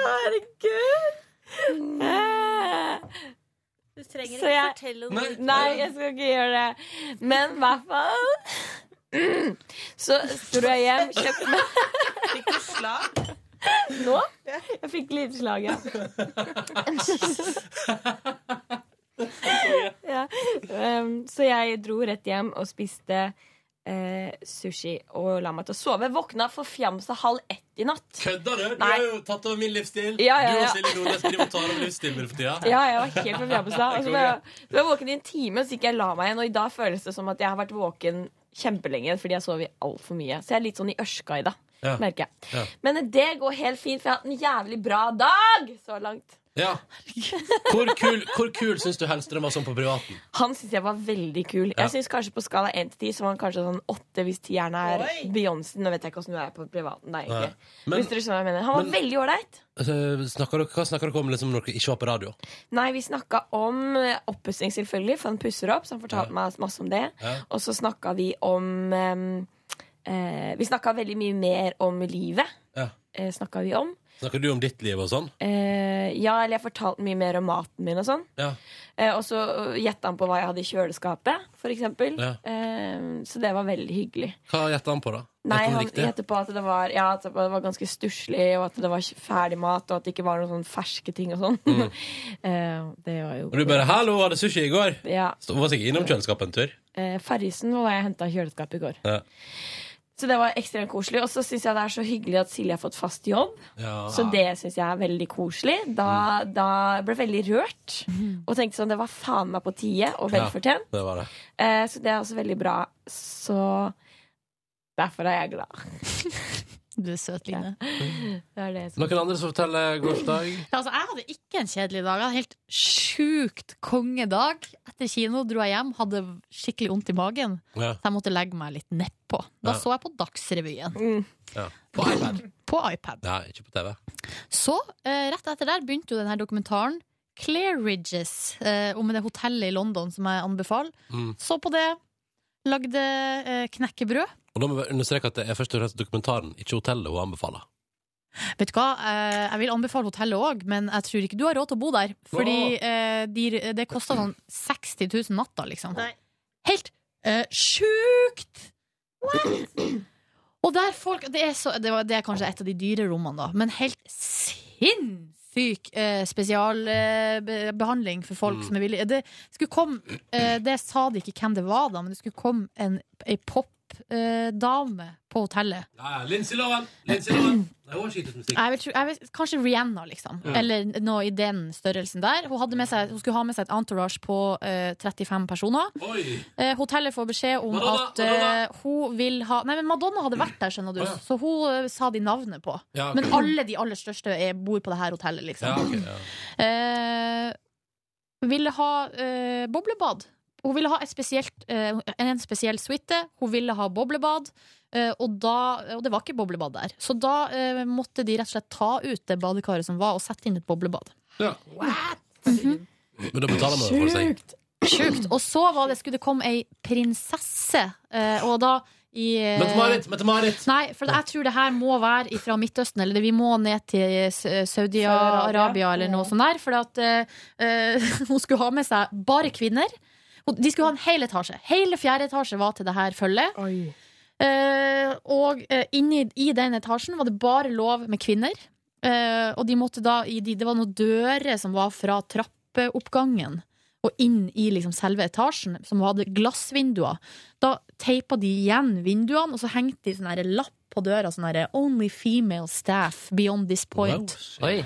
Herregud!
Du trenger
Så
ikke
jeg-
fortelle om det.
Nei, jeg skal ikke gjøre det. Men i hvert fall
Mm. Så dro jeg hjem, kjøpte meg Fikk du slag? Nå? Jeg fikk livslag, ja. ja. Um, så jeg dro rett hjem og spiste eh, sushi og la meg til å sove. Våkna forfjamsa halv ett i natt.
Kødder du? Du
Nei.
har jo tatt over min livsstil.
Ja,
Du
ja,
og
ja.
Silje Nordnes driver og tar over livsstilen min for tida.
Ja, jeg var helt forfjamsa. Og så
Konge.
var jeg, så var jeg våken i en time, så gikk jeg og la meg igjen. Og i dag føles det som at jeg har vært våken kjempelenge fordi jeg sov i altfor mye. Så jeg er litt sånn i ørska i dag,
Ja.
merker jeg.
Ja.
Men det går helt fint, for jeg har hatt en jævlig bra dag så langt.
Ja. Hvor kul, hvor kul syns du Hellstrøm var sånn på privaten?
Han syns jeg var veldig kul.
Ja.
Jeg synes kanskje På skala 1 til 10 så var han kanskje sånn 8 hvis tieren er Beyoncé. Nå vet jeg ikke hvordan du er på privaten. Nei,
Nei.
egentlig.
Men-
hvis dere skjønner hva jeg mener. Han var
men-
veldig ålreit.
Altså, snakker dere, hva snakker dere om liksom, når dere ikke var på radio?
Nei, vi snakka om eh, oppussing, selvfølgelig, for han pusser opp. Så han fortalte meg masse om det.
Ja.
Og så snakka vi om em, eh, Vi snakka veldig mye mer om livet.
Ja.
Eh, snakka vi om.
Snakker du om ditt liv og sånn?
Eh, ja, eller jeg fortalte mye mer om maten min og sånn.
Ja.
Eh, og så gjetta han på hva jeg hadde i kjøleskapet, for eksempel.
Ja.
Eh, så det var veldig hyggelig.
Hva gjetter han på, da?
Nei,
Gjetter
han
riktig?
gjettet på at det var, ja, at det var ganske stusslig, og at det var ferdig mat, og at det ikke var noen sånn ferske ting og sånn. eh, det var jo
Mm. Og du bare 'hallo, var det sushi i går?'
Ja.
Så var sikkert innom kjøleskapet en tur.
Eh, Farrisen var jeg henta i kjøleskapet i går.
Ja.
Så det var ekstremt koselig. Og så syns jeg det er så hyggelig at Silje har fått fast jobb.
Ja. Mm.
Så det syns jeg er veldig koselig. Da, da jeg ble jeg veldig rørt og tenkte sånn Det var faen meg på tide, og velfortjent.
Ja, det var det.
Eh, så det er også veldig bra. Så derfor er jeg glad.
Du er søt, Line.
Det er det som
Noen andre som forteller gårsdag?
Ja, altså, jeg hadde ikke en kjedelig dag. Jeg hadde en helt sjukt kongedag. Etter kino dro jeg hjem, hadde skikkelig vondt i magen.
Ja.
Så jeg måtte legge meg litt nedpå. Da
Ja.
så jeg på Dagsrevyen.
Mm.
Ja. På iPad.
På iPad.
Nei, ikke på TV.
Så, eh, rett etter der, begynte jo denne dokumentaren Clair Ridges, eh, om det hotellet i London som jeg anbefaler.
Mm.
Så på det, lagde eh, knekkebrød.
Og da må vi understreke at det er først og fremst dokumentaren, ikke hotellet, hun anbefaler.
Vet du hva, eh, jeg vil anbefale hotellet òg, men jeg tror ikke du har råd til å bo der. Fordi eh, de, det koster sånn 60 000 natta, liksom. Helt eh, sjukt! Og der folk det er, så, det, var, det er kanskje et av de dyre rommene, da, men helt sinnssyk eh, spesialbehandling eh, be- behandling for folk
Mm.
som er villige. Det skulle komme eh, Det sa de ikke hvem det var, da, men det skulle komme en, ei popdame eh, dame på hotellet.
Ja, ja, Lindsay Lohan! Lindsay Lohan! Nei, hun har ikke gitt ut musikk.
Jeg vil, tro- jeg vil, kanskje Rihanna, liksom.
Ja.
Eller noe i den størrelsen der. Hun, hadde med seg, hun skulle ha med seg et entourage på eh, 35 personer.
Oi!
Eh, hotellet får beskjed om
Madonna,
at eh, hun vil ha Nei, men Madonna hadde vært der, skjønner du, så hun eh, sa de navnet på.
Ja, ok.
Men alle de aller største er, bor på det her hotellet, liksom.
Ja, ok, ja.
Eh, ville ha eh, boblebad. Hun ville ha et spesielt, eh, en spesiell suite. Hun ville ha boblebad. eh, og, da, og det var ikke boblebad der. Så da eh, måtte de rett og slett ta ut det badekaret som var, og sette inn et boblebad.
Ja. Men da betaler man jo for seg.
Sjukt. Og så var det, skulle det komme ei prinsesse, eh, og da i eh,
Mette-Marit! Mette-Marit!
Nei, for jeg tror det her må være fra Midtøsten, eller vi må ned til eh, S- Saudi-Arabia eller noe sånt der. For at eh, eh, hun skulle ha med seg bare kvinner. Og De skulle ha en hel etasje. Hele fjerde etasje var til det her følget. Eh, og eh, inni i den etasjen var det bare lov med kvinner. Eh, og de måtte da i de, Det var noen dører som var fra trappeoppgangen og inn i liksom selve etasjen, som hadde glassvinduer. Da teipa de igjen vinduene, og så hengte de sånn her lapp på døra. Sånn her, 'Only female staff beyond this point'.
Oi.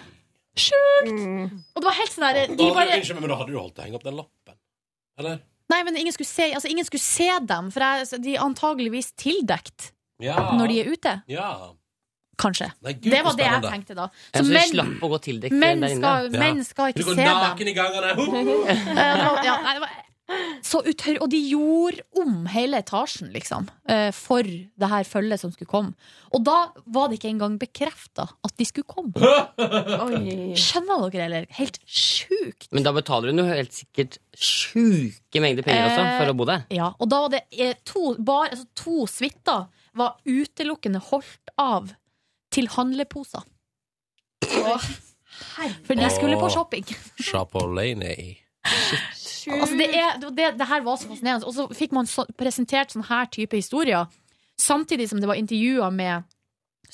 Sjukt! Og det var helt sånn her de
Da hadde du-
bare,
Unnskyld, men da hadde du holdt å henge opp den lappen. Eller?
Nei, men ingen skulle se, altså, ingen skulle se dem, for jeg, altså, de er antageligvis tildekt
Ja.
når de er ute.
Ja.
Kanskje.
Nei, gud,
det
så
var det jeg
spennende.
tenkte da.
Ja, så de
menn-
slapp å gå tildekt
menn
der inne.
skal-
Ja.
Menn skal
Du
ikke
går
se dem.
Naken i gangene!
Eh, det var- ja, nei, det var så utør, og de gjorde om hele etasjen, liksom, eh, for det her følget som skulle komme. Og da var det ikke engang bekrefta at de skulle komme. Skjønner dere, eller? Helt sjukt.
Men da betaler hun jo helt sikkert sjuke mengder penger også
Eh,
for å bo der.
Ja, og da var det eh, to, bar, altså, to suiter var utelukkende holdt av til handleposer. For de skulle på shopping.
Chapolaney.
Altså, det, er, det, det, det her var så fascinerende. Og så fikk man så, presentert sånn her type historier, samtidig som det var intervjuer med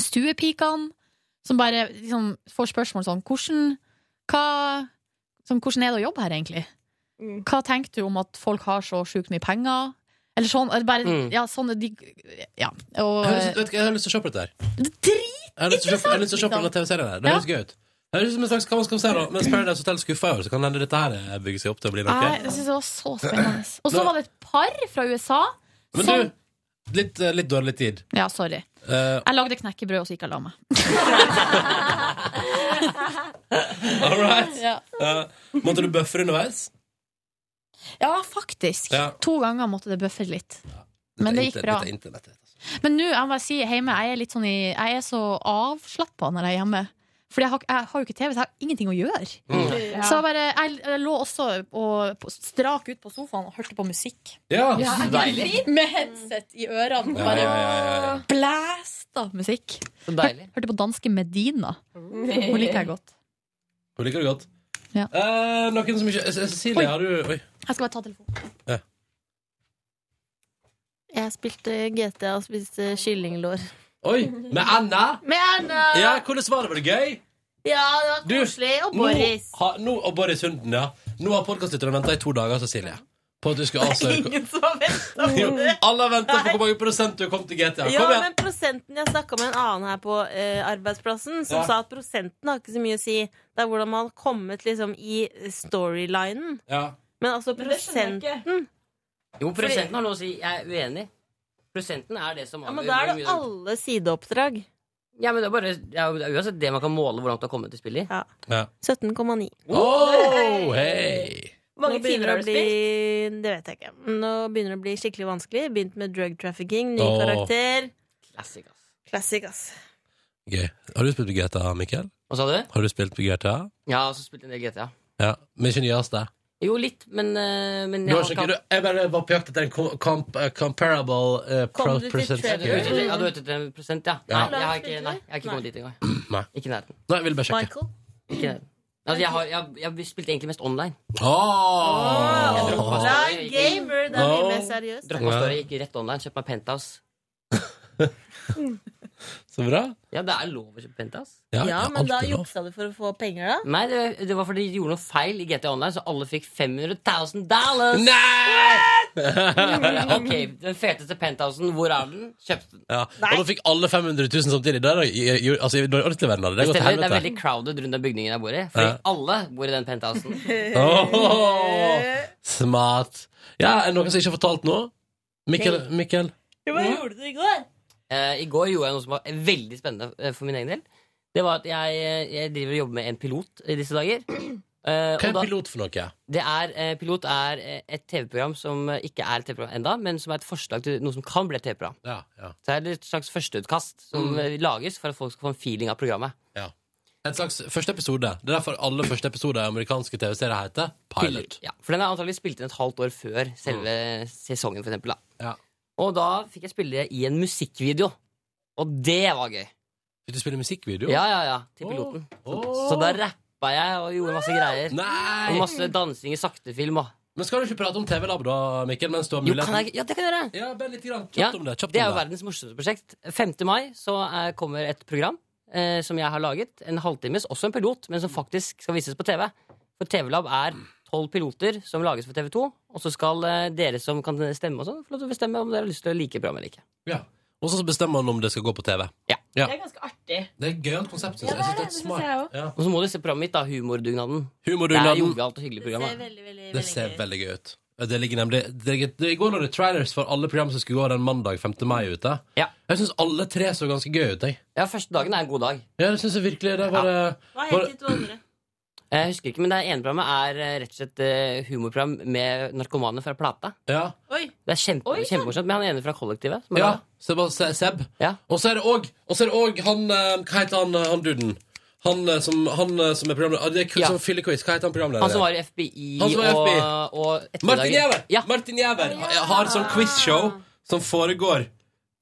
stuepikene, som bare liksom, får spørsmål sånn hvordan, hva, sånn hvordan er det å jobbe her, egentlig? Hva tenker du om at folk har så sjukt mye penger? Eller sånn, eller bare,
Mm.
ja, sånne de, ja, og,
Jeg har lyst- vet du hva, jeg har lyst til å se på dette her. Jeg har lyst til å se- jeg har lyst til å se på denne TV-serien her. Det
liksom. Ja.
høres gøy ut. Det høres ut som en slags hva man skal se da. Mens Paradise Hotel skuffa i år, så kan hende dette her eh, bygger seg opp til å bli noe.
Nei, jeg synes det var så spennende. Og så var det et par fra USA
Men
som
du, litt, eh, litt dårlig tid.
Ja, sorry.
Eh,
Jeg lagde knekkebrød og så gikk jeg og la meg.
all right.
Ja.
Eh, måtte du buffere underveis?
Ja, faktisk.
Ja.
To ganger måtte det bøffe litt. Men det gikk
Inter-
bra.
dette er internett, vet du.
Men nå, jeg må bare si hjemme, jeg er litt sånn i Jeg er så avslappa når jeg er hjemme. Fordi jeg har, jeg har jo ikke TV, så jeg har ingenting å gjøre.
Mm. Ja.
Så jeg bare Jeg, jeg lå også og, på, strak ut på sofaen og hørte på musikk.
Ja, Ja, så deilig.
Med headset i ørene.
Ja,
Bare
ja, ja, ja, ja.
blæsta musikk.
Så deilig.
Hør, hørte på danske Medina. Hun liker jeg godt.
Hun liker det godt.
Ja.
Eh, noen som ikke eh, Cecilie,
Oi.
har du Oi.
Jeg skal bare ta telefonen.
Jeg spilte GTA og spiste kyllinglår.
Oi, med Anna?
Med Anna!
Ja, hvordan var det? Var det gøy?
Ja, det var
Du,
koselig. Og
nå
Boris.
har- nå, og Boris Hunden, ja. Nå har podkastlytterne venta i to dager, Cecilie. På at du skal avsløre
Ingen som har venta på
Jo,
det.
Alle har venta på hvor mange prosent du har kommet til GTA.
Ja,
Kom igjen!
men prosenten Jeg snakka med en annen her på eh, arbeidsplassen som
Ja.
sa at prosenten har ikke så mye å si. Det er hvordan man har kommet liksom i storylinen.
Ja.
Men altså prosenten
Jo, prosenten har noe å si. Jeg er uenig. Prosenten er det som
Ja, men da er det alle sideoppdrag.
Ja, men det er bare ja, det er uansett det man kan måle hvor langt du har kommet i spillet.
Ja.
Ja.
17,9.
Oh, hei!
Hvor mange timer har du
spilt?
spilt? Det vet jeg ikke. Nå begynner det å bli skikkelig vanskelig. Begynt med drug trafficking, ny
Åh.
karakter.
Classic, ass.
Classic, ass.
Gøy. Har du spilt på GTA, Mikkel?
Hva sa du?
Har du spilt på GTA?
Ja, og så spilte jeg en del GTA.
Ja. Men ikke nyeste?
Jo, litt, men, eh, men
Du har ikke- du- Jeg bare var på jakt etter en com- com- eh, comparable eh, pro
Kom du til
percent.
Trevor? Ja, du vet ikke en prosent, ja. Nei,
Ja.
jeg har ikke, nei, jeg har ikke kommet dit engang.
Nei.
Ikke i nærheten.
Nei, jeg ville bare sjekke.
Ikke i nærheten. Altså, jeg, har, jeg, jeg spilte egentlig mest online.
Åh!
Jeg drakk meg
La
story, gikk-
gamer, det er mye mer seriøst.
Drakk meg story, gikk rett online, kjøpte meg penthouse.
Så bra.
Ja, det er lov å kjøpe penthouse.
Ja, men da juksa du for å få penger, da?
Nei, det, det var fordi de gjorde noe feil i GT Online, så alle fikk 500 000 dollars! ok, den feteste penthousen, hvor er den? Kjøpte den.
Ja. Og nå fikk alle 500 000 samtidig. Det er da- i- i- altså, i- når ordentlig verden hadde det.
Det,
gått til
stemmer, det er
helvete.
veldig crowded rundt den bygningen jeg bor i, fordi
Ja.
alle bor i den penthousen.
Åh, smart. Ja, er det noen som ikke har fortalt noe? Mikkel? Mikkel?
Hva
Mm.
gjorde du i går?
Eh, I går gjorde jeg noe som var veldig spennende eh, for min egen del. Det var at jeg, eh, jeg driver og jobber med en pilot i disse dager. Eh,
Hva er
og da-
pilot for noe?
Det er, eh, pilot er eh, et TV-program som eh, ikke er et TV-program enda, men som er et forslag til noe som kan bli et TV-program.
Ja, ja.
Så det er et slags førsteutkast som
Mm.
eh, lages for at folk skal få en feeling av programmet.
ja. En slags første episode. Det er derfor alle første episoder i amerikanske TV-serier heter Pilot. Mm.
Ja, for den er antagelig spilt inn et halvt år før selve sesongen, for eksempel. Da.
Ja.
Og da fikk jeg spille det i en musikkvideo. Og det var gøy.
Vil du spille musikkvideo?
Ja, ja, ja. Til piloten. Så, så da rappa jeg og gjorde masse greier.
Nei!
Og masse dansing i saktefilm og
Men skal du ikke prate om TV-lab da, Mikkel, mens du har
Jo,
muligheten?
kan jeg, ja, det kan jeg gjøre.
Ja, bare litt grann. Kjapt
Ja,
om det. Kjapt
det er
om
jo verdens morsomste prosjekt. 5. mai så eh, kommer et program eh, som jeg har laget. En halvtimes, også en pilot, men som faktisk skal vises på TV. For TV-lab er tolv piloter som lages for TV2. Og så skal eh, dere som kan stemme, og sånn, få lov til å bestemme om dere har lyst til å like programmet eller ikke.
Ja. Og så bestemmer han om det skal gå på TV.
Ja.
ja.
Det er ganske artig.
Det er et gøyalt konsept. Synes
Ja,
jeg. jeg synes
det er det,
det er
det
smart.
synes jeg også.
Ja.
Og så må dere se programmet mitt, da. Humordugnaden.
Humordugnaden.
Det er jovialt og hyggelig program. da.
Det ser veldig gøy ut. Det ligger nemlig det, ligger- det, I går lå det trailers for alle program som skulle gå den mandag 5. mai ute. Jeg syns alle tre så ganske gøy ut. Jeg.
Ja, første dagen er en god dag.
Ja, det syns jeg virkelig. Det var, eh,
Hva
var-
het de to andre?
Jeg husker ikke, men det ene programmet er eh, rett og slett eh, humorprogram med narkomane fra Plata.
Ja.
Oi.
Det er kjempe, kjempemorsomt. Men han ene fra kollektivet. som er
ja,
med.
Seb. Seb.
Ja.
Og så er det òg Og så er det òg han eh, Hva heter han, eh, han duden? Han, eh, som, han eh, som er programleder ah, Det er kun
Ja.
som fyllequiz. Hva heter han programlederen?
Han som var i FBI,
Han som var i FBI.
og, og ettermiddagen.
Martin Jæver! Martin Jæver har sånn quizshow som foregår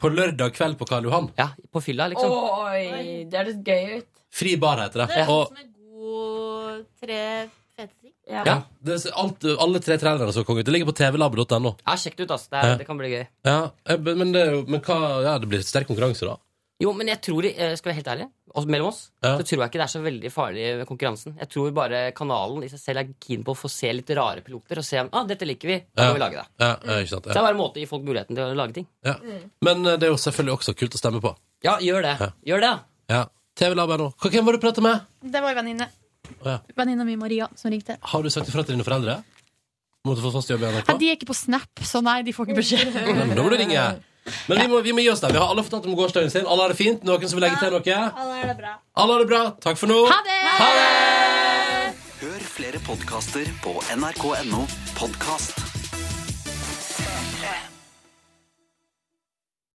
på lørdag kveld på Karl Johan.
Ja, på fylla,
Liksom.
liksom.
Oi, det høres gøy ut.
Fri bar heter det.
Det høres
Og
som en god tre fete ting.
Ja. det er alt, alle tre trailerne så konge ut. Det ligger på tvlab.no.
Ja, sjekk det ut, ass. Det, er,
Ja.
det kan bli gøy.
Ja, eh, men, det, er jo- men hva, ja, det blir sterk konkurranse, da.
Jo, men jeg tror, eh, skal være helt ærlig, oss- mellom oss, så tror jeg ikke det er så veldig farlig med konkurransen. Jeg tror bare kanalen i seg selv er keen på å få se litt rare piloter og se om ah, dette liker vi, da
Ja.
må vi lage det.
Ja, ja, ikke sant,
Så det er
ja.
bare en måte å gi folk muligheten til å lage ting.
Ja. Men eh, det er jo selvfølgelig også kult å stemme på.
Ja, gjør det. Gjør det,
ja. tvlab.no. Hva- Hvem var det du prata med?
Det var en venninne.
Å, ja.
Venninna mi Maria som ringte.
Har du sagt ifra til dine foreldre? Måtte få fast jobb i NRK?
Nei, de er ikke på Snap, så nei, de får ikke beskjed.
Nei, men da må du ringe. Men vi må, vi må gi oss der. Vi har alle fortalt om gårsdagen sin. Alle har det fint. Noen som vil legge til noe?
Alle er det bra.
Alle har det bra. Takk for nå.
Ha
det!
Ha det!
Hør flere podkaster på nrk.no podkast. 3